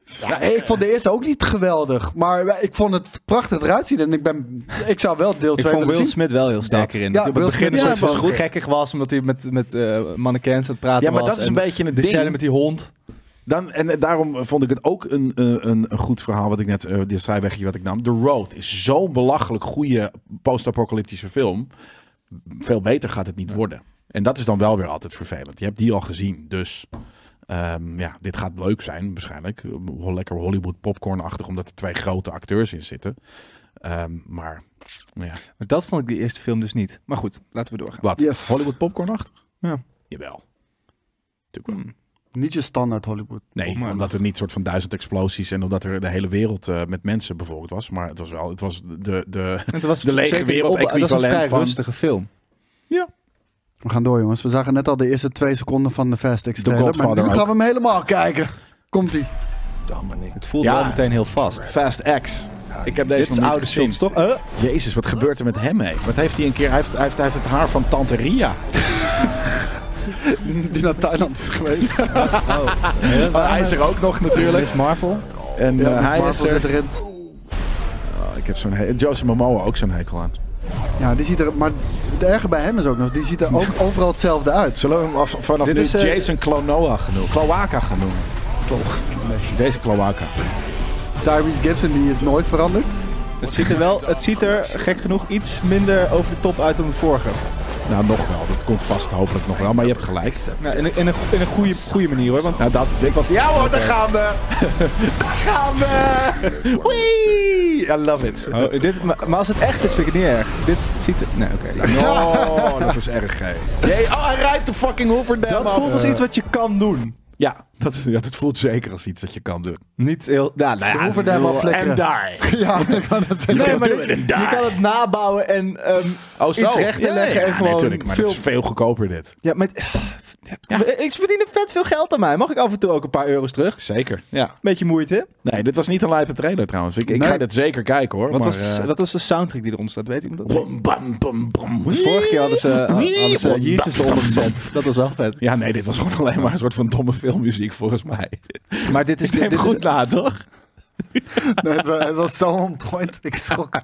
Ja, eh, hey, ik vond de eerste ook niet geweldig. Maar ik vond het prachtig eruit zien. En ik, ben, ik zou wel deel Ik vond 2 willen Will zien. Smith wel heel sterk Dat. erin. Ja, Dat hij op Will het begin Smith een is soort wel van goed. gekkig was, omdat hij met, met eh mannequins aan het praten Ja, maar was. dat is en een beetje het de ding. scène met die hond. Dan, en eh, daarom vond ik het ook een, eh, een, een goed verhaal wat ik net, eh dit zijwegje wat ik nam. The Road is zo'n belachelijk goede post-apocalyptische film. Veel beter gaat het niet worden. En dat is dan wel weer altijd vervelend. Je hebt die al gezien, dus ehm, ja, dit gaat leuk zijn waarschijnlijk. Wel Lekker Hollywood popcorn-achtig, omdat er twee grote acteurs in zitten. Ehm, maar ja, Maar dat vond ik die eerste film dus niet. Maar goed, laten we doorgaan. wat? Yes. Hollywood popcorn-achtig? Ja. Jawel. Natuurlijk wel. Hmm. Niet je standaard Hollywood. Nee, Volgens mij omdat er niet soort van duizend explosies en omdat er de hele wereld eh, met mensen bevolkt was. Maar het was wel, het was de, de Het was De lege zeker de wereld opbouw- het was een equivalent vrij van- rustige film. We gaan door, jongens. We zagen net al de eerste twee seconden van de Fast The X trailer. Maar nu Godfather gaan we hem helemaal kijken. Komt-ie. Het voelde Ja. wel meteen heel vast. Fast X. Ik heb Dit deze is nog niet oude gezien. shots, toch? Eh? Jezus, wat gebeurt er met hem mee? Wat heeft hij een keer? Hij heeft, hij heeft, hij heeft het haar van Tante Ria. Die naar Thailand is geweest. Maar hij is er ook nog natuurlijk. Miss Marvel. En eh, Miss hij is Marvel zit er. erin. Oh, ik heb zo'n he- Joseph Momoa ook zo'n hekel aan. Ja, die ziet er... Maar het erge bij hem is ook nog... Die ziet er ook overal hetzelfde uit. Zullen we hem af- vanaf Dit nu is, eh, Jason Klonoa genoemd? Kloaka genoemd. Deze Kloaka. Tyrese Gibson, die is nooit veranderd. Het ziet er wel, het ziet er gek genoeg iets minder over de top uit dan de vorige. Nou, nog wel. Dat komt vast hopelijk nog wel. Maar je hebt gelijk. Nou, in, een- in een, in een goede, goede manier hoor. Want Nou, dat, dit was... Ja hoor, daar gaan we! daar gaan we! Wee! I love it. Oh, dit, maar, maar als het echt is, vind ik het niet erg. Dit ziet er... Nee, oké. Oh, dat is erg, hè. Jee, oh, hij rijdt de fucking Hooverdam Dat voelt als iets wat je kan doen. eh, Ja, dat, is, ja, dat voelt zeker als iets dat je kan doen. Niet heel... Ja, nou ja, Hoeverdam ik bedoel, al flikkeren. En daar. Ja, ik kan het zeggen. Nee, can maar do dit- it je and die. kan het nabouwen en ehm Oh, zo. iets recht te Ja, leggen. ja, en gewoon natuurlijk, maar veel... het is veel goedkoper dit. Ja, maar... Ik verdien vet veel geld aan mij. Mag ik af en toe ook een paar euro's terug? Zeker, ja. Beetje moeite. Nee, dit was niet een lijpe trailer trouwens. Ik, ik Nee. ga dit zeker kijken hoor. Wat maar, was, eh, wat was de soundtrack die eronder staat? Weet iemand dat? bom, bam, bam, bam. De vorige keer hadden ze, Wee, hadden ze bom, Jezus bam, eronder bam, bam. gezet. Dat was wel vet. Ja, nee, dit was gewoon alleen maar een soort van domme filmmuziek volgens mij. Maar dit is... Ik neem dit goed is, na, toch? Nee, het, wa- het was zo on point. Ik schrok.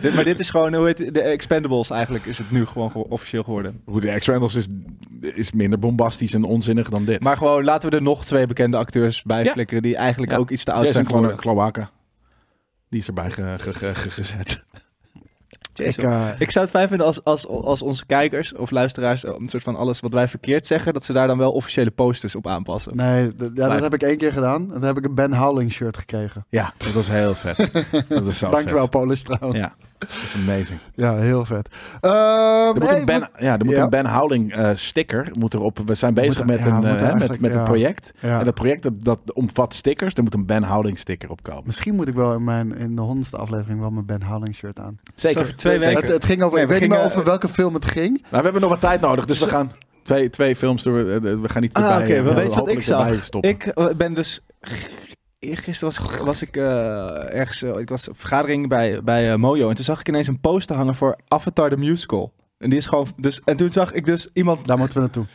dit- maar dit is gewoon... Hoe heet het? De Expendables eigenlijk is het nu gewoon ge- officieel geworden. Hoe de X-Randalls is, is minder bombastisch en onzinnig dan dit. Maar gewoon laten we er nog twee bekende acteurs bij Ja. flikkeren die eigenlijk Ja. ook iets te oud Jason zijn geworden. Klo- Kloaka. Die is erbij ge- ge- ge- ge- gezet. Ik, Jason. eh, Ik zou het fijn vinden als, als, als onze kijkers of luisteraars eh, een soort van alles wat wij verkeerd zeggen, dat ze daar dan wel officiële posters op aanpassen. nee, d- ja, dat Blijf. heb ik één keer gedaan. En toen heb ik een Ben Howling shirt gekregen. Ja, dat was heel vet. dat is zo Dankjewel, Oh, vet. Polis trouwens. Ja, Ja, dat is amazing. heel vet. Ehm, Er moet, hey, een, ben, wat- ja, er moet Ja. een Ben Howling eh, sticker moet erop. We zijn bezig Moet- met, ja, een, moet eh, hè, met, eigenlijk, met ja. een project. Ja. En dat project dat, dat omvat stickers. Er moet een Ben Howling sticker op komen. Misschien moet ik wel in, mijn, in de honderdste aflevering wel mijn Ben Howling shirt aan. Zo Zeker. over twee Zeker. weken. Het, het ging over, Nee, ik we weet niet meer gingen- over welke film het ging. Nou, we hebben nog wat tijd nodig, dus we gaan twee, twee films door. eh, We gaan niet Ah, erbij. oké, eh, maar weet je wat hopelijk ik zag? erbij stoppen. Ik eh, ben dus. Gisteren was, was ik eh, ergens. eh, ik was op vergadering bij, bij eh, Mojo. En toen zag ik ineens een poster hangen voor Avatar the Musical. En die is gewoon. Dus, en toen zag ik dus iemand. Daar moeten we naartoe.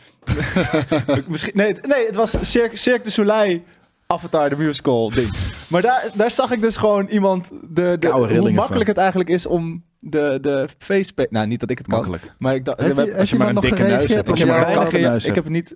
Misschien, nee, het- nee, het was Cirque, Cirque du Soleil Avatar, de musical ding. Maar daar, daar zag ik dus gewoon iemand... De, de, Koude hoe rillingen makkelijk van. het eigenlijk is om de, de facepaint... Nou, niet dat ik het kan. Makkelijk. Maar ik dacht... Heeft, we- die- heeft je maar iemand een nog dikke neus gereageerd hebt, op als je ik, maar jouw... een heb kattenneus ik hebt. heb niet...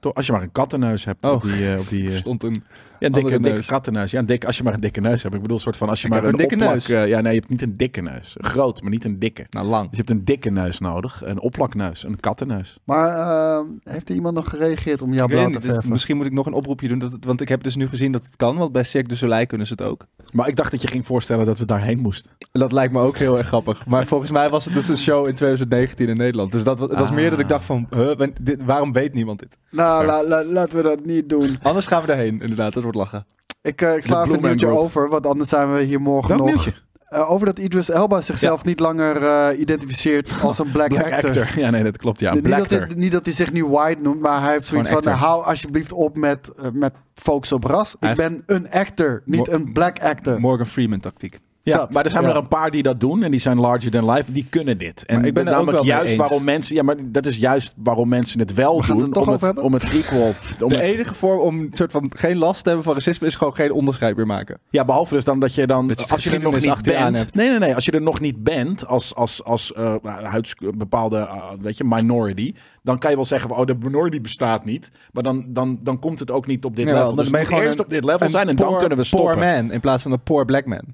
Toch, Als je maar een kattenneus hebt Oh. op die... eh, op die eh, Er stond een Ja, een dikke, Andere een dikke neus. kattenneus. Ja, een dikke, als je maar een dikke neus hebt. Ik bedoel, soort van als je Ik maar heb een een dikke opplak, neus. eh, ja, nee, je hebt niet een dikke neus. Groot, maar niet een dikke. Nou, lang. Dus je hebt een dikke neus nodig. Een opplakneus. Een kattenneus. Maar ehm, heeft er iemand nog gereageerd om jou Ik weet blauw niet, te dus verven? misschien moet ik nog een oproepje doen, dat het- want ik heb dus nu gezien dat het kan, want bij Cirque du Soleil kunnen ze het ook. Maar ik dacht dat je ging voorstellen dat we daarheen moesten. Dat lijkt me ook heel erg grappig. Maar volgens mij was het dus een show in 2019 in Nederland. Dus dat, wa- het was Ah. meer dat ik dacht van, huh, wen- dit, waarom weet niemand dit? Nou, la- la- laten we dat niet doen. Anders gaan we erheen, inderdaad, dat wordt lachen. Ik, eh, ik De sla even een Blue Man nieuwtje Group. over, want anders zijn we hier morgen Welk nog. nieuwtje? Eh, over dat Idris Elba zichzelf niet langer eh, identificeert als een black, Black actor. actor. Ja, nee, dat klopt. Ja, een niet, black dat actor. hij, niet dat hij zich nu white noemt, maar hij heeft zoiets van... Gewoon actor. hou alsjeblieft op met, eh, met focus op ras. Hij ik ben een actor, niet Mo- een black actor. Eh, Morgan Freeman tactiek. Ja, Dat, maar er zijn ja. er een paar die dat doen en die zijn larger than life. Die kunnen dit. En Maar ik ik ben ben er ook namelijk wel mee juist eens. waarom mensen. Ja, maar dat is juist waarom mensen het wel We gaan doen. het er toch om, over het, hebben? om het equal. Om De het- enige vorm om een soort van geen last te hebben van racisme is gewoon geen onderscheid meer maken. ja, behalve dus dan dat je dan. Dat je het als je er nog geschiedenis niet achter je aan bent. hebt. Nee, nee, nee. Als je er nog niet bent als, als, als eh, huids- bepaalde eh, weet je, minority. Dan kan je wel zeggen: van, oh, de minority bestaat niet. Maar dan, dan, dan komt het ook niet op dit Jawel, level. dan Dus ben het je moet gewoon eerst een- op dit level Een zijn en dan poor- kunnen we stoppen. Poor man in plaats van een poor black man.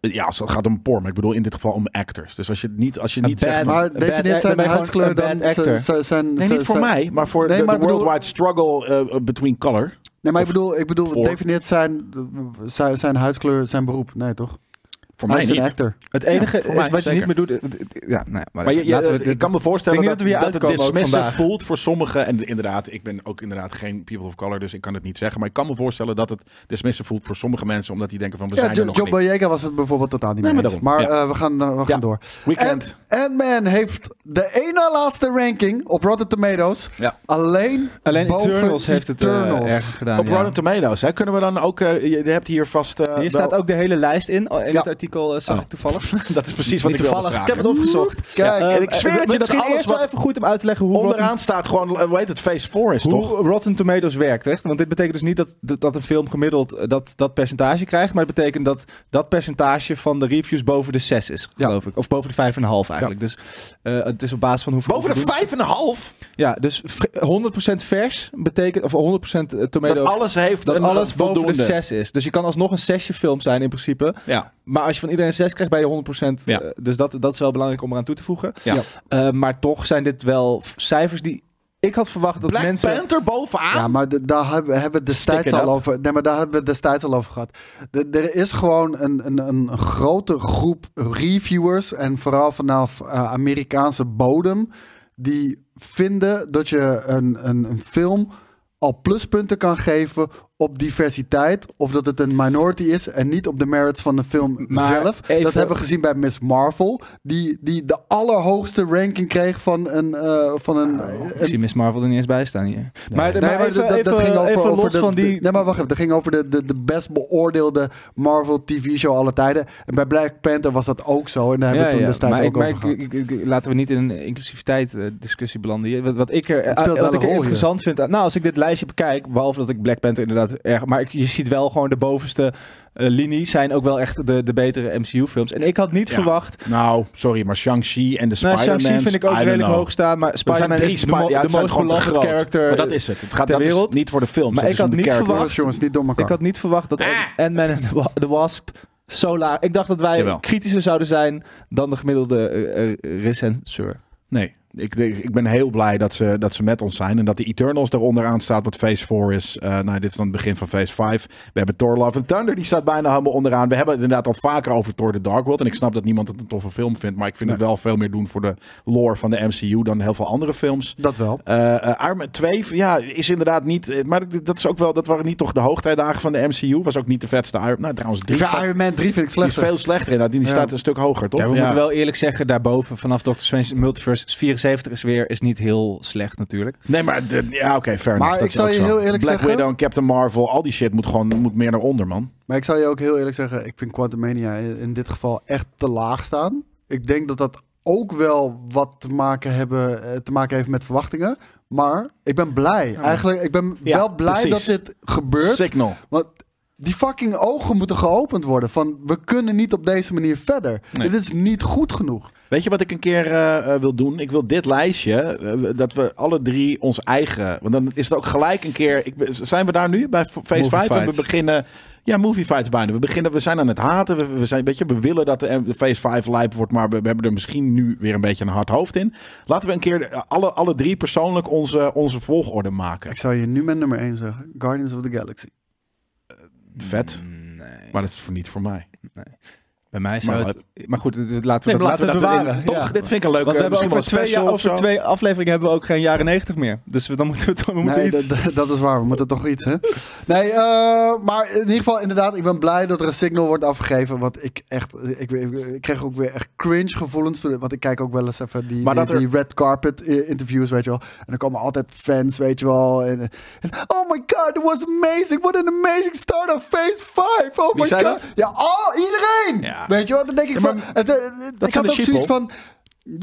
Ja, als het gaat om porn. Maar ik bedoel in dit geval om actors. Dus als je het niet, als je Een niet zegt. bad- van- maar een bad definieert act- zijn dan ben je huidskleur gewoon een dan bad actor. zijn- zijn- zijn... Dus, eh, Nee, niet voor zijn- mij, maar voor Nee, de, maar de ik bedoel- worldwide struggle eh, between color. Nee, maar ik Of bedoel, ik bedoel voor. definieert zijn, zijn, zijn huidskleur zijn beroep. Nee, toch? Voor Hij mij is niet. een actor. Het enige voor is mij, wat zeker. je niet meer doet... Ja, nou ja, maar Maar je, je- laten we ik dit- kan me voorstellen Ik dat, denk dat we hier dat het uitkomen ook dismissive vandaag. voelt voor sommigen. En inderdaad, ik ben ook inderdaad geen people of color, dus ik kan het niet zeggen. Maar ik kan me voorstellen dat het dismissive voelt voor sommige mensen. Omdat die denken van, we Ja, zijn er Jo- nog John niet. Boyega was het bijvoorbeeld totaal niet Nee, mee maar eens. Maar daarom. eh, we gaan, eh, we gaan Ja. door. Weekend. En Ant-Man heeft de ene na laatste ranking op Rotten Tomatoes. Ja. Alleen, Alleen boven Eternals heeft het eh, Eternals. erger gedaan. Op ja. Rotten Tomatoes, hè, kunnen we dan ook... eh, je, je hebt hier vast... eh, wel- Hier staat ook de hele lijst in. oh, In Ja. het artikel eh, zag Oh. ik toevallig. Dat is precies wat ik Niet wilde toevallig. Ik vragen. heb het opgezocht. Kijk, Ja, Eh, en ik zweer eh, dat je dat misschien alles eerst wel wat- even goed om uit te leggen hoe Rotten, Onderaan staat gewoon, eh, hoe heet het, Phase 4 is hoe toch? Rotten Tomatoes werkt. Echt? Want dit betekent dus niet dat, dat, dat een film gemiddeld eh, dat, dat percentage krijgt. Maar het betekent dat dat percentage van de reviews boven de 6 is, Ja. geloof ik. Of boven de 5,5 eigenlijk. Dus eh, het is op basis van hoeveel... Boven de hoeveel- 5,5? Ja, dus fr- 100% vers betekent... Of 100% tomato... Dat alles heeft dat een alles een boven de voldoende. 6 is. Dus je kan alsnog een zesje film zijn in principe. Ja. Maar als je van iedereen 6 krijgt, ben je 100%. Ja. eh, dus dat, dat is wel belangrijk om eraan toe te voegen. Ja. Ja. Eh, maar toch zijn dit wel f- cijfers die... Ik had verwacht dat Black mensen... Panther bovenaan? Ja, maar de- daar hebben we- hebben we destijds Stick it al up. over. Nee, maar daar hebben we destijds al over gehad. De- er is gewoon een, een, een grote groep reviewers en vooral vanaf eh, Amerikaanse bodem die vinden dat je een, een, een film al pluspunten kan geven op diversiteit of dat het een minority is en niet op de merits van de film Maar zelf. even- Dat hebben we gezien bij Miss Marvel, die, die de allerhoogste ranking kreeg van een, eh, van een, Nou, Ik zie Miss Marvel er niet eens bij staan hier. Maar, Nee, maar maar even, dat- dat- even, dat ging over- even over los de- van de- die... Nee, maar wacht even. Dat ging over de, de, de best beoordeelde Marvel TV-show alle tijden. En bij Black Panther was dat ook zo. En daar hebben we toen destijds maar ook ik- maar over ik- gehad. ik- ik- ik- laten we niet in een inclusiviteit eh, discussie belanden hier. Wat, wat ik er, Het speelt eh, wel wat ik een er rol hier. interessant vind... aan- Nou, als ik dit lijstje bekijk, behalve dat ik Black Panther inderdaad erg... Maar ik- je ziet wel gewoon de bovenste eh, linie zijn ook wel echt de, de betere MCU-films. En ik had niet Ja. verwacht Nou, sorry, maar Shang-Chi en de Nou, Spider-Man. Shang-Chi vind ik ook redelijk hoog staan, maar Spider-Man is de, mo- de most beloved character. Maar dat is het. Het gaat ter dat is wereld. niet voor de films. Maar dat ik is om had de niet character. verwacht- Jongens, jongens, niet dom elkaar. Ik had niet verwacht dat Ant- Ant-Man en de Wa- de Wasp zo laag... Ik dacht dat wij Jawel. kritischer zouden zijn dan de gemiddelde eh, eh, recenseur. Nee, ik, ik ben heel blij dat ze, dat ze met ons zijn. En dat de Eternals daaronder aan staat, wat Phase 4 is. Eh, nou, dit is dan het begin van Phase 5. We hebben Thor Love and Thunder, die staat bijna helemaal onderaan. We hebben het inderdaad al vaker over Thor The Dark World. En ik snap dat niemand het een toffe film vindt. Maar ik vind het wel veel meer doen voor de lore van de MCU dan heel veel andere films. Dat wel. eh eh, Iron Man 2 ja, is inderdaad niet. eh, Maar dat- dat, is ook wel, dat waren niet toch de hoogtijdagen van de MCU. Was ook niet de vetste Iron Nou, trouwens, Ik 3 vind staat, Iron Man 3 vind ik die is slechter. veel slechter. Inderdaad. Die die Ja. staat een stuk hoger, toch? Ja, we moeten wel eerlijk zeggen, daarboven vanaf Doctor Strange Multiverse 74 is weer is niet heel slecht natuurlijk. Nee, maar de- ja, oké, fair Maar enough. ik zal ook je zo. heel eerlijk Black zeggen- Widow en Captain Marvel, al die shit moet gewoon moet meer naar onder, man. Maar ik zal je ook heel eerlijk zeggen. Ik vind Quantumania in, in dit geval echt te laag staan. Ik denk dat dat ook wel wat te maken, hebben, eh, te maken heeft met verwachtingen. Maar ik ben blij. Eigenlijk, ik ben Ja, wel blij precies. dat dit gebeurt. Signal. Want Die fucking ogen moeten geopend worden. Van we kunnen niet op deze manier verder. Nee. Dit is niet goed genoeg. Weet je wat ik een keer eh, eh, wil doen? Ik wil dit lijstje, eh, dat we alle drie ons eigen... Want dan is het ook gelijk een keer... Ik, ben- zijn we daar nu bij F- Phase Movie 5? En we fights. beginnen... Ja, movie fights bijna. We, beginnen, we zijn aan het haten. We, we, zijn, weet je, we willen dat de, eh, de Phase 5 lijp wordt, maar we, we hebben er misschien nu weer een beetje een hard hoofd in. Laten we een keer eh, alle, alle drie persoonlijk onze, onze volgorde maken. Ik zou je nu met nummer 1 zeggen. Guardians of the Galaxy. Vet, Nee. maar dat is voor, niet voor mij. Bij mij zou Maar- het... Maar goed, dit- dit- laten we Nee, dat, maar laten we dat bewaren. bewaren. Toch, Ja. Dit vind ik een leuke, Want we hebben misschien wel een over, twee, special jaar- of zo. over twee afleveringen hebben we ook geen jaren negentig meer. Dus we, dan moeten we, dan moeten nee, iets... dat- dat- dat is waar. We moeten toch iets, hè? Nee, eh, maar in ieder geval, inderdaad, ik ben blij dat er een signal wordt afgegeven. Want ik echt, ik, ik, ik kreeg ook weer echt cringe gevoelens. toen- Want ik kijk ook wel eens even die, Maar die, dat er- die red carpet eh, interviews, weet je wel. En dan komen altijd fans, weet je wel. En, en, oh my god, it was amazing. What an amazing start of phase 5. Oh Wie my zei god. dat? Ja, oh, iedereen. Ja. Weet je wel, dan denk ik Ja, van... maar het, eh, het- dat ik zijn had de ook sheeple. zoiets van...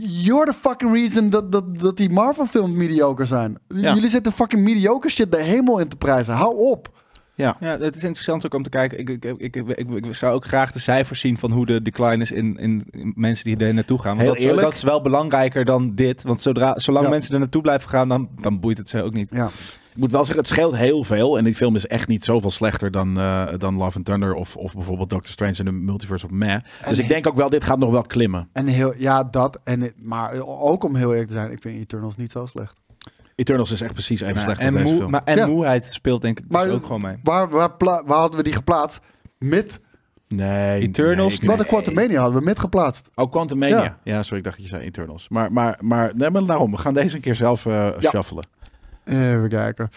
You're the fucking reason dat, dat, dat die Marvel films mediocre zijn. Ja. Jullie zitten fucking mediocre shit de hemel in te prijzen. Hou op. Ja. Ja, het is interessant ook om te kijken. Ik, ik, ik, ik, ik- ik zou ook graag de cijfers zien van hoe de decline is in, in in mensen die er naartoe gaan. Want Heel dat, is- eerlijk. dat is wel belangrijker dan dit. Want zodra, zolang Ja. mensen er naartoe blijven gaan, dan, dan boeit het ze ook niet. Ja. Ik moet wel zeggen, het scheelt heel veel. En die film is echt niet zoveel slechter dan, eh, dan Love and Thunder of, of bijvoorbeeld Doctor Strange in de Multiverse of Meh. Dus ik denk ook wel, dit gaat nog wel klimmen. En heel, ja, dat. En, het- maar ook om heel eerlijk te zijn, ik vind Eternals niet zo slecht. Eternals is echt precies even Maar- slecht als en deze moe- film. maar, en Ja. moeheid speelt denk ik dus Maar- ook gewoon mee. Waar, waar, pla- waar hadden we die geplaatst? Mid. nee, Eternals, nee, ik- Wat Not een Quantumania hadden we mid geplaatst. Oh, Quantumania. Ja. Ja. sorry, ik dacht dat je zei Eternals. Maar, maar, maar, nee, maar daarom, we gaan deze een keer zelf eh Ja. shuffelen. Even kijken.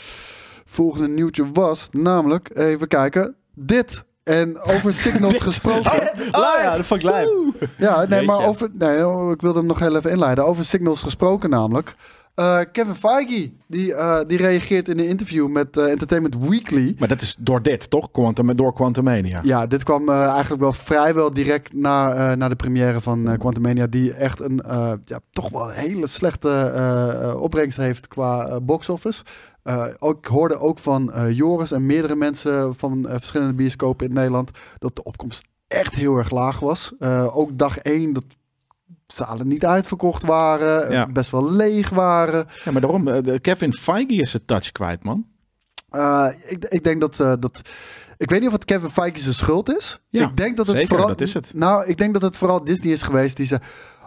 Volgende nieuwtje was namelijk, even kijken, dit. En over signals gesproken. Oh ja, dat vond ik live. Ja, nee, maar Jeetje. over, nee, oh, ik wilde hem nog heel even inleiden. Over signals gesproken namelijk. Eh, Kevin Feige, die, eh, die reageert in een interview met eh, Entertainment Weekly. Maar dat is door dit, toch? Quantum, door Quantumania. Ja, dit kwam eh, eigenlijk wel vrijwel direct na, eh, na de première van eh, Quantumania. Die echt een eh, ja, toch wel hele slechte eh, eh, opbrengst heeft qua eh, box office. Eh, ook, ik hoorde ook van eh, Joris en meerdere mensen van eh, verschillende bioscopen in Nederland... dat de opkomst echt heel erg laag was. Eh, ook dag één dat zalen niet uitverkocht waren. Ja. Best wel leeg waren. Ja, maar daarom, eh, de- Kevin Feige is zijn touch kwijt, man. Eh, ik, ik denk dat, eh, dat. Ik weet niet of het Kevin Feige zijn schuld is. Ja, ik denk dat het zeker, vooral. dat is het. Nou, ik denk dat het vooral Disney is geweest die zei: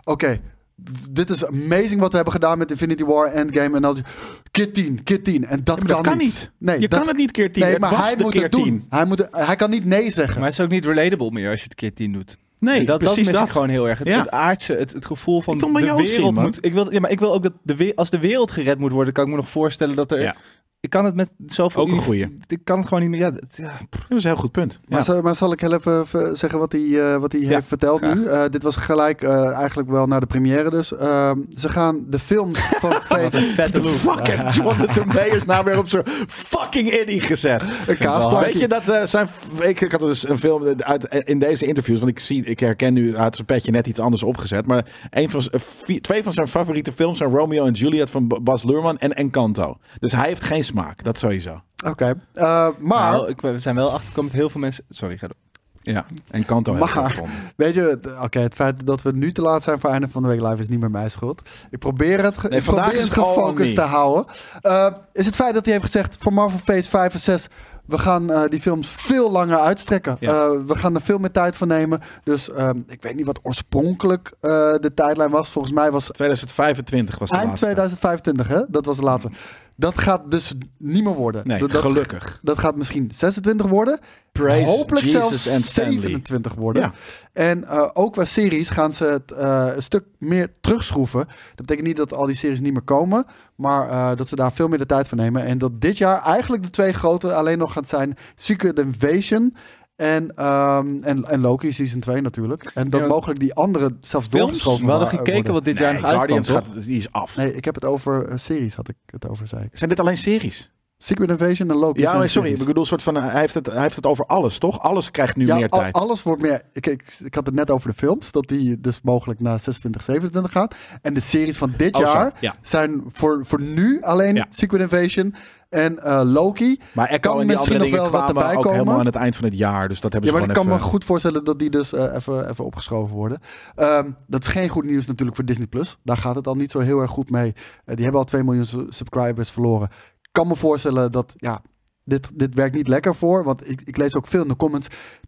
Oké, d- dit is amazing wat we hebben gedaan met Infinity War, Endgame en al die. Kit 10, Kit 10. En dat, Ja, maar kan, niet. Nee, je dat- kan het niet keer tien. nee, het maar was hij de moet keer het doen. tien. Hij, moet, het- hij kan niet nee zeggen. Maar het is ook niet relatable meer als je het keer tien doet. Nee, En dat, dat precies mis dat. ik gewoon heel erg. Het, Ja. het aardse, het, het gevoel van Ik wil maar de jou wereld zien, man. moet... Ik wil, ja, maar ik wil ook dat de, we- als de wereld gered moet worden, kan ik me nog voorstellen dat er... Ja. Ik kan het met zoveel... Ook een uni- goeie. Ik kan het gewoon niet meer... Ja, het- ja, pff. Dat is een heel goed punt. Maar, Ja. zal, maar zal ik heel even v- zeggen wat hij, eh, wat hij Ja, heeft verteld graag. nu? Eh, dit was gelijk eh, eigenlijk wel naar de première dus. Ehm, ze gaan de film van Wat een Feige... vette De look. fuck heeft Jonathan Mayers nou weer op zijn fucking indie gezet? Een kaasplankje. Weet je, dat eh, zijn. Ik, ik had dus een film uit, in deze interviews. Want ik, zie, ik herken nu uit zijn petje net iets anders opgezet. Maar een van, zijn- vier- twee van zijn favoriete films zijn Romeo en Juliet van B- Bas Luhrmann en Encanto. Dus hij heeft geen smaak. Dat sowieso. Oké, eh, maar... Nou, ik, we zijn wel achterkomen dat heel veel mensen... Sorry, ga door. Ja, Encanto heeft Maar- hij gevonden. Weet je, het- oké, het feit dat we nu te laat zijn voor einde van de week live is niet meer mijn schuld. Ik probeer het, ge- Nee, ik vandaag probeer is het het all on me. gefocust te houden. Eh, is het feit dat hij heeft gezegd voor Marvel Phase 5 en 6, we gaan eh, die films veel langer uitstrekken. Ja. Eh, we gaan er veel meer tijd voor nemen. Dus ehm, ik weet niet wat oorspronkelijk eh, de tijdlijn was. Volgens mij was 2025 was de eind laatste. 2025, hè? Dat was de laatste. Dat gaat dus niet meer worden. Nee, dat, dat- gelukkig. dat gaat misschien 26 worden. Praise Hopelijk Jesus and zelfs Stanley. 27 worden. Ja. En eh, ook qua series gaan ze het eh, een stuk meer terugschroeven. Dat betekent niet dat al die series niet meer komen. Maar eh, dat ze daar veel meer de tijd voor nemen. En dat dit jaar eigenlijk de twee grote alleen nog gaan zijn Secret Invasion... En, ehm, en, en Loki Season 2 natuurlijk. En dat Ja. mogelijk die andere zelfs doorgeschoven We hadden wa- gekeken worden. wat dit jaar Nee, nog uitkwam, Guardians toch? gaat, die is af. Nee, ik heb het over eh, series, had ik het over, zei ik. Zijn dit alleen series? Secret Invasion en Loki. Ja, zijn maar sorry. series. Ik bedoel, soort van, eh, hij, heeft het, hij heeft het over alles, toch? Alles krijgt nu ja, meer al- tijd. alles wordt meer... Ik, ik, ik had het net over de films, dat die dus mogelijk naar 26, 27 gaat. En de series van dit Oh, zo, jaar ja. zijn voor, voor nu alleen Ja. Secret Invasion en eh, Loki. maar er kan kan en die andere misschien nog dingen wel wat kwamen erbij ook komen. helemaal aan het eind van het jaar. Dus dat hebben Ja, ze maar ik gewoon kan me even... goed voorstellen dat die dus eh, even, even opgeschoven worden. Ehm, dat is geen goed nieuws natuurlijk voor Disney+. Plus. Daar gaat het al niet zo heel erg goed mee. Eh, die hebben al 2 miljoen su- subscribers verloren. Ik kan me voorstellen dat, ja, dit, dit werkt niet lekker voor. Want ik, ik lees ook veel in de comments.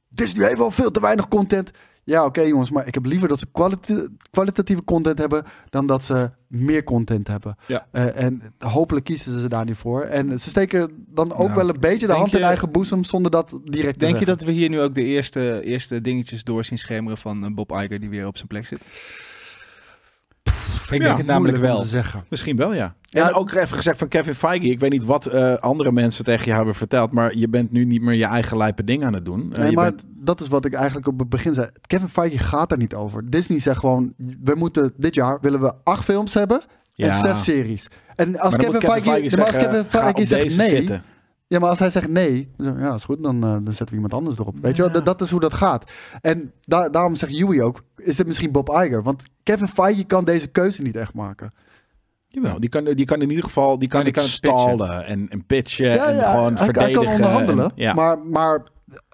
Disney heeft al veel te weinig content. Ja, oké jongens, maar ik heb liever dat ze kwalita- kwalitatieve content hebben... dan dat ze meer content hebben. Ja. Eh, en hopelijk kiezen ze daar nu voor. En ze steken dan ook Nou, wel een beetje de denk hand in je- eigen boezem... zonder dat direct te Denk je zeggen. dat we hier nu ook de eerste, eerste dingetjes door zien schemeren van eh, Bob Iger die weer op zijn plek zit? ik ja, denk het namelijk Moeilijk om wel. te zeggen. Misschien wel, ja. Ja. En ook even gezegd van Kevin Feige. Ik weet niet wat eh, andere mensen tegen je hebben verteld. Maar je bent nu niet meer je eigen lijpe ding aan het doen. Eh, Nee, je maar bent- dat is wat ik eigenlijk op het begin zei. Kevin Feige gaat er niet over. Disney zegt gewoon, we moeten dit jaar willen we acht films hebben en Ja. zes series. En als maar dan Kevin, moet Feige, ja, maar als zeggen, Kevin ga op Feige zegt deze nee, zitten. ja, maar als hij zegt nee, dan zeg ik, ja, is goed, dan, eh, dan zetten we iemand anders erop. Weet je wel, dat, dat is hoe dat gaat. En da- daarom zegt Yui ook, is dit misschien Bob Iger? Want Kevin Feige kan deze keuze niet echt maken. Jawel, die kan, die kan in ieder geval die kan, Kan die ik kan het pitchen? stallen en, en pitchen Ja, en ja, gewoon hij, hij verdedigen. kan onderhandelen, en- ja. maar, maar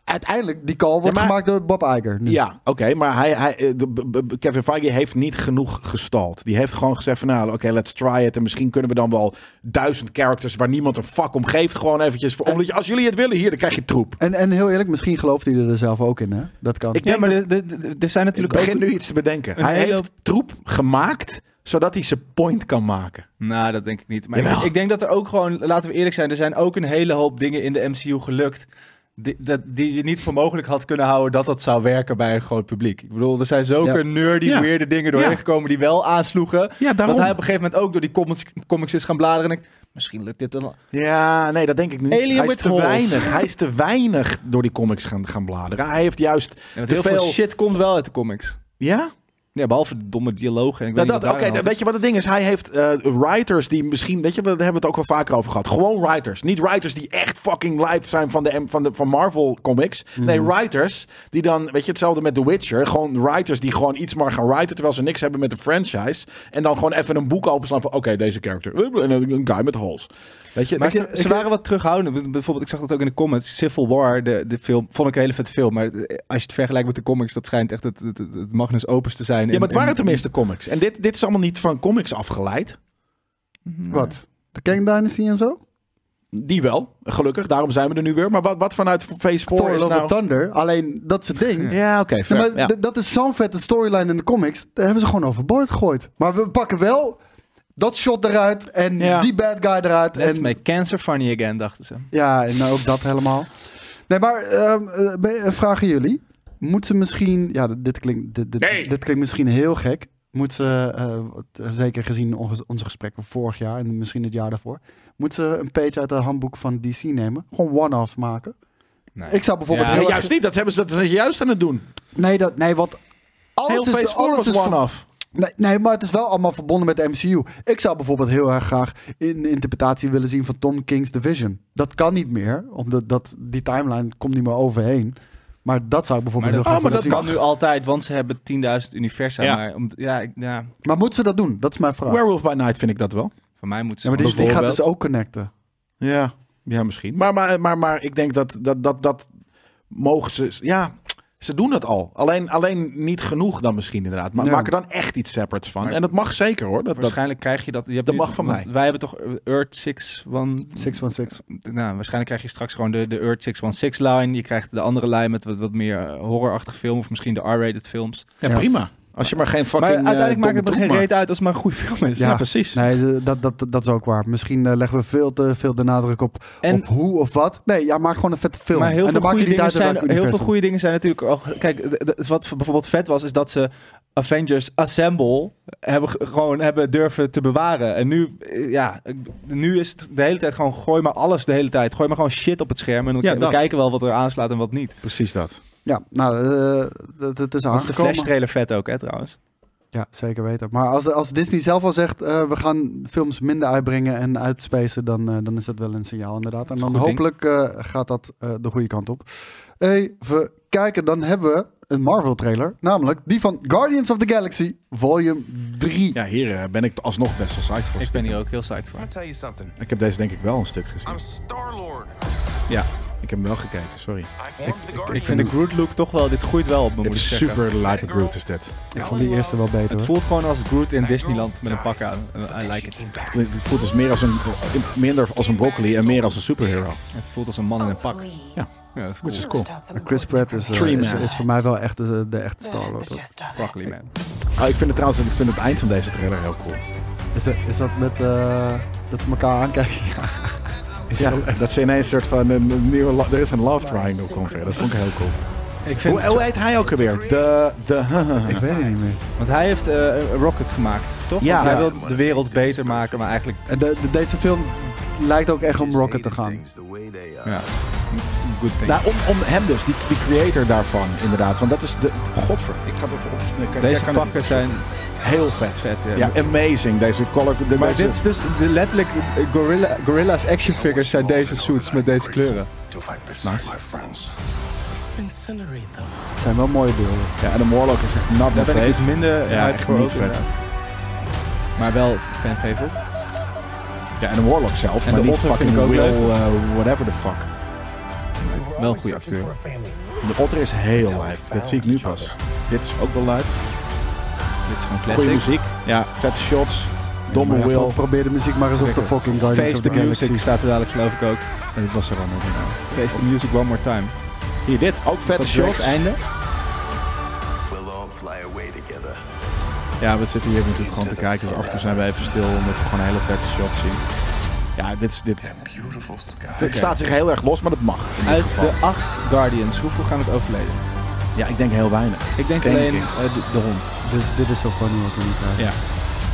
uiteindelijk, die call wordt maar- gemaakt door Bob Iger. nu. Ja, oké, maar hij, hij, eh, de- b- b- Kevin Feige heeft niet genoeg gestald. Die heeft gewoon gezegd van nou, oké, let's try it. En misschien kunnen we dan wel duizend characters waar niemand een fuck om geeft gewoon eventjes. Voor, omdat je, als jullie het willen hier, dan krijg je troep. En, en heel eerlijk, misschien gelooft hij er zelf ook in, hè? Dat kan. Ik Ja, denk maar er- er- er- er zijn Ik natuurlijk begin ook... nu iets te bedenken. een Hij hele- heeft troep gemaakt zodat hij zijn point kan maken. Nou, dat denk ik niet. Maar ik, Jawel. ik denk dat er ook gewoon, laten we eerlijk zijn, er zijn ook een hele hoop dingen in de MCU gelukt. Die, dat, die je niet voor mogelijk had kunnen houden dat dat zou werken bij een groot publiek. Ik bedoel, er zijn zulke Ja. nerdy, Ja. weirde dingen doorheen Ja. gekomen die wel aansloegen. Ja, Dat daarom. hij op een gegeven moment ook door die comics, comics is gaan bladeren. En ik, misschien lukt dit dan. Ja, nee, dat denk ik niet. Alien hij is with te holes. weinig. Hij is te weinig door die comics gaan, gaan bladeren. Hij heeft juist Want te heel veel... veel shit komt wel uit de comics. Ja? Ja, behalve de domme dialogen. en ik Nou, weet dat, niet oké, wat daar aan de hand is. weet je wat het ding is? Hij heeft eh, writers die misschien... Weet je, daar hebben we het ook wel vaker over gehad. Gewoon writers. Niet writers die echt fucking lijp zijn van, de, van, de, van Marvel comics. Nee, writers die dan... Weet je, hetzelfde met The Witcher. Gewoon writers die gewoon iets maar gaan writen... terwijl ze niks hebben met de franchise. En dan gewoon even een boek openslaan van... Oké, deze character. En een guy met holes. Weet je, Maar ik- ze, ze ik- waren wat terughoudend. Bijvoorbeeld, ik zag dat ook in de comments. Civil War, de, de film, vond ik een hele vette film. Maar eh, als je het vergelijkt met de comics, dat schijnt echt het, het, het- het Magnus Opus te zijn. Ja, maar het waren tenminste. tenminste comics. En dit, dit is allemaal niet van comics afgeleid. Wat? De Kang Dynasty en zo? Die wel, gelukkig. Daarom zijn we er nu weer. Maar wat, wat vanuit Phase 4 Thor is Love nou... and Thunder. Alleen, dat is het ding. Ja, oké. Ja, fair. maar Ja. d- dat is zo'n vette storyline in de comics. Daar hebben ze gewoon overboord gegooid. Maar we pakken wel dat shot eruit en Ja. die bad guy eruit. Let's en, make cancer funny again, dachten ze. Ja, en nou ook dat helemaal. Nee, maar ehm, eh, ben- eh, vragen jullie. Moet ze misschien... Ja, dit- dit klinkt, dit, dit, dit klinkt misschien heel gek. Moet ze, eh, wat- eh, zeker gezien onze, onze gesprekken vorig jaar en misschien het jaar daarvoor... Moet ze een page uit het handboek van DC nemen. Gewoon one-off maken. Ik zou bijvoorbeeld Nee, Ja, heel erg- juist niet. Dat, hebben ze, dat zijn ze juist aan het doen. Nee, dat, nee want Heel alles Phase is, 4 alles was is ver- one-off. nee, nee, maar het is wel allemaal verbonden met de MCU. Ik zou bijvoorbeeld heel erg graag een interpretatie willen zien van Tom King's Division. Dat kan niet meer, omdat dat, die timeline komt niet meer overheen. Maar dat zou ik Maar dat, bijvoorbeeld heel graag oh, maar willen dat zien. kan nu altijd, want ze hebben 10.000 universa. Ja. Maar om, ja, ik- ja, Maar moeten ze dat doen? Dat is mijn vraag. Werewolf by Night vind ik dat wel. van mij moeten ze... ja, maar die, die gaat bijvoorbeeld- dus ook connecten. Ja, ja misschien. Maar, maar, maar, maar ik denk dat dat, dat dat mogen ze... Ja, ze doen dat al. Alleen, alleen niet genoeg dan misschien inderdaad. Maar Ja. maak er dan echt iets separates van. Maar- en dat mag zeker hoor. Dat, dat, Waarschijnlijk krijg je dat... Je hebt Dat nu- mag van want mij. Wij hebben toch eh, Earth 616... 616. nou, waarschijnlijk krijg je straks gewoon de, de Earth 616 line. Je krijgt de andere lijn met wat, wat meer eh, horrorachtige film. Of misschien de R-rated films. ja, Ja. prima. Als je maar geen fucking... Maar eh, uiteindelijk maakt het me domme geen troep maakt. reet uit als het maar een goede film is. Ja, Ja, precies. Nee, eh, dat, dat, dat is ook waar. Misschien eh, leggen we veel te veel de nadruk op, En- op hoe of wat. Nee, ja, maak gewoon een vette film. Maar heel en veel, dan maakt goede het niet dingen uit zijn, welk heel veel universum. goede dingen zijn natuurlijk al. Kijk, d- d- wat v- bijvoorbeeld vet was, is dat ze Avengers Assemble hebben, ge- gewoon hebben durven te bewaren. En nu, eh, ja, ik- nu is het de hele tijd gewoon gooi maar alles de hele tijd. Gooi maar gewoon shit op het scherm. En we, Ja, we dat. kijken wel wat er aanslaat en wat niet. Precies dat. Ja, nou, eh, dat, dat is Dat is de aangekomen. Flash trailer vet ook, hè, trouwens. Ja, zeker weten. Maar als, als Disney zelf al zegt, eh, we gaan films minder uitbrengen en uitspacen, dan, eh, dan is dat wel een signaal inderdaad. En is een dan goed ding. hopelijk eh, gaat dat eh, de goede kant op. Even kijken, dan hebben we een Marvel trailer, namelijk die van Guardians of the Galaxy Volume 3. Ja, hier eh, ben ik alsnog best wel psyched voor. Ik ben hier ook heel psyched voor. I'm gonna tell you something. Ik heb deze denk ik wel een stuk gezien. I'm Star Lord. Ja, ik heb hem wel gekeken, sorry. I formed the Ik Guardians. vind de Groot look toch wel, dit groeit wel op me, moet Het ik is zeggen. super lijpe Groot is dit. Ik vond die eerste wel beter. Het hoor. voelt gewoon als Groot in Disneyland met een pak aan. I like it. Het voelt als meer als een, eh, minder als een broccoli en meer als een superhero. Het voelt als een man in een pak. Ja, Ja, dat is which is cool. cool. Chris Pratt is, eh, Tree is, Man. is voor mij wel echt de, de echte Star Lord. hoor. Broccoli man. Ah, ik vind het trouwens ik vind het eind van deze trailer heel cool. Is, dat- is dat met eh, dat ze elkaar aankijken? Ja. Ja, dat ze ineens een soort van een, een nieuwe... lo- Er is een love triangle komt weer. Dat vond ik heel cool. Ik vind Hoe, het zo- hoe heet hij ook alweer? De... de Ik weet het niet meer. want hij heeft eh, Rocket gemaakt, toch? Ja. Want Hij wil de wereld beter maken, maar eigenlijk... En de- de- deze film lijkt ook echt om Rocket te gaan. Ja. Good thing. Nou, om, om hem dus, die, die creator daarvan inderdaad. Want dat is de... Godver, ik ga het even opsnikken. Deze pakken zijn... heel vet. Vet, ja. ja. amazing. Deze color... De, Maar deze- dit is dus de- letterlijk... eh, Gorilla, gorilla's action figures zijn deze suits met deze kleuren. Nice. Incinerate them. Het zijn wel mooie beelden. Ja, en de Morlock is echt not my Daar ben ik iets face. minder Ja, uit echt voor niet ook, vet. inderdaad. Maar wel fanfavorite. Ja, en de Warlock zelf. En maar de niet Otter vind fucking ik ook Will, leuk. eh, whatever the fuck. Wel een goede acteur. De Otter is heel live. Dat zie ik nu pas. Dit is ook wel live. Dit is gewoon Goede classic. muziek. Ja, vette shots. Domme Maar ja, Will. pro- probeer de muziek maar eens op de Zeker. fucking Guardians Face of the the Music Galaxy. staat er dadelijk geloof ik ook. En dit was er dan ook in. Face the Music One More Time. Hier, dit. Ook vette Is dat shots. het einde? We'll all fly away together. Ja, we zitten hier natuurlijk gewoon te kijken. Dus af en toe zijn we even stil. Omdat we gewoon hele vette shots zien. Ja, dit is... Dit, Beautiful sky. dit staat zich heel erg los, maar dat mag. in ieder Uit geval. de acht Guardians, hoeveel gaan het overleden? Ja, ik denk heel weinig. Ik denk Denk alleen ik. eh, de, de hond. Dit, dit is zo funny wat we nu krijgen. Ja.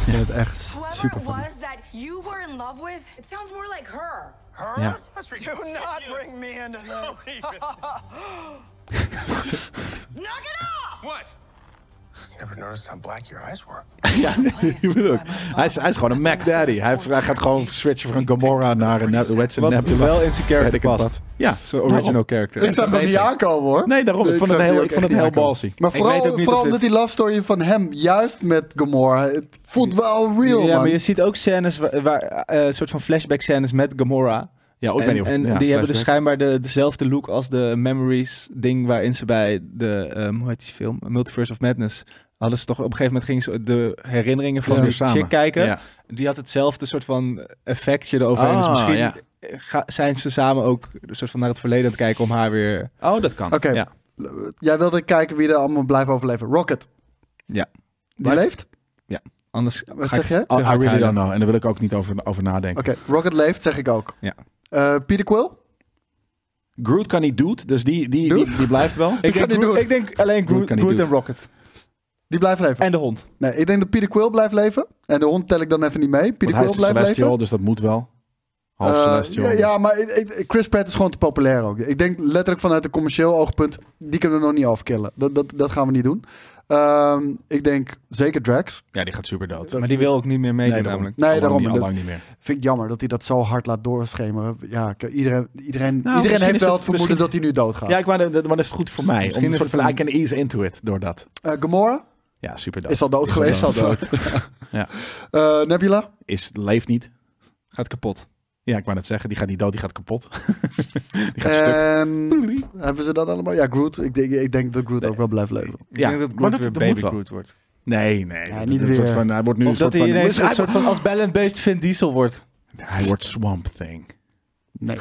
Ik vind het echt s- Whoever super it funny. was that you were in love with, it sounds more like her. Ja. Do not bring me into this. Knock it off! What? Just never noticed how black your eyes were. Ja, je moet ook. Hij is, hij is gewoon een Mac Daddy. Hij, hij gaat gewoon switchen van Gamora naar een Neb- hoe heet ze? Wat Nebula. wel in zijn Weet character ik het past. wat. Ja, Zijn original Daarom. character. Ik zag hem niet aankomen hoor. Nee, daarom. Ik vond zag het heel, die ik ook vond het echt heel niet aankomen. ballsy. Maar Ik weet vooral, ook niet vooral of omdat dit- die love story van hem, juist met Gamora, het voelt wel real Ja, maar man. je ziet ook scènes, wa- waar, eh, soort van flashback scènes met Gamora. Ja, ook en Oh, weet niet of en ja, die hebben dus flashback. schijnbaar de, dezelfde look als de Memories ding waarin ze bij de, ehm, hoe heet die film? Multiverse of Madness. Hadden ze toch op een gegeven moment gingen ze de herinneringen van Ja. die Samen. chick kijken. Ja. Die had hetzelfde soort van effectje eroverheen. dus Ah, misschien ja. ga- zijn ze samen ook een soort van naar het verleden aan het kijken om haar weer... Oh, dat kan. Oké. Ja. Jij wilde kijken wie er allemaal blijft overleven. Rocket. Ja. Die Blijft- leeft? Anders Wat ga ik- zeg jij? Oh, I, I really hardhuilen. don't know. En daar wil ik ook niet over, over nadenken. Oké, Rocket leeft zeg ik ook. Ja. Eh, Peter Quill? Groot kan niet doet, dus die, die, Dude? die, die blijft wel. Ik, kan denk, niet Groot- doen. ik denk alleen Groot Groot, kan niet Groot doen. en Rocket. Die blijft leven. En de hond. Nee, ik denk dat Peter Quill blijft leven. En de hond tel ik dan even niet mee. Peter Want hij Quill is blijft celestial, leven. dus dat moet wel. Half Eh, celestial. ja, ja, maar ik- ik- Chris Pratt is gewoon te populair ook. Ik denk letterlijk vanuit een commercieel oogpunt, die kunnen we nog niet afkillen. Dat, dat, dat gaan we niet doen. Ehm, ik denk zeker Drax. Ja, die gaat super dood. Maar die wil ook niet meer meedoen Nee, daarom. namelijk. Nee, Allang daarom. Niet, Dat- allang niet meer. Vind ik jammer dat hij dat zo hard laat doorschemeren. Ja, ik- iedereen, iedereen, Nou, misschien iedereen is heeft wel het- het vermoeden misschien- dat hij nu doodgaat. Ja, ik wou, dat dat- maar dat is goed voor mij. Misschien Om een is soort het van, I een- can ease into it door dat. Eh, Gamora Ja, super dood. is al dood geweest. al dood. Ja. Eh, Nebula? Is, leeft niet. Gaat kapot. Ja, ik wou net zeggen, die gaat niet dood, die gaat kapot. die gaat stuk. En hebben ze dat allemaal? Ja, Groot. Ik denk, ik denk dat Groot ook wel blijft leven. Ik Ja, denk dat Groot maar dat- weer dat baby moet wel. Groot wordt. Nee, nee. dat- niet dat soort weer. van, hij wordt nu Of een soort dat hij van... ineens een hij, soort van als Bell Beast Vin Diesel wordt. hij wordt Swamp Thing. Nee.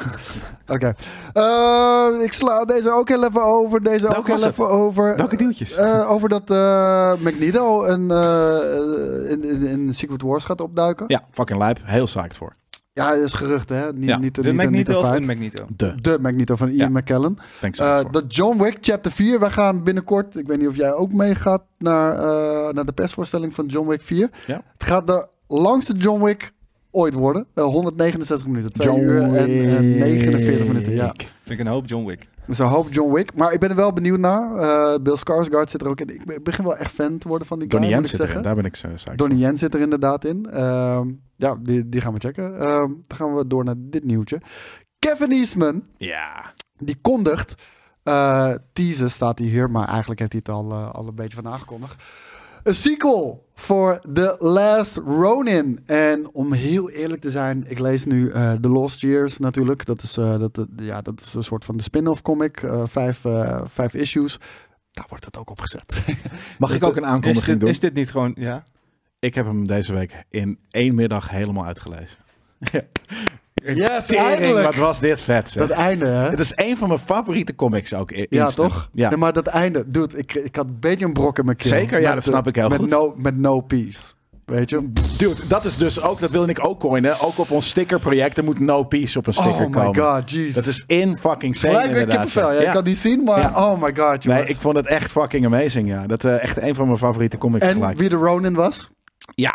Oké. Eh, ik sla deze ook heel even over. Deze Welke ook heel was even het? over. Welke deeltjes? Eh, over dat eh Magneto een, eh, in, in, in Secret Wars gaat opduiken. Ja, fucking lijp. Heel psyched voor. Ja, dat is gerucht, hè? Niet, Ja, niet, De niet, niet Magneto een of feit. een Magneto. De. De Magneto van Ian Ja. McKellen. Thanks Eh, voor. dat John Wick Chapter 4. Wij gaan binnenkort, ik weet niet of jij ook meegaat, naar, eh, naar de persvoorstelling van John Wick 4. Ja. Het gaat de langste John Wick ooit worden. Eh, 169 minuten. 2 uur en, en 49 minuten. Ja. Wick. Vind ik een hoop John Wick. Dus ik hoop John Wick. Maar ik ben er wel benieuwd naar. Eh, Bill Skarsgård zit er ook in. Ik be- begin wel echt fan te worden van die Donnie guy, Yen moet zit ik erin, zeggen. daar ben ik zo psyched Donnie voor. Yen zit er inderdaad in. Ehm, ja, die, die gaan we checken. Ehm, dan gaan we door naar dit nieuwtje. Kevin Eastman, Ja. die kondigt... eh teaser staat hij hier, maar eigenlijk heeft hij het al, eh, al een beetje van aangekondigd. Een sequel voor The Last Ronin. En om heel eerlijk te zijn, ik lees nu eh, The Lost Years natuurlijk. Dat is, eh, dat, dat- ja, dat is een soort van de spin-off comic. eh, vijf, eh, vijf issues. Daar wordt het ook op gezet. Mag ik ook een Is aankondiging dit, doen? is dit niet gewoon... Ja? Ik heb hem deze week in één middag helemaal uitgelezen. yes, Tering, wat eindelijk! was dit vet, zeg. Dat einde, hè? Het is een van mijn favoriete comics ook. i- Ja, instant. toch? Ja. Nee, maar dat einde, dude, ik, ik had een beetje een brok in mijn keel. Zeker, ja, Met, dat eh, snap ik heel met goed. No, met no peace, weet je? Dude, dat is dus ook, dat wilde ik ook coinen. Ook op ons stickerproject, er moet no peace op een sticker oh my komen. god, jeez. Dat is in fucking sane Gelijk weer inderdaad. kippenvel. Ja, zeg. Ik kan niet zien, maar Ja. oh my god, Nee, jongens. ik vond het echt fucking amazing, ja. Dat eh, echt een van mijn favoriete comics En gelijk. wie de Ronin was? Ja,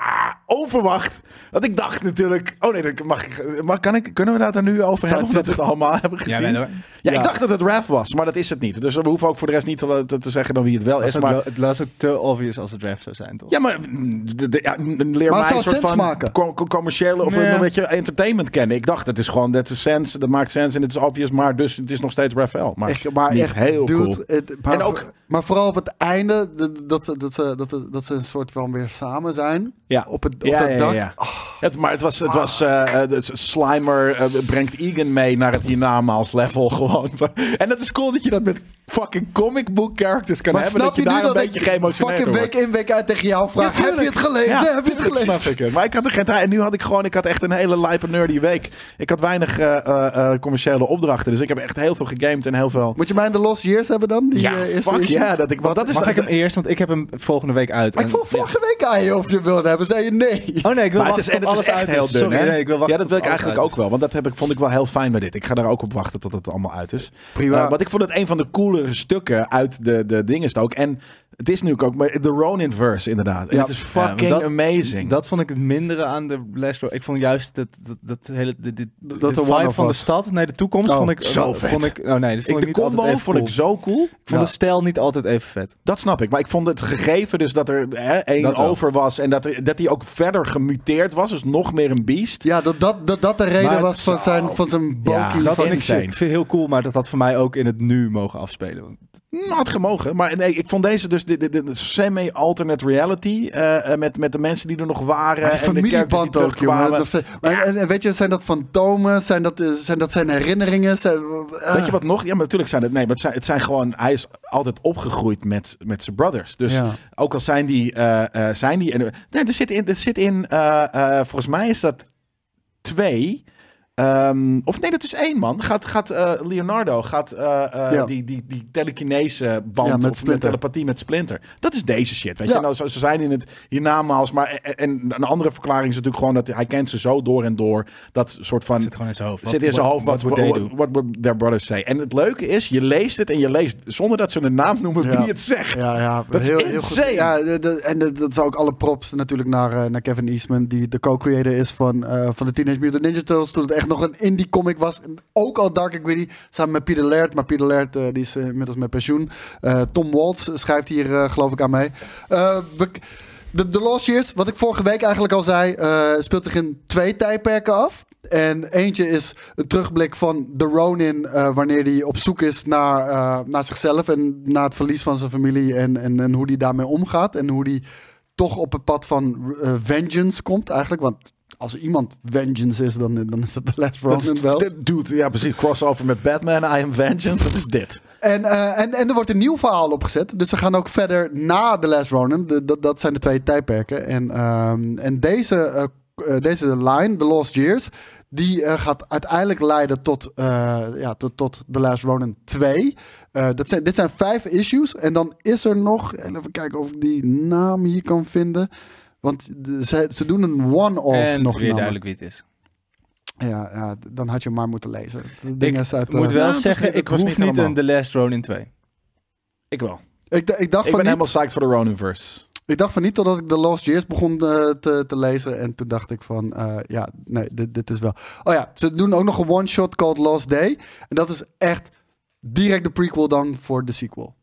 onverwacht. Want ik dacht natuurlijk... Oh nee, dat mag, ik- mag, kan ik, kunnen we daar dan nu over Zou hebben? Omdat we het Twitter- allemaal hebben gezien. nee, hoor. Ja, Ja. ik dacht dat het Raf was, maar dat is het niet. Dus we hoeven ook voor de rest niet te, te- te zeggen dan wie het wel Was is. ook Maar, wel- het was ook te obvious als het draft zou zijn, toch? ja, maar mm, de- de- ja, n- leer Maar mij het zou een soort sens van maken. com- com- commerciële of Nee. een beetje entertainment kennen. Ik dacht, het is gewoon, dat is sense, dat maakt sens en het is obvious, maar dus het is nog steeds Raphael. Maar, Echt, maar niet echt, heel dude, cool. het- maar, En ook- voor- maar vooral op het einde, de- dat ze, dat, ze, dat, ze- dat ze een soort van weer samen zijn. Ja. Op het op Ja, dat ja, ja, dak. ja. Oh. Het, maar het was, het was eh, eh, dus Slimer eh, brengt Egan mee naar het hiernamaals level gewoon. En dat is cool dat je dat met fucking comic book characters kan Maar hebben. snap Dat je, je, daar nu een dat beetje ik geëmotioneerd fucking door week wordt. in week uit tegen jou vraag, heb je tuurlijk. het gelezen? Ja, heb je het tuurlijk gelezen? Snap ik het. Maar ik had er geen tijd. En nu had ik gewoon, ik had echt een hele lijpe nerdy week. Ik had weinig eh, eh, eh, commerciële opdrachten. Dus ik heb echt heel veel gegamed en heel veel. Moet je mij in de Lost Years hebben dan? Die, ja, eh, eerste fuck issue? ja. dat ik, want dus dat is Mag ik hem dat- eerst? Want ik heb hem volgende week uit. Maar ik en- vroeg vorige week aan je of je wilde hebben, zei je nee. Oh nee, ik wil maar het is, wachten en tot het alles is echt uit heel is. dun, Sorry, hè? nee, ik wil wachten ja, dat wil tot ik alles eigenlijk uit ook is. wel. Want dat heb ik, vond ik wel heel fijn bij dit. Ik ga daar ook op wachten tot het allemaal uit is. Prima. Eh, want ik vond het een van de coolere stukken uit de, de dingen ook. En het is nu ook maar de Ronin-verse inderdaad. En Ja. het is Ja, maar fucking dat- amazing. Dat vond ik het mindere aan de Last Road. Ik vond juist dat, dat, dat hele dit, dit, Dat de er vibe one-off van de was. stad naar de toekomst Oh, vond ik zo eh, vet. Vond ik, oh nee, dat vond ik, ik de niet altijd combo even vond ik cool. zo cool. Ik vond Ja. de stijl niet altijd even vet. Dat snap ik. Maar ik vond het gegeven dus dat er hè, één Dat wel. over was. En dat, er, dat hij ook verder gemuteerd was. Dus nog meer een beest. Ja, dat dat, dat, dat de reden Maar het was van zou- zijn, van zijn bulky Ja, dat Dat van- vond ik insane. shit. Ik vind het heel cool, maar dat had voor mij ook in het nu mogen afspelen. Want- Nou, Had gemogen. Maar nee, ik vond deze dus de, de, de semi-alternate reality. eh, eh, met, met de mensen die er nog waren. Maar die en de kerken die familieband ook, jongen. terugkwamen. Dat ze- maar en, en weet je, zijn dat fantomen? Zijn dat, eh, zijn, dat zijn herinneringen? Zijn, eh, Weet je wat nog? Ja, maar natuurlijk zijn het. Nee, maar het zijn, het zijn gewoon. Hij is altijd opgegroeid met, met zijn brothers. Dus Ja. ook al zijn die. eh, eh, zijn die en, nee, er zit in. Er zit in eh, eh, volgens mij is dat twee. Ehm, of nee, dat is één man. Gaat, gaat eh, Leonardo, gaat eh, eh, Ja. die, die, die telekinese band Ja, met met, of met Splinter. telepathie met Splinter. Dat is deze shit. Weet Ja. je, nou, zo, ze zijn in het hiernamaals. Maar en, en een andere verklaring is natuurlijk gewoon dat hij kent ze zo door en door. Dat soort van Zit gewoon in zijn hoofd. zit in Wat- zijn hoofd wat wat would they what, what would their brothers say. En het leuke is, je leest het en je leest zonder dat ze een naam noemen Eh, Ja. wie het zegt. Ja, ja, Dat is heel, heel insane. goed. Ja, de- de- en de- dat zou ook alle props natuurlijk naar, eh, naar Kevin Eastman, die de co-creator is van, eh, van de Teenage Mutant Ninja Turtles, toen het echt nog een indie comic was. En ook al Dark and Gritty, samen met Peter Laird, maar Peter Laird eh, die is eh, inmiddels met pensioen. Eh, Tom Waltz schrijft hier eh, geloof ik aan mee. Eh, we- de, de Lost Years, wat ik vorige week eigenlijk al zei, eh, speelt zich in twee tijdperken af. En eentje is een terugblik van de Ronin, eh, wanneer hij op zoek is naar, eh, naar zichzelf en naar het verlies van zijn familie en, en, en hoe hij daarmee omgaat. En hoe hij toch op het pad van eh, vengeance komt eigenlijk. Want als er iemand vengeance is, dan, dan is dat de Last Dat is, Ronin wel. dit- dude, ja precies. Crossover met Batman, I Am Vengeance. Dat is dit. En, eh, en, en er wordt een nieuw verhaal opgezet. Dus ze gaan ook verder na The Last Ronin. De- dat, dat zijn de twee tijdperken. En, ehm, en deze, eh, k- eh, deze line, The Lost Years, die eh, gaat uiteindelijk leiden tot, eh, ja, tot, tot The Last Ronin 2. Eh, dat zijn, dit zijn vijf issues. En dan is er nog, even kijken of ik die naam hier kan vinden. Want de- ze, ze doen een one-off nog en het is weer namen. duidelijk wie het is. Ja, ja, d- dan had je hem maar moeten lezen. De ding is uit, eh, moet wel nou, het was zeggen, niet- het ik was hoef niet niet een helemaal. The Last Ronin 2. Ik wel. ik, d- ik dacht Ik ben van niet. helemaal psyched voor de Roninverse. Ik dacht van niet totdat ik The Lost Years begon eh, te, te lezen. En toen dacht ik van, eh, ja, nee, dit, dit is wel... Oh ja, ze doen ook nog een one-shot called Lost Day. En dat is echt direct de prequel dan voor de sequel.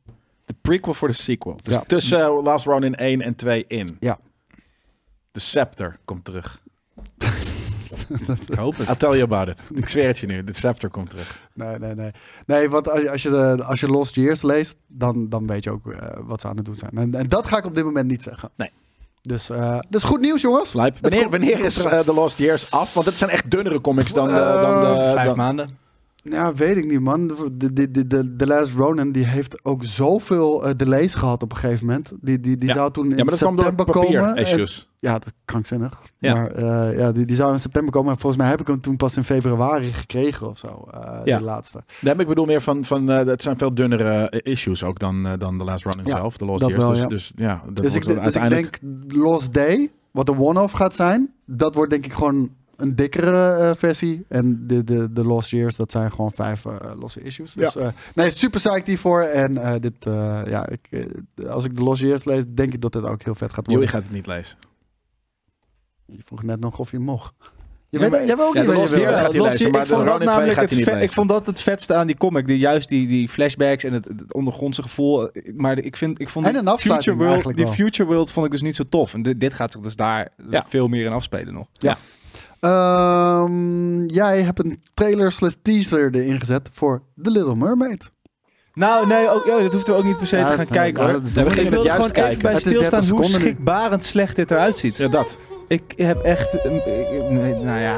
De prequel voor de sequel. Dus Ja. tussen eh, Last Ronin 1 en 2 in. Ja. De scepter komt terug. Ik hoop het. I'll tell you about it. Ik zweer het je nu. De scepter komt terug. Nee, nee, nee. Nee, want als je, als je, de, als je Lost Years leest, dan, dan weet je ook eh, wat ze aan het doen zijn. En, en dat ga ik op dit moment niet zeggen. Nee. Dus, eh dus goed nieuws, jongens. Slijp. Het Wanneer, komt- wanneer is eh, The Lost Years af? Want dit zijn echt dunnere comics dan de... dan Eh, de Vijf dan- maanden. Ja, weet ik niet, man. De, de, de, de, de Last Ronin die heeft ook zoveel eh, delays gehad op een gegeven moment. Die, die, die Ja. zou toen in Ja, maar dat kwam door september komen. papier-issues. En- ja, dat is krankzinnig. Ja. Maar eh, ja, die, die zou in september komen. En volgens mij heb ik hem toen pas in februari gekregen of zo. eh Ja. De laatste. Nee, maar ik bedoel meer van, van eh, het zijn veel dunnere eh, issues ook dan, eh, dan The Last Running Ja, zelf, The Lost dat Years. dus, wel, ja. dus ja, dat dus wordt ik, dan dus uiteindelijk... ik denk Lost Day, wat een one-off gaat zijn, dat wordt denk ik gewoon een dikkere eh, versie. En de, de, de Lost Years, dat zijn gewoon vijf eh, losse issues. Dus, eh, nee, super psyched hiervoor. En eh, dit, eh, ja, ik, eh, als ik de Lost Years lees, denk ik dat dit ook heel vet gaat Joey worden. gaat het niet lezen. Je vroeg net nog of je mocht. Je Ja, weet, maar- jij weet ook ja, niet de wat Lost je wil. Years- gaat hij Los- lezen, ik maar de vond dat Ronin twee namelijk gaat het hij niet vet- Ik lezen. vond dat het vetste aan die comic. Die, juist die, die flashbacks en het, het ondergrondse gevoel. eh, Maar ik, vind, ik vond En die een afsluiting Future World, eigenlijk die wel. Future World vond ik dus niet zo tof. En dit, dit gaat zich dus daar Ja. veel meer in afspelen nog. Ehm, jij hebt een trailer slash teaser erin gezet voor The Little Mermaid. Nou, nee, ook, ja, dat hoefden we ook niet per se Ja, te gaan dat- kijken ja, hoor. dat doen we. ik We gingen wilde het gewoon juist even kijken. bij Het is stilstaan 30 hoe seconden nu. schrikbarend slecht dit eruit ziet. Ja, dat. Ik heb echt... eh, eh, Nou ja...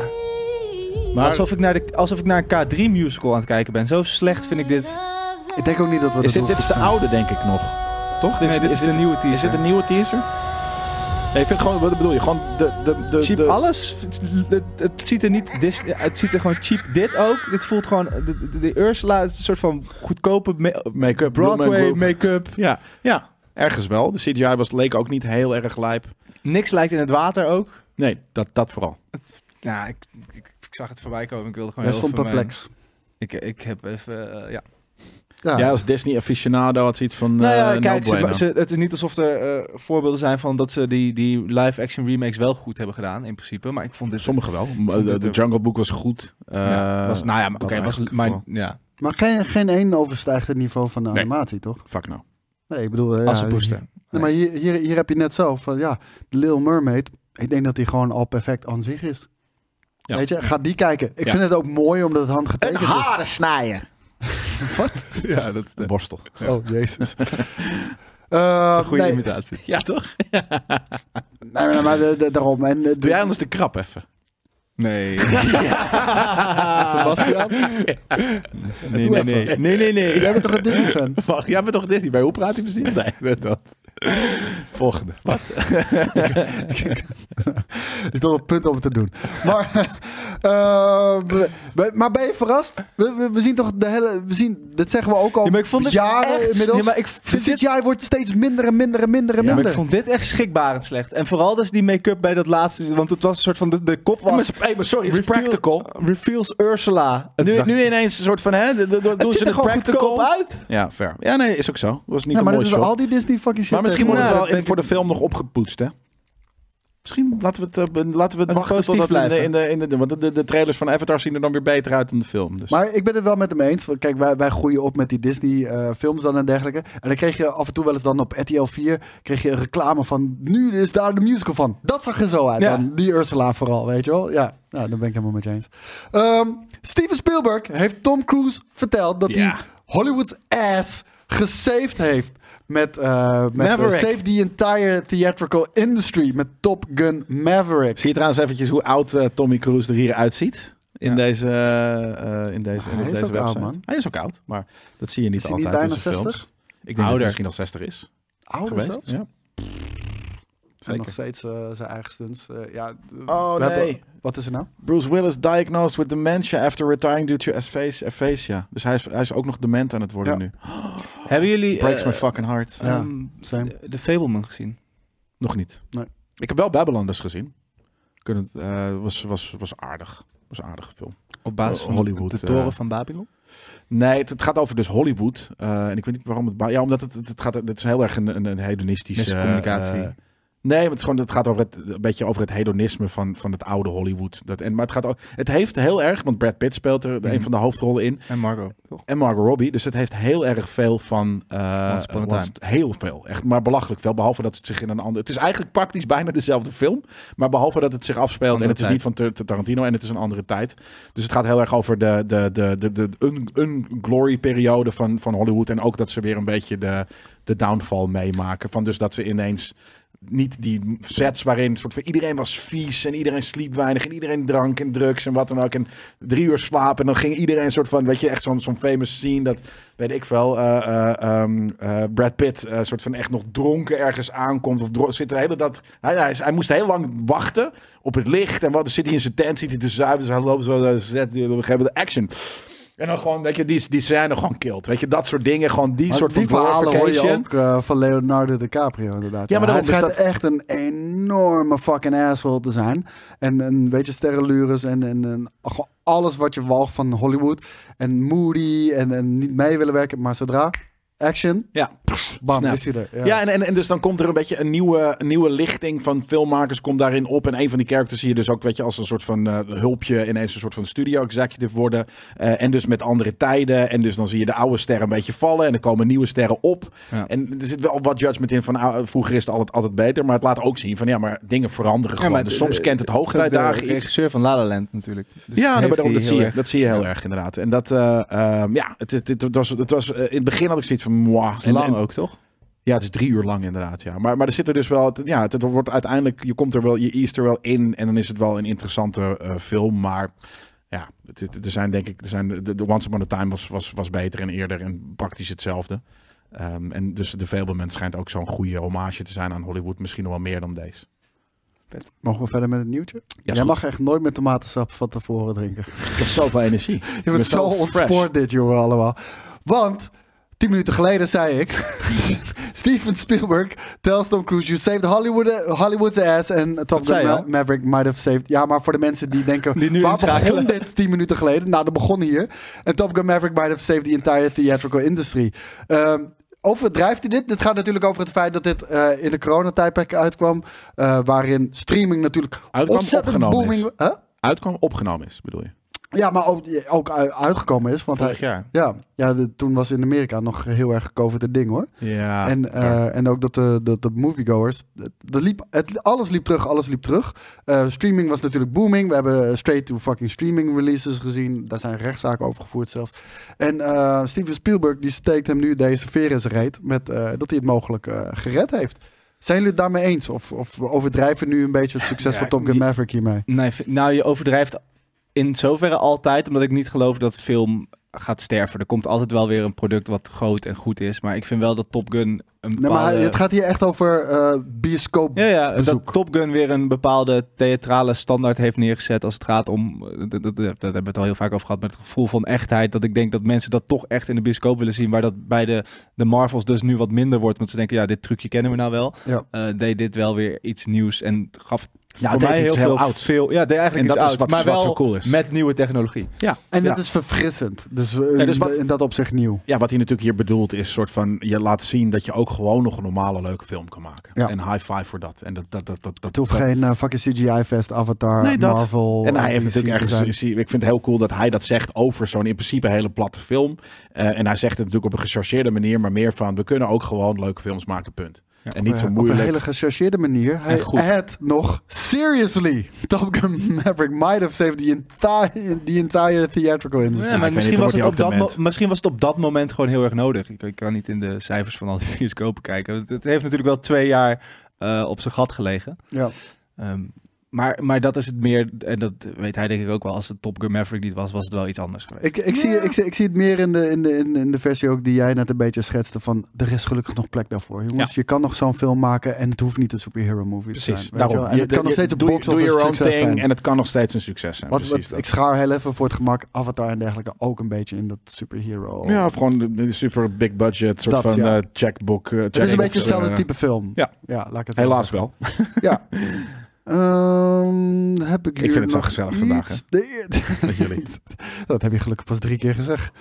Maar Alsof ik, naar de, alsof ik naar een K3-musical aan het kijken ben. Zo slecht vind ik dit. Ik denk ook niet dat we is dit, dat dit is de hoeven te oude, denk ik, nog. Toch? Nee, dit is de nieuwe Is dit teaser. een nieuwe teaser? Nee, ik vind gewoon... Wat bedoel je? Gewoon de... de, de, Cheap de- alles. Het, het, het ziet er niet... Dis, het ziet er gewoon cheap dit ook. Dit voelt gewoon... De, de- de Ursula is een soort van goedkope me- Make-up, Blue Man Broadway Group. make-up. Ja, ja, ergens wel. De CGI was, leek ook niet heel erg lijp. Niks lijkt in het water ook. Nee, dat, dat vooral. Nou, ik, ik, ik zag het voorbij komen. Ik wilde doen. gewoon Jij heel stond even mijn- perplex. Ik, ik heb even... eh, ja. Ja. Ja, als Disney-aficionado had ze iets van... Ah. Nou ja, eh, no kijk, ze- bueno. ze- het is niet alsof er eh, voorbeelden zijn van dat ze die, die live-action remakes wel goed hebben gedaan, in principe. Maar ik vond dit... Sommige wel. De, dit de ook- Jungle Book was goed. Ja, Eh, was, nou ja, maar, dat oké, was, eigenlijk maar wel. ja, Maar geen, geen één overstijgt het niveau van de Nee. animatie, toch? Fuck nou. Nee, ik bedoel... eh, ja, assenpoester. Nee, maar hier, hier, hier heb je net zo van, ja, de Little Mermaid. Ik denk dat die gewoon al perfect aan zich is. Ja. Weet je, ga die kijken. Ik Ja. vind het ook mooi omdat het handgetekend is. snijden. Wat? Ja, dat is de Borstel. Oh, jezus. Eh, goede nee, imitatie. Ja, toch? nee, maar- maar de- de- daarom. En, eh, de- Doe jij anders de krap even. Nee. Ah, Sebastian? Nee, nee, Doe nee. even. Nee, nee, nee. Jij bent toch een Disney-fan? Wacht, jij bent toch Disney? Bij hoe praat hij precies? Nee, weet dat. Volgende. Wat? is toch een punt om het te doen. Maar, eh, we- we- maar ben je verrast? We, we, we zien toch de hele... We zien, dat zeggen we ook al Ja, maar ik vond het jaren echt- inmiddels. ja, maar ik vind dit dit- jaar wordt steeds minder en minder en minder en Ja, maar minder. ik vond dit echt schrikbarend slecht. En vooral dus die make-up bij dat laatste, want het was een soort van, de, de kop was... hey, maar sorry, Reveal- Reveals Ursula. En toen Nu, dacht ik, nu ineens een soort van, hè, de- de- de- doen het ze ziet er de gewoon goedkoop practical? uit. Ja, fair. Ja, nee, is ook zo. Was niet Ja, een maar dat mooi is shot. al die Disney fucking shit. Maar misschien wordt het tegenwoordig. Nou, wel dat in, denk voor de film nog opgepoetst, hè? Misschien laten we het, eh, be- laten we het Laten we wachten positief tot in de, blijven. in de, in de, want de, de, de trailers van Avatar zien er dan weer beter uit dan de film. Dus. Maar ik ben het wel met hem eens. Want kijk, wij, wij groeien op met die Disney-films dan en dergelijke. En dan kreeg je af en toe wel eens dan op RTL 4... kreeg je een reclame van... nu is daar de musical van. Dat zag er zo uit Ja. dan. Die Ursula vooral, weet je wel. Ja, nou, daar ben ik helemaal met je eens. Ehm, Steven Spielberg heeft Tom Cruise verteld... dat Ja. hij Hollywood's ass gesaved heeft... Met, eh met eh, Maverick. Save the Entire Theatrical Industry met Top Gun Maverick. Zie je trouwens eventjes hoe oud eh, Tommy Cruise er hier uitziet? In deze, eh, eh, in deze, Ah, in hij is deze ook website. oud, man. Hij is ook oud, maar dat zie je niet Is hij niet altijd bijna in zijn 60? films. Ik denk dat hij Ouder. misschien al 60 is Ouder geweest. zelfs? Ja. En nog Zeker. steeds eh, zijn eigen stunts. Eh, ja, Oh, we hebben- nee. wat is er nou? Bruce Willis diagnosed with dementia after retiring due to aspha- aphasia. Dus hij is, hij is ook nog dement aan het worden Ja. nu. Hebben jullie Breaks eh, my fucking heart. Ja, ehm, same. de- de Fableman gezien? Nog niet. Nee. Ik heb wel Babylanders gezien. Kunnen, eh was, was, was aardig. Was een aardige film. Op basis van Hollywood, de eh, toren van Babylon? Nee, het, het gaat over dus Hollywood. Eh, en ik weet niet waarom het... ba- Ja, omdat het, het gaat... Het is heel erg een, een, een hedonistische... Miscommunicatie. eh, Nee, maar het, is gewoon, het gaat over het, een beetje over het hedonisme van, van het oude Hollywood. Dat, en, maar het, gaat ook, het heeft heel erg, want Brad Pitt speelt er een van de hoofdrollen in. En Margot, toch? En Margot Robbie. Dus het heeft heel erg veel van... eh, Once Upon a Heel veel. Echt, maar belachelijk veel. Behalve dat het zich in een ander... Het is eigenlijk praktisch bijna dezelfde film. Maar behalve dat het zich afspeelt. Andere en het is tijd. niet van Tar- Tar- Tarantino. En het is een andere tijd. Dus het gaat heel erg over de, de, de, de, de un, glory periode van, van Hollywood. En ook dat ze weer een beetje de, de downfall meemaken. Van dus dat ze ineens... Niet die sets waarin soort van iedereen was vies en iedereen sliep weinig en iedereen drank en drugs en wat dan ook. En drie uur slapen en dan ging iedereen soort van, weet je, echt zo'n zo'n famous scene dat, weet ik veel, eh, eh, ehm, eh, Brad Pitt eh, soort van echt nog dronken ergens aankomt of dro- zit de hele dat hij, hij, is- hij moest heel lang wachten op het licht en wat dan zit hij in zijn tent, zit hij te zuipen, dus hij loopt zo, eh, zet, we hebben de action. En dan gewoon, weet je, die, die scène gewoon kilt. Weet je, dat soort dingen. Gewoon die Maar soort die van verhalen hoor je glorification. ook eh, van Leonardo DiCaprio inderdaad. Ja, maar hij daarom, dus schijnt dat- echt een enorme fucking asshole te zijn. En een beetje sterrenlures en, en, en gewoon alles wat je walgt van Hollywood. En moody en, en niet mee willen werken. Maar zodra action, Ja, bam, Snap. is hij er. Ja, en, en, en dus dan komt er een beetje een nieuwe, een nieuwe lichting van filmmakers komt daarin op. En een van die characters zie je dus ook, weet je, als een soort van eh, hulpje ineens een soort van studio-executive worden. Eh, en dus met andere tijden. En dus dan zie je de oude sterren een beetje vallen en er komen nieuwe sterren op. Ja. En er zit wel wat judgment in van ah, vroeger is het altijd, altijd beter. Maar het laat ook zien van ja, maar dingen veranderen gewoon. maar dus het- soms kent het de hoogtijdagen iets. regisseur van La La Land natuurlijk. Dus ja, heeft nee, maar daarom, dat, hij heel zie je, erg- dat zie je heel Ja. erg inderdaad. En dat, eh, ehm, ja, het, het, het was, het was, eh, in het begin had ik zoiets van, moi. Het is lang ook, toch? Ja, het is drie uur lang inderdaad. Ja. Maar, maar er zit er dus wel. het- Ja, het, het wordt uiteindelijk. Je komt er wel. Je east er wel in. En dan is het wel een interessante eh, film. Maar ja, het, het- er zijn denk ik. Er zijn, de, de Once Upon a Time was, was, was beter en eerder. En praktisch hetzelfde. Ehm, en dus de Fableman schijnt ook zo'n goede hommage te zijn aan Hollywood. Misschien nog wel meer dan deze. Mogen we verder met het nieuwtje? is Jij goed. mag echt nooit met tomatensap van tevoren drinken. Ik heb zoveel energie. Je bent zo ontspoord dit, jongen, allemaal. Want, tien minuten geleden zei ik... Steven Spielberg tells Tom Cruise... You saved Hollywood, Hollywood's ass. En Top Gun zei je Ma- al? Maverick might have saved... Ja, maar voor de mensen die denken... Die nu waar inschakelen. begon dit tien minuten geleden? Nou, dat begon hier. En Top Gun Maverick might have saved the entire theatrical industry. Ehm, Overdrijft hij dit? Dit gaat natuurlijk over het feit dat dit eh, in de coronatijdperk uitkwam. eh, waarin streaming natuurlijk Uitkwam, ontzettend opgenomen booming... is. Huh? Uitkwam opgenomen is, bedoel je? Ja, maar ook, ook u- uitgekomen is. Want Vorig hij- jaar. Ja, ja de- toen was in Amerika nog heel erg COVID een ding hoor. Ja. en, eh, en ook dat de, dat de moviegoers. Dat liep, het, alles liep terug, alles liep terug. Eh, streaming was natuurlijk booming. We hebben straight to fucking streaming releases gezien. Daar zijn rechtszaken over gevoerd zelfs. En eh, Steven Spielberg die steekt hem nu deze veer in zijn reet. Met, eh, dat hij het mogelijk eh, gered heeft. Zijn jullie het daarmee eens? Of, of we overdrijven nu een beetje het succes Ja, van Top Gun je- Maverick hiermee? Nee, v- nou, je overdrijft in zoverre altijd, omdat ik niet geloof dat film gaat sterven. Er komt altijd wel weer een product wat groot en goed is. Maar ik vind wel dat Top Gun een Nee, bepaalde... maar hij- het gaat hier echt over eh bioscoop Ja, ja bezoek. dat Top Gun weer een bepaalde theatrale standaard heeft neergezet als het gaat om, eh, dat, dat, dat- daar hebben we het al heel vaak over gehad, met het gevoel van echtheid, dat ik denk dat mensen dat toch echt in de bioscoop willen zien, waar dat bij de, de Marvels dus nu wat minder wordt, want ze denken, ja, dit trucje kennen we nou wel. Ja. Eh, deed dit wel weer iets nieuws en gaf Ja, voor deed mij iets heel heel veel, ouds. veel... Ja, deed eigenlijk En iets dat is ouds, wat- maar wat wel zo cool is. met nieuwe technologie. ja. En ja. dat is verfrissend. Dus, eh, Ja, dus wat- in dat opzicht nieuw. Ja, wat hij natuurlijk hier bedoelt is soort van je laat zien dat je ook gewoon nog een normale leuke film kan maken. Ja. En high five voor dat. En dat dat dat dat dat. Het hoeft dat- geen eh, fucking CGI-fest, Avatar, Nee, dat. Marvel. en hij eh, heeft DC natuurlijk te ergens. zijn. Ik zie- Ik vind het heel cool dat hij dat zegt over zo'n in principe hele platte film. Eh, en hij zegt het natuurlijk op een gechargeerde manier, maar meer van we kunnen ook gewoon leuke films maken, punt. en niet Ja, zo Op een moeilijk. hele gechargeerde manier. Hij goed. had nog seriously. Top Gun Maverick might have saved the entire, the entire theatrical industry. Ja, maar Dus weet niet, misschien, was dan het wordt op hij dat ook mo- misschien was het op dat moment gewoon heel erg nodig. Ik, ik kan niet in de cijfers van al die bioscopen kijken. Het, het heeft natuurlijk wel twee jaar eh, op zijn gat gelegen. Ja. Ehm, maar, maar dat is het meer, en dat weet hij denk ik ook wel, als het Top Gun Maverick niet was, was het wel iets anders geweest. Ik, ik, zie, ik, zie, ik zie het meer in de, in, de, in, in de versie ook die jij net een beetje schetste. Van, er is gelukkig nog plek daarvoor. Jongens, Ja. je kan nog zo'n film maken en het hoeft niet een superhero movie te Precies. zijn. weet je Daarom. wel. En het Je- kan nog je- steeds een doe- box doe office your own succes thing zijn. En het kan nog steeds een succes zijn. Wat, precies wat, dat. ik schaar heel even voor het gemak Avatar en dergelijke ook een beetje in dat superhero. Ja, of gewoon de- de super big budget, soort Dat, van ja. eh, checkbook. eh, het is een checkbook, beetje hetzelfde eh, type film. ja. laat ik het zo Helaas zeggen. wel. Ja. Ehm, heb ik Ik hier vind het zo nog gezellig iets? vandaag, hè? De- Met jullie. dat heb je gelukkig pas drie keer gezegd.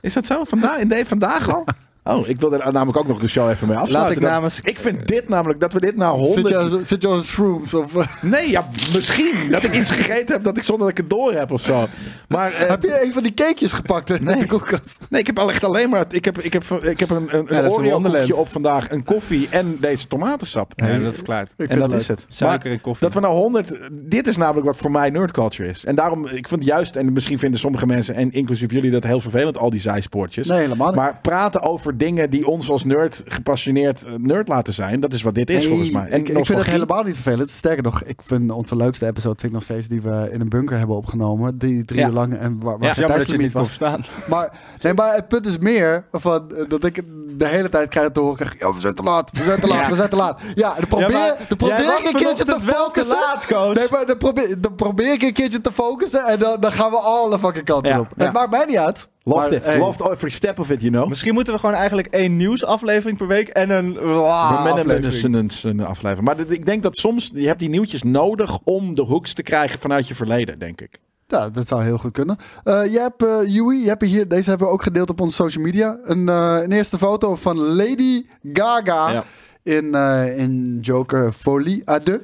Is dat zo? Vandaag, in de, vandaag al? Oh, ik wil daar namelijk ook nog de show even mee afsluiten. ik Dat- namens- ik vind dit namelijk, dat we dit na Zit je, honderd... aan- zit je aan shrooms? Of, eh, Nee, ja, misschien. Dat ik iets gegeten heb dat ik zonder dat ik het door heb of zo. Maar eh, heb je een van die cakejes gepakt hè, uit de koelkast? nee, ik heb al echt alleen maar... Ik heb, ik heb, ik heb een, een, Ja, een dat is een Oreo koekje wonderland. op vandaag, een koffie en deze tomatensap. Ja, dat verklaart. vind En dat het is leuk. het. Suiker Maar en koffie. Dat we nou 100. Dit is namelijk wat voor mij nerdculture is. En daarom, ik vind juist, en misschien vinden sommige mensen, en inclusief jullie, dat heel vervelend, al die zijspoortjes. Nee, helemaal niet. Maar praten over dingen die ons als nerd gepassioneerd eh, nerd laten zijn, dat is wat dit is Nee, volgens mij. En ik, ik vind het nostalgie. helemaal niet vervelend. Sterker nog, ik vind onze leukste episode vind ik nog steeds die we in een bunker hebben opgenomen. Die drie Ja. uur lang en waar, Ja, Jammer waar geen dat je het tijdslimiet niet kon was. verstaan. Maar, nee, maar het punt is meer van, eh, dat ik de hele tijd krijg te horen. krijg, Ja, we zijn te laat, we zijn te laat, we zijn te laat. Ja, dan probeer, Ja, maar dan probeer jij was ik een keertje te vanochtend wel te focussen. laat, Koos. Nee, maar dan probeer, dan probeer ik een keertje te focussen en dan, dan gaan we alle fucking kanten Ja, op. ja. Het maakt mij niet uit. Loved maar, it. hey, Loved every step of it, you know. Misschien moeten we gewoon eigenlijk één nieuwsaflevering per week en een Maar bla- met een- met aflevering. een- een een aflevering. Maar dit- ik denk dat soms, je hebt die nieuwtjes nodig om de hooks te krijgen vanuit je verleden, denk ik. Ja, dat zou heel goed kunnen. Eh je hebt, eh Yui, je hebt hier, deze hebben we ook gedeeld op onze social media. Een, eh, een eerste foto van Lady Gaga Ja. in, eh, in Joker Folie à deux.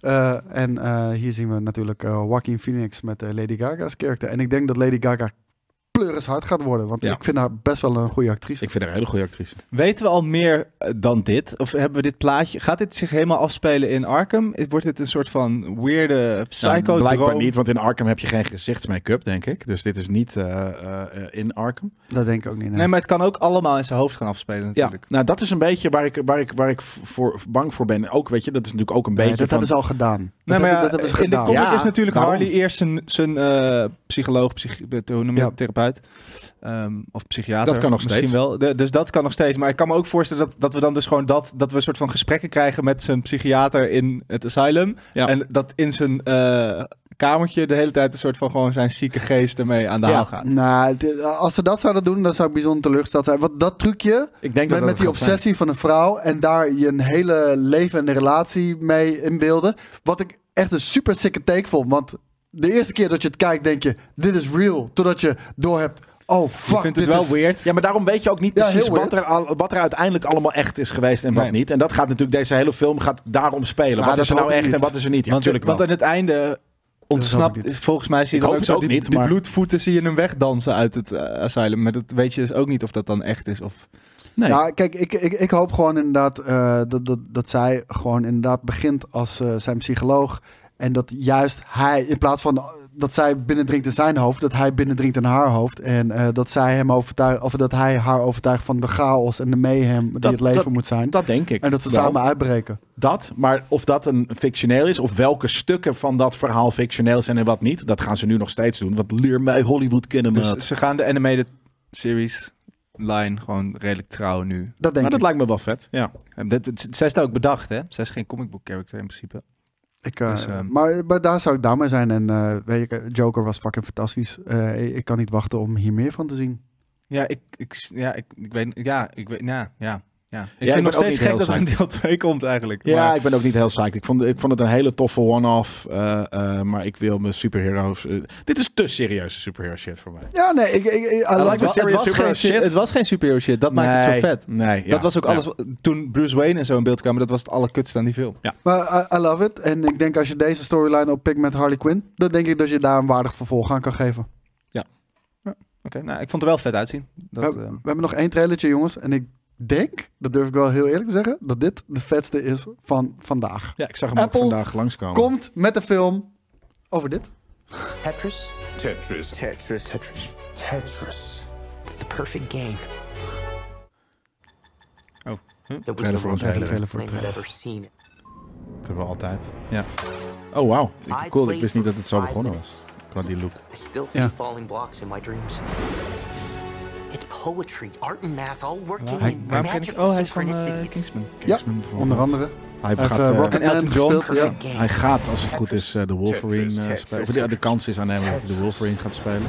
Eh, en eh, hier zien we natuurlijk eh, Joaquin Phoenix met eh, Lady Gaga's karakter. En ik denk dat Lady Gaga pleuris hard gaat worden. Want Ja. ik vind haar best wel een goede actrice. Ik vind haar een hele goede actrice. Weten we al meer eh, dan dit? Of hebben we dit plaatje... Gaat dit zich helemaal afspelen in Arkham? Wordt dit een soort van weirde psycho Nou, blijkbaar niet, want in Arkham heb je geen gezichtsmake-up, denk ik. Dus dit is niet eh, eh, eh, in Arkham. Dat denk ik ook niet. nee. Nee, maar het kan ook allemaal in zijn hoofd gaan afspelen natuurlijk. nou dat is een beetje waar ik, waar ik, waar ik voor, bang voor ben. Ook, weet je, dat is natuurlijk ook een Nee, beetje dat van... hebben ze al gedaan. Nee, dat, maar hebben- ja, eh, dat hebben ze in de gedaan. comic Ja, is natuurlijk daarom. Harley eerst zijn, zijn eh, psycholoog, psych, hoe noem je Ja. dat, therapeut. Ehm, of psychiater. Dat kan nog misschien steeds. wel. De- dus dat kan nog steeds. Maar ik kan me ook voorstellen dat, dat we dan dus gewoon dat, dat we een soort van gesprekken krijgen met zijn psychiater in het asylum. Ja. En dat in zijn eh, kamertje de hele tijd een soort van gewoon zijn zieke geest ermee aan de Ja. haal gaat. Nou, dit- als ze dat zouden doen, dan zou ik bijzonder teleurgesteld zijn. Want dat trucje, Ik denk dat dat met, met die het gaat obsessie van een vrouw en daar je een hele leven en een relatie mee inbeelden. Wat ik echt een super sikke take vond. Want de eerste keer dat je het kijkt, denk je: dit is real. Totdat je doorhebt: oh fuck. Ik vind dit het wel is... weird. zijn. Ja, maar daarom weet je ook niet Ja, precies heel wat er, weird. al- wat er uiteindelijk allemaal echt is geweest en wat Nee. niet. En dat gaat natuurlijk, deze hele film gaat daarom spelen. Nou, wat is dat er nou hoop ik echt en niet. wat is er niet? Ja, want, natuurlijk wel. want aan het einde ontsnapt, hoop ik volgens mij zie Ik je dan hoop ook het zo ook die, niet, die maar- bloedvoeten zie je hem wegdansen uit het eh, asylum. Maar dat weet je dus ook niet of dat dan echt is of... nee. Nou, kijk, ik, ik, ik hoop gewoon inderdaad eh, dat, dat, dat zij gewoon inderdaad begint als eh, zijn psycholoog. En dat juist hij, in plaats van eh, dat zij binnendringt in zijn hoofd, dat hij binnendringt in haar hoofd. En eh, dat zij hem overtuigt, of dat hij haar overtuigt van de chaos en de mayhem die Dat- het leven dat- moet zijn. dat denk ik. en dat ze wel. samen uitbreken. Dat, maar of dat een fictioneel is, of welke stukken van dat verhaal fictioneel zijn en wat niet, dat gaan ze nu nog steeds doen. Want leer mij Hollywood kennen, Dus maat. ze gaan de animated series line gewoon redelijk trouw nu. Dat denk Maar dat ik. lijkt me wel vet. Ja. En dit- dit- Zij is daar ook bedacht, hè? Zij is geen comic book character in principe. Ik, eh, Dus, ehm, maar, maar daar zou ik daar maar zijn. En eh, weet je, Joker was fucking fantastisch. Eh, ik kan niet wachten om hier meer van te zien. Ja, ik, ik, ja, ik, ik weet... Ja, ik weet... Ja, ja. ja. Ik ik vind ben nog ook steeds niet gek heel dat er een psyched. deel 2 komt eigenlijk. Ja, maar- ik ben ook niet heel psyched. Ik vond, ik vond het een hele toffe one-off. eh, eh, maar ik wil mijn superheroes... eh, dit is te serieuze superhero shit voor mij. Ja, nee, ik, ik, I lijkt like me het, wa- that. wel- serious het, was superhero geen, su- shit. het was geen superhero shit. Dat maakt het zo Nee, vet. Nee, ja. dat was ook Ja. alles... Toen Bruce Wayne en zo in beeld kwamen, dat was het allerkutste aan die film. Maar eh, I, I love it. En ik denk als je deze storyline oppikt met Harley Quinn, dan denk ik dat je daar een waardig vervolg aan kan geven. Oké, nou, ik vond het wel vet uitzien. Dat, we, eh, we hebben nog één trailertje, jongens. En ik denk, dat durf ik wel heel eerlijk te zeggen, dat dit de vetste is van vandaag. Ja, ik zag hem ook Apple, vandaag langskomen. Komt met de film over dit. Tetris? Tetris. Tetris, Tetris. Tetris. It's the perfect game. Oh, It was Trailer the voor worst een trailer. game Trailer voor een thing I've ever seen. Dat hebben we altijd. Ja. Oh, wauw. Ik- Cool, ik wist niet dat het zo begonnen was. Qua die look. I still see Ja. falling blocks in my dreams. It's poetry, art and math all working Hij- in waarom ken ik- magical oh, hij is van eh, synchronicity. It's Kingsman. Kingsman ja, bijvoorbeeld. onder andere. Hij Hij gaat, heeft, eh, eh, Rocketman Elton John. gespeeld. the perfect game. Hij gaat, als het goed is, eh, de Wolverine eh, spelen. Of, ja, de kans is aan hem dat hij de Wolverine gaat spelen.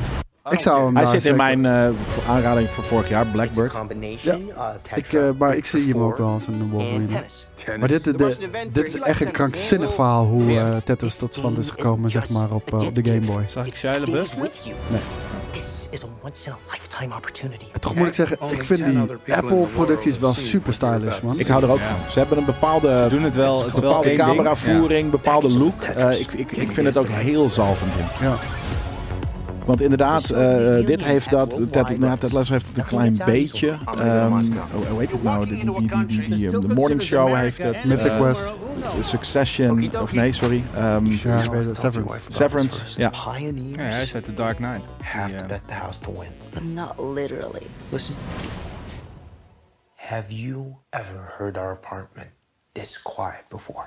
Ik zou hem Hij daar zit in zeker- mijn eh, aanrading van vorig jaar, It's a Blackbird. combination of Tetris, Ik, eh, maar ik zie hem ook wel als een and Wolverine. tennis. Maar dit, dit- dit is echt een krankzinnig verhaal hoe eh, Tetris tot stand is gekomen, zeg maar, op, eh, op de Game Boy. Zag ik It Shia LaBeouf? stays with you. This is a once in a lifetime opportunity. En toch moet ik zeggen, ik vind die Apple-producties wel super stylish, man. Ik hou er ook van. Ze hebben een bepaalde, Ze doen het wel- het is wel bepaalde één ding. cameravoering, bepaalde look. Eh, ik, ik, ik vind het ook heel zalvend. ja. Ja. Want inderdaad, eh, eh, dit heeft dat. Ted, nou, Ted Lasso heeft het een klein beetje. ehm, hoe- hoe heet het nou? De, die, die, die, die, die, eh, de Morning Show heeft het. Mythic eh, Quest. Succession. Of nee, sorry. ehm, Ja, ik weet het, Severance. Severance. Ja. Pioneers Ja, hij is uit The Dark Knight. have Die, to eh, bet the house to win. but not literally. Listen. Have you ever heard our apartment this quiet before?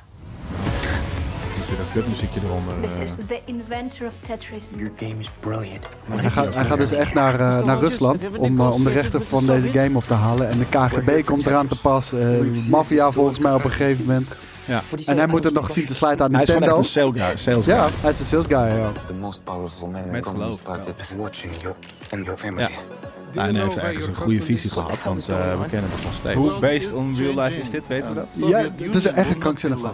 Er zit een clubmuziekje eronder. This is eh. the inventor of Tetris. Your game is brilliant. Hij gaat, hij gaat dus echt naar, eh, naar Rusland om, eh, om de rechten van deze game op te halen. En de KGB komt eraan te pas. eh Mafia volgens mij op een gegeven moment. Ja. En hij moet het nog zien te slijten aan Hij is gewoon Nintendo. echt een sale guy- sales guy. Ja, hij is een sales guy. Ja. The most powerful man in Met Gotham geloof, started ja. watching you and your family. Ja. Nou, en hij heeft ergens een goede visie gehad, want eh, we kennen het nog steeds. Hoe based on real life is dit, weten we dat? Ja, het is er echt een krankzinnig van.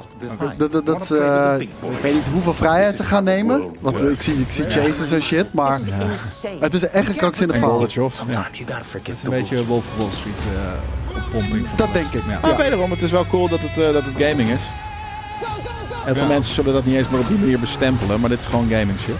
Dat, dat, dat ze, eh, ik weet niet hoeveel vrijheid ze gaan nemen. Want eh, ik zie, ik zie chases en shit, maar het is er echt een krankzinnig En verhaal. Gorbachev. Ja. Sometimes you gotta forget Het is the een beetje rules. Wolf of Wall Street eh oppomping. van Dat alles. denk ik. Ja. Maar wederom, het is wel cool dat het, eh, dat het gaming is. En veel mensen zullen dat niet eens meer op die manier bestempelen, maar dit is gewoon gaming shit.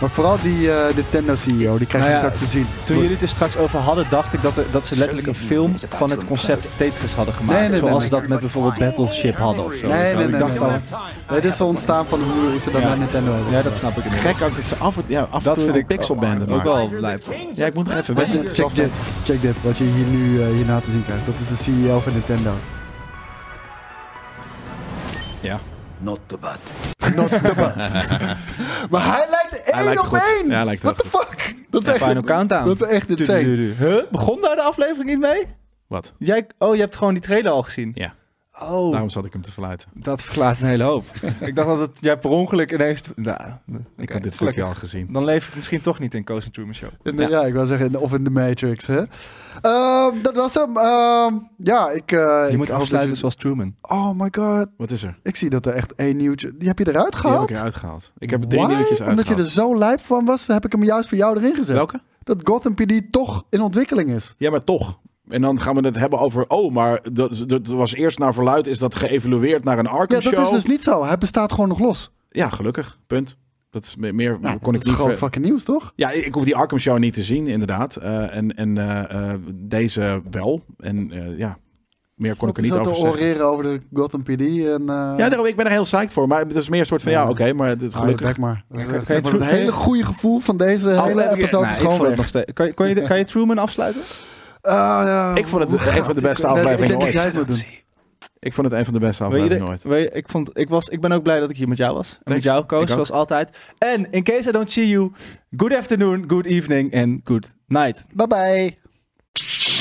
Maar vooral die eh, Nintendo-CEO, die krijg Nou je ja, straks te zien. Toen jullie het er straks over hadden, dacht ik dat, er- dat ze letterlijk een film van het concept Tetris hadden gemaakt. Nee, nee, nee, Zoals ze nee. dat met bijvoorbeeld Battleship hadden of zo. Nee, nee, Ik nee, dacht nee, al- nee. Het is al ontstaan van hoe ze dat Ja. naar Nintendo hebben. Ja, dat snap ik inmiddels. Gek ook dat ze af, en- ja, af en Dat toe vind een ik pixelbanden ook maken. wel lijp. Ja, ik moet nog even Met- weten. check, dit, check dit, wat je hier nu eh, hierna te zien krijgt. Dat is de CEO van Nintendo. Ja. Not too bad. Maar hij lijkt één lijkt op goed. één! Ja, hij lijkt What the heel fuck? Dat is echt, Final Countdown. dat is echt insane. Huh? Begon daar de aflevering niet mee? Wat? Jij, oh, je hebt gewoon die trailer al gezien. Ja. Oh, Daarom zat ik hem te verluiten. dat verklaart een hele hoop. ik dacht dat het, jij per ongeluk ineens... Nou, Ik had dit stukje al gezien. Dan leef ik misschien toch niet in Coast and Truman Show. In de- ja. ik wou zeggen, in de- of in de Matrix, hè. Ehm, dat was hem. Ehm, ja, ik... eh, Je ik moet hoop afsluiten dat je- zoals Truman. Oh my god. Wat is er? Ik zie dat er echt één nieuwtje... Die heb je eruit Die heb gehaald? ik eruit gehaald. Ik heb er drie Why? nieuwtjes Omdat je dus- er uitgehaald. zo lijp van was, heb ik hem juist voor jou erin gezet. Welke? Dat Gotham PD toch in ontwikkeling is. Ja, maar toch. En dan gaan we het hebben over, oh, maar dat, dat was eerst naar verluid, is dat geëvalueerd naar een Ja, Arkham dat show. is dus niet zo. Hij bestaat gewoon nog los. Ja, gelukkig. Punt. Dat is me- meer, Ja, Nou, kon dat ik is niet groot ver- fucking nieuws, toch? Ja, ik hoef die Arkham Show niet te zien, inderdaad. Eh, en en eh, eh, deze wel. En eh, ja, meer kon ik er niet zat over te zeggen. oreren over de Gotham PD en... eh, Ja, daarom, ik ben er heel psyched voor. Maar het is meer een soort van, ja, oké, maar het, hou je gelukkig. bek maar. Oh, Dat is echt, zeg maar, Truman- het hele goede gevoel van deze hele episode is Nou, ik gewoon vond het weg. nog steeds. Kan, je- kan, je, kan je Truman afsluiten? Ah, ja. Ik vond het een van de beste Ik- nee, afleveringen Ik denk dat ooit. jij het moet doen. Ik vond het een van de beste Wil je afleveringen de- ooit. wil je- ik, vond, ik, was, ik ben ook blij dat ik hier met jou was. En met Thanks. jou, Koos, Ik ook. zoals altijd. En in case I don't see you, good afternoon, good evening en good night. Bye bye.